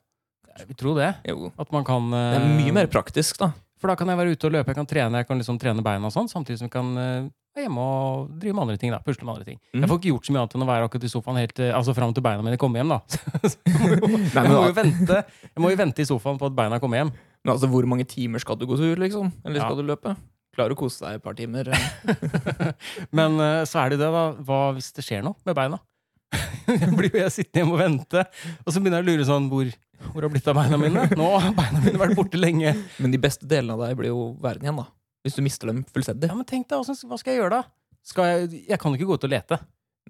Speaker 2: tror det.
Speaker 1: Jo.
Speaker 2: At man kan eh,
Speaker 1: Det er mye mer praktisk, da.
Speaker 2: For da kan jeg være ute og løpe, jeg kan trene jeg kan liksom trene beina og sånn, samtidig som jeg kan eh, være hjemme og drive med andre ting. da, Pusle med andre ting.
Speaker 1: Mhm.
Speaker 2: Jeg får ikke gjort så mye annet enn å være akkurat i sofaen helt, eh, altså fram til beina mine kommer hjem. da. Så
Speaker 1: Nei,
Speaker 2: jeg,
Speaker 1: men,
Speaker 2: må jo
Speaker 1: al-
Speaker 2: vente, jeg må jo vente i sofaen på at beina kommer hjem.
Speaker 1: men altså, hvor mange timer skal du gå tur, liksom? Eller
Speaker 2: Ja.
Speaker 1: skal du løpe? Klarer å kose deg et par timer.
Speaker 2: Men eh, så er det det, da. Hva hvis det skjer noe med beina? Jeg blir jo jeg sittende hjemme og vente, og så begynner jeg å lure sånn Hvor, hvor har det blitt av beina mine? Nå har beina mine vært borte lenge.
Speaker 1: Men de beste delene av deg blir jo verden igjen, da. Hvis du mister dem fullstendig.
Speaker 2: Ja, men tenk deg, hvordan- Hva skal jeg gjøre da? Skal jeg, jeg kan jo ikke gå ut og lete.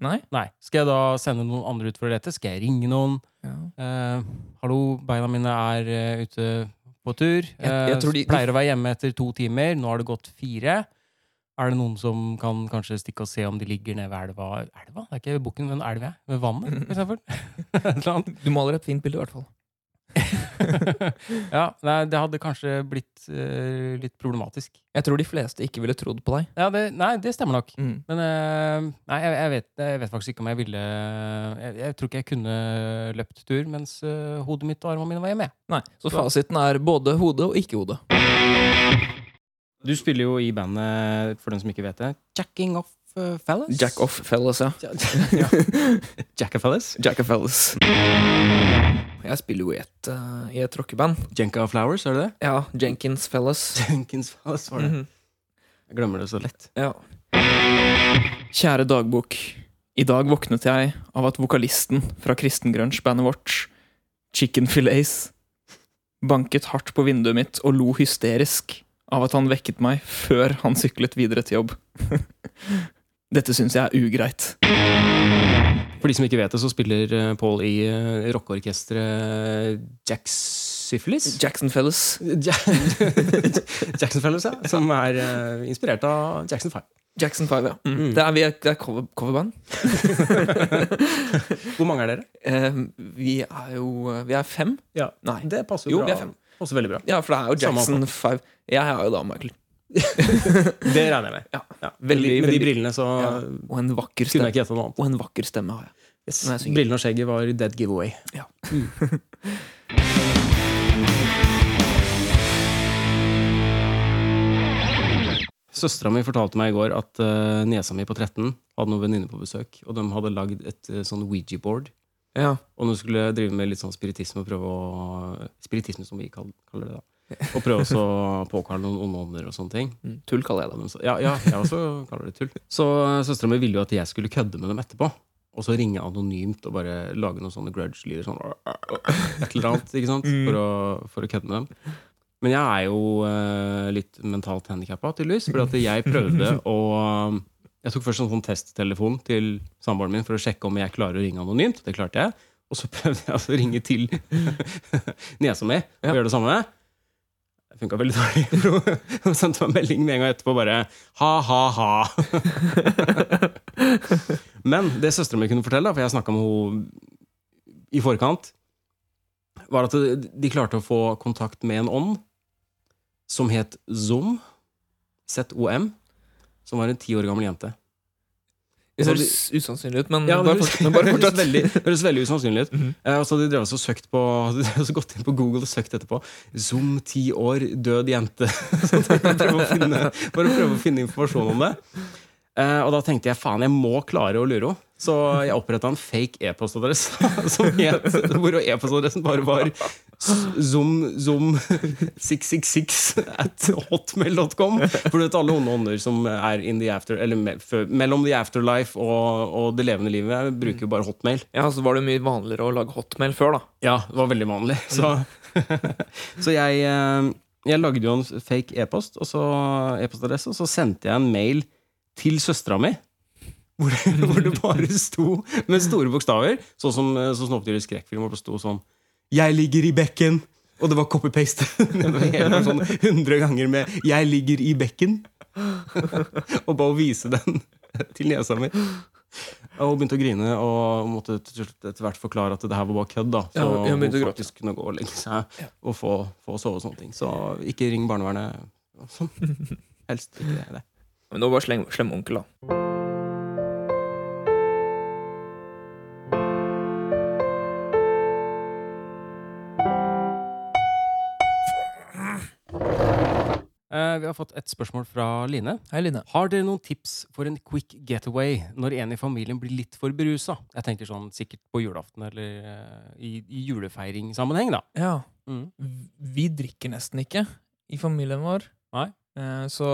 Speaker 1: Nei?
Speaker 2: Nei. Skal jeg da sende noen andre ut for å lete? Skal jeg ringe noen?
Speaker 1: Ja.
Speaker 2: Eh, hallo, beina mine er eh, ute på tur.
Speaker 1: Jeg- jeg
Speaker 2: Eh,
Speaker 1: tror de-
Speaker 2: pleier å være hjemme etter to timer. Nå har det gått fire. Er det noen som kan kanskje stikke og se om de ligger nede ved elva? Elva? Det er ikke bukken, men elva. jeg. Ved vannet, for eksempel. Et eller annet.
Speaker 1: Du maler et fint bilde, i hvert fall.
Speaker 2: ja, nei, det hadde kanskje blitt eh, litt problematisk.
Speaker 1: Jeg tror de fleste ikke ville trodd på deg.
Speaker 2: Ja, det, nei, det stemmer nok.
Speaker 1: Mm.
Speaker 2: Men eh, nei, jeg, jeg, vet, jeg vet faktisk ikke om jeg ville Jeg, jeg tror ikke jeg kunne løpt tur mens eh, hodet mitt og armene mine var hjemme. jeg.
Speaker 1: Nei, Så fasiten er både hode og ikke hode.
Speaker 6: Du spiller jo i bandet, for den som ikke vet det, Jacking Off
Speaker 2: eh,
Speaker 6: uh, Fellas.
Speaker 1: Jack off fellas, ja.
Speaker 6: Ja, ja. Jack of Fellas.
Speaker 1: Jack of fellas. Jeg spiller jo i et, eh, i et rockeband.
Speaker 6: Jenka Flowers, er det det?
Speaker 1: Ja, Jenkins fellas.
Speaker 6: Jenkins Fellas, var
Speaker 1: Mhm.
Speaker 6: Jeg glemmer det så lett.
Speaker 1: Ja. Kjære dagbok. I dag våknet jeg av at vokalisten fra kristengrunge-bandet vårt, Chicken Fillets, banket hardt på vinduet mitt og lo hysterisk av at han vekket meg før han syklet videre til jobb. Dette syns jeg er ugreit.
Speaker 2: eh,
Speaker 6: For de som ikke vet det, så spiller eh, Paul i uh, rockeorkesteret Jacks
Speaker 2: syfilis.
Speaker 1: Jackson Fellas.
Speaker 2: Ja- Jackson Fellows, ja. Som er eh, inspirert av Jackson 5.
Speaker 1: Jackson 5, ja. Mm. Det er, vi er, det er cover, coverband.
Speaker 2: Hvor mange er dere?
Speaker 1: Eh, vi er jo eh, Vi er fem.
Speaker 2: Ja.
Speaker 1: Nei.
Speaker 2: Det passer
Speaker 1: Jo,
Speaker 2: bra.
Speaker 1: vi er fem.
Speaker 2: Passer veldig bra.
Speaker 1: Ja, for det er jo
Speaker 2: Samme
Speaker 1: Jackson 5. Jeg er jo da Michael.
Speaker 2: Det regner jeg med.
Speaker 1: Ja.
Speaker 2: Veldig,
Speaker 1: Veldig-
Speaker 2: med de brillene så
Speaker 1: Ja. Og en vakker
Speaker 2: kunne jeg
Speaker 1: stemme.
Speaker 2: ikke gjette noe annet.
Speaker 1: Og en vakker stemme har jeg.
Speaker 2: Yes.
Speaker 1: Nei, jeg synger.
Speaker 2: Brillene og skjegget var dead giveaway.
Speaker 1: Ja.
Speaker 2: Søstera mi fortalte meg i går at eh, niesa mi på 13 hadde noen venninner på besøk, og de hadde lagd et eh, sånn Ouija-board.
Speaker 1: Ja.
Speaker 2: Og nå skulle jeg drive med litt sånn spiritisme og prøve å Spiritisme, som vi kall- kaller det, da. Og prøve også å påkalle noen onde ånder og sånne ting.
Speaker 1: Mm, Tull kaller jeg det.
Speaker 2: Og de sa- Ja, ja, jeg også kaller det tull. Så eh, søstera mi ville jo at jeg skulle kødde med dem etterpå. Og så ringe anonymt og bare lage noen sånne grudge-lyder. Sånn, et eller annet, ikke sant? For å, for å kødde med dem. Men jeg er jo eh, litt mentalt handikappa, tydeligvis. For at jeg prøvde å um, Jeg tok først en sånn testtelefon til samboeren min for å sjekke om jeg klarer å ringe anonymt. Det klarte jeg. Og så prøvde jeg altså å ringe til niesa mi og
Speaker 1: Ja.
Speaker 2: gjøre det samme. Det funka veldig dårlig. for Hun sendte meg en melding med en gang etterpå bare ha-ha-ha. Men det søstera mi kunne fortelle, da, for jeg snakka med henne i forkant, var at de klarte å få kontakt med en ånd som het Zom. ZOM. Som var en ti år gammel jente.
Speaker 1: Det
Speaker 2: Så
Speaker 1: høres usannsynlig ut, men
Speaker 2: Ja, det
Speaker 1: bare
Speaker 2: høres,
Speaker 1: fortsett. Men bare
Speaker 2: høres,
Speaker 1: fortsett.
Speaker 2: veldig, høres veldig usannsynlig ut. Eh, og så hadde de drevet og søkt på hadde de også gått inn på Google og søkt etterpå. Zoom, ti år, død jente. Så tenkte jeg å prøve å finne, for å prøve å finne informasjon om det. Eh, og da tenkte jeg faen, jeg må klare å lure henne. Så jeg oppretta en fake e-postadresse som het, hvor e-postadressen bare var zoomzoom666 at hotmail.com. For du vet alle onde ånder som er in the after, eller me, før- mellom the afterlife og, og det levende livet, bruker jo bare hotmail.
Speaker 1: Ja, så var det mye vanligere å lage hotmail før, da.
Speaker 2: Ja, det var veldig vanlig. Så, så jeg, eh, jeg lagde jo en fake e-post, og så e-postadresse, og så sendte jeg en mail til søstera mi. Hvor det, hvor det bare sto med store bokstaver, sånn som, eh, sånn som opptil i skrekkfilmer, hvor det sto sånn 'Jeg ligger i bekken', og det var copy-paste. Det var hele sånn 100 ganger med 'Jeg ligger i bekken'. Og bare å vise den til niesa mi. Og hun begynte å grine og måtte til slutt etter hvert forklare at det her var bare kødd. da Så
Speaker 1: Ja, hun
Speaker 2: hun
Speaker 1: begynte å gråte.
Speaker 2: faktisk kunne gå og legge seg og få, få sove og sånne ting. Så ikke ring barnevernet. og Sånn. Helst ikke det.
Speaker 1: Men det var bare slem, slem onkel, da.
Speaker 5: Eh, vi har fått et spørsmål fra Line.
Speaker 1: Hei, Line.
Speaker 5: Har dere noen tips for en quick getaway når en i familien blir litt for berusa? Jeg tenker sånn sikkert på julaften eller eh, i, i julefeiringssammenheng, da.
Speaker 1: Ja.
Speaker 5: Mm.
Speaker 1: Vi drikker nesten ikke i familien vår.
Speaker 5: Nei.
Speaker 1: Eh, Så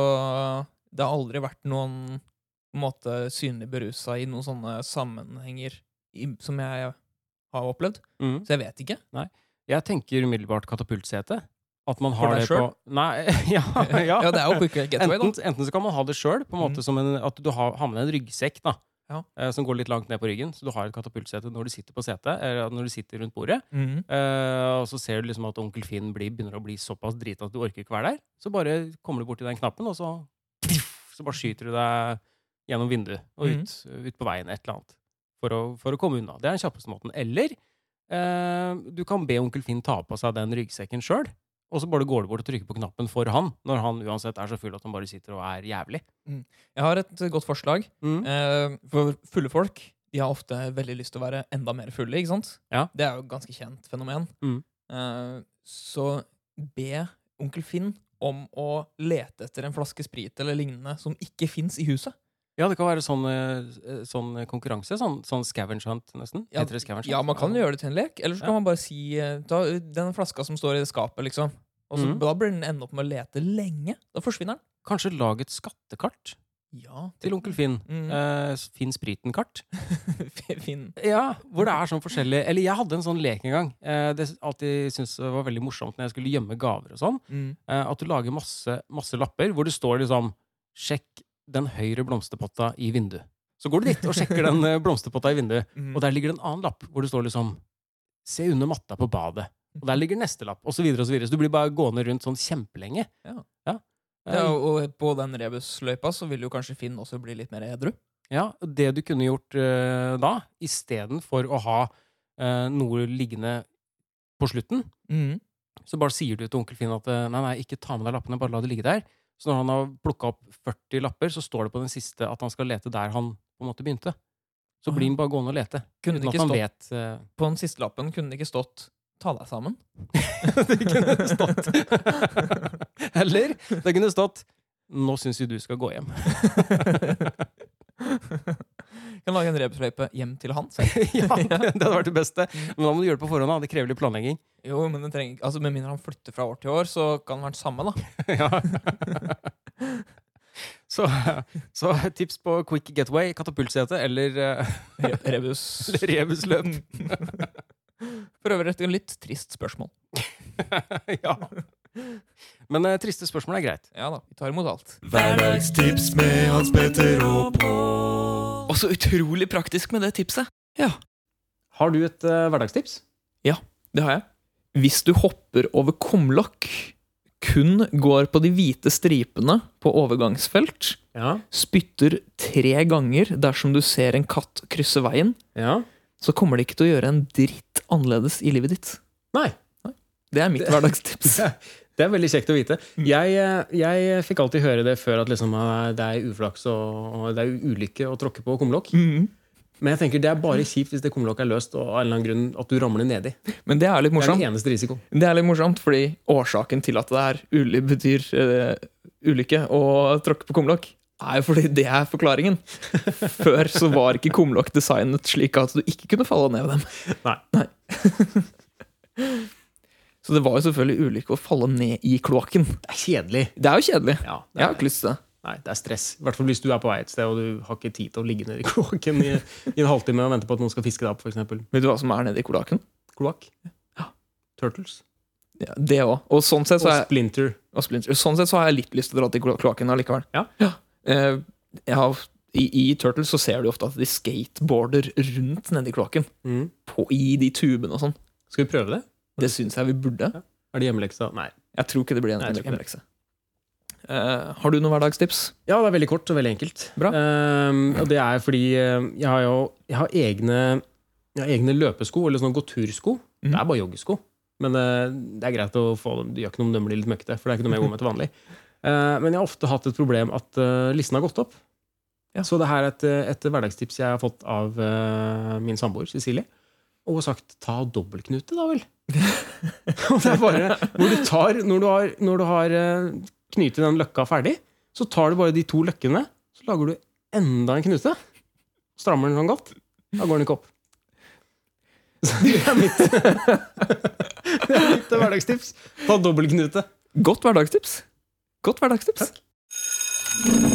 Speaker 1: det har aldri vært noen på en måte, synlig berusa i noen sånne sammenhenger i, som jeg har opplevd.
Speaker 5: Mm.
Speaker 1: Så jeg vet ikke.
Speaker 5: Jeg tenker umiddelbart katapultsete. At man
Speaker 1: For
Speaker 5: har
Speaker 1: deg
Speaker 5: det på Nei, ja, ja.
Speaker 1: det er jo quick getaway, da.
Speaker 5: Enten, enten så kan man ha det sjøl,
Speaker 1: Mm.
Speaker 5: at du har, har med deg en ryggsekk da,
Speaker 1: Ja.
Speaker 5: eh, som går litt langt ned på ryggen, så du har et katapultsete når du sitter på setet, eller når du sitter rundt bordet.
Speaker 1: Mhm.
Speaker 5: Eh, og så ser du liksom at onkel Finn blir, begynner å bli såpass drita at du orker ikke være der. Så bare kommer du borti den knappen, og så, så bare skyter du deg gjennom vinduet og
Speaker 1: Mhm.
Speaker 5: ut, ut på veien et eller annet. For å, for å komme unna. Det er den kjappeste måten. Eller eh, du kan be onkel Finn ta på seg den ryggsekken sjøl. Og så bare går du bort og trykker på knappen for han, når han uansett er så full at han bare sitter og er jævlig.
Speaker 1: Jeg har et eh, godt forslag.
Speaker 5: Mm.
Speaker 1: Eh, For fulle folk de har ofte veldig lyst til å være enda mer fulle. ikke sant?
Speaker 5: Ja.
Speaker 1: Det er jo et ganske kjent fenomen.
Speaker 5: Mm.
Speaker 1: Eh, Så be onkel Finn om å lete etter en flaske sprit eller lignende som ikke fins i huset.
Speaker 5: Ja, det kan være sånn, eh, sånn konkurranse. Sånn, sånn scavenge hunt, nesten.
Speaker 1: Ja,
Speaker 5: Heter det sånn. scavenge
Speaker 1: Ja,
Speaker 5: hunt?
Speaker 1: man kan gjøre det til en lek. Eller så kan man bare si eh, ta den flaska som står i det skapet, liksom. Og så,
Speaker 5: Mhm.
Speaker 1: Da blir den ende opp med å lete lenge. Da forsvinner den.
Speaker 5: Kanskje lag et skattekart
Speaker 1: Ja,
Speaker 5: til onkel Finn.
Speaker 1: Mm.
Speaker 5: Eh, Finn spriten-kart.
Speaker 1: Finn.
Speaker 5: Ja, Hvor det er sånn forskjellig Eller jeg hadde en sånn lek en gang. Eh, det s- alltid syntes det var veldig morsomt når jeg skulle gjemme gaver og sånn.
Speaker 1: Mm.
Speaker 5: Eh, at du lager masse, masse lapper hvor det står liksom 'Sjekk den høyre blomsterpotta i vinduet'. Så går du dit og sjekker den eh, blomsterpotta i vinduet,
Speaker 1: Mm.
Speaker 5: og der ligger det en annen lapp hvor det står liksom 'Se under matta på badet'.
Speaker 7: Og der ligger neste lapp, osv. Så, videre, og så, videre. så du blir bare gående rundt sånn kjempelenge.
Speaker 8: Ja.
Speaker 7: Eh,
Speaker 8: Ja, og på den rebusløypa så vil jo kanskje Finn også bli litt mer edru.
Speaker 7: Ja, og det du kunne gjort uh, da, istedenfor å ha eh, noe liggende på slutten, Mm. så bare sier du til onkel Finn at eh, nei, nei, ikke ta med deg lappene, bare la det ligge der. Så når han har plukka opp 40 lapper, så står det på den siste at han skal lete der han på en måte begynte. Så blir han bare gående og lete.
Speaker 8: Kunne det
Speaker 7: Uten
Speaker 8: ikke
Speaker 7: at han
Speaker 8: stått,
Speaker 7: vet eh,
Speaker 8: På den siste lappen kunne det ikke stått 'ta deg sammen'?
Speaker 7: Det kunne stått Eller det kunne stått 'Nå syns jo du skal gå hjem'.
Speaker 8: Kan lage en rebusløype hjem til han selv.
Speaker 7: ja, det, det hadde vært det beste. Men da må du gjøre det på forhånd. da. Det krever litt planlegging.
Speaker 8: Jo, men det trenger, altså Med mindre han flytter fra år til år, så kan det være det samme. da
Speaker 7: Ja. så, så tips på quick getaway, katapultsete eller eh,
Speaker 8: Re- Rebus.
Speaker 7: eller rebusløp.
Speaker 8: For øvrig et litt trist spørsmål.
Speaker 7: ja. Men eh, triste spørsmål er greit.
Speaker 8: Ja da, vi tar imot alt.
Speaker 9: Hverdagstips med Hans Petter og Pål.
Speaker 1: Og så utrolig praktisk med det tipset.
Speaker 2: Har du et eh, hverdagstips?
Speaker 1: Det har jeg. Hvis du hopper over kumlokk, kun går på de hvite stripene på overgangsfelt,
Speaker 2: Ja.
Speaker 1: spytter tre ganger dersom du ser en katt krysse veien,
Speaker 2: ja.
Speaker 1: så kommer det ikke til å gjøre en dritt annerledes i livet ditt.
Speaker 2: Nei.
Speaker 1: Det er mitt hverdagstips.
Speaker 2: Det er veldig kjekt å vite. Jeg, eh, jeg fikk alltid høre det før at liksom, eh, det er uflaks og, og det er ulykke å tråkke på kumlokk.
Speaker 1: Mhm.
Speaker 2: Men jeg tenker det er bare kjipt hvis det kumlokket er løst og av en eller annen grunn at du ramler nedi. Det
Speaker 1: Men det er litt
Speaker 2: er
Speaker 1: morsomt.
Speaker 2: den eneste risikoen.
Speaker 1: Det er litt morsomt, fordi årsaken til at det er uly betyr eh, ulykke og tråkke på kumlokk, er jo fordi det er forklaringen. Før så var ikke kumlokk designet slik at du ikke kunne falle ned ved dem.
Speaker 2: Nei.
Speaker 1: Så det var jo selvfølgelig ulykke å falle ned i kloakken.
Speaker 2: Det er kjedelig.
Speaker 1: Det er jo kjedelig.
Speaker 2: Ja,
Speaker 1: Jeg
Speaker 2: det
Speaker 1: har
Speaker 2: er,
Speaker 1: ikke lyst til det.
Speaker 2: nei, det er stress. I hvert fall hvis du er på vei et sted og du har ikke tid til å ligge nede i kloakken i, i en halvtime og vente på at noen skal fiske deg opp, f.eks.
Speaker 1: Vet du hva som er nede i kloakken?
Speaker 2: Kloakk.
Speaker 1: Ja.
Speaker 2: Turtles.
Speaker 1: Ja, det òg. Og sånn sett så
Speaker 2: Og
Speaker 1: er
Speaker 2: Splinter.
Speaker 1: og Splinter. Sånn sett så har jeg litt lyst til å dra til klo- kloakken allikevel.
Speaker 2: Ja.
Speaker 1: Eh, Jeg har, i, I Turtles så ser du ofte at de skateboarder rundt nedi kloakken.
Speaker 2: Mhm.
Speaker 1: På, I de tubene og sånn.
Speaker 2: Skal vi prøve det?
Speaker 1: Det syns jeg vi burde.
Speaker 2: Er det hjemmeleksa? Nei.
Speaker 1: Jeg tror ikke det blir en
Speaker 2: Mm. Nei, jeg tror ikke
Speaker 1: hjemmelekse. Eh, har du noen hverdagstips?
Speaker 2: Ja, det er veldig kort og veldig enkelt.
Speaker 1: Bra.
Speaker 2: Ehm, og det er fordi eh, jeg har jo jeg har egne, jeg har egne løpesko, eller sånne gåtursko.
Speaker 1: Mhm.
Speaker 2: Det er bare joggesko. Men eh, det er greit å få dem. Det gjør ikke noe om de blir litt møkkete, for det er ikke noe jeg går med til vanlig. Eh, men jeg har ofte hatt et problem at eh, listen har gått opp.
Speaker 1: Ja.
Speaker 2: Så det her er et, eh, et hverdagstips jeg har fått av eh, min samboer Cecilie. Og hun har sagt 'ta dobbeltknute, da vel'. Og det er bare hvor du tar, Når du har, når du har eh, knyter den løkka ferdig, så tar du bare de to løkkene, så lager du enda en knute. Strammer den sånn godt. Da går den ikke opp. Så det er mitt Det er mitt hverdagstips. Ta dobbeltknute.
Speaker 1: Godt hverdagstips. Godt hverdagstips.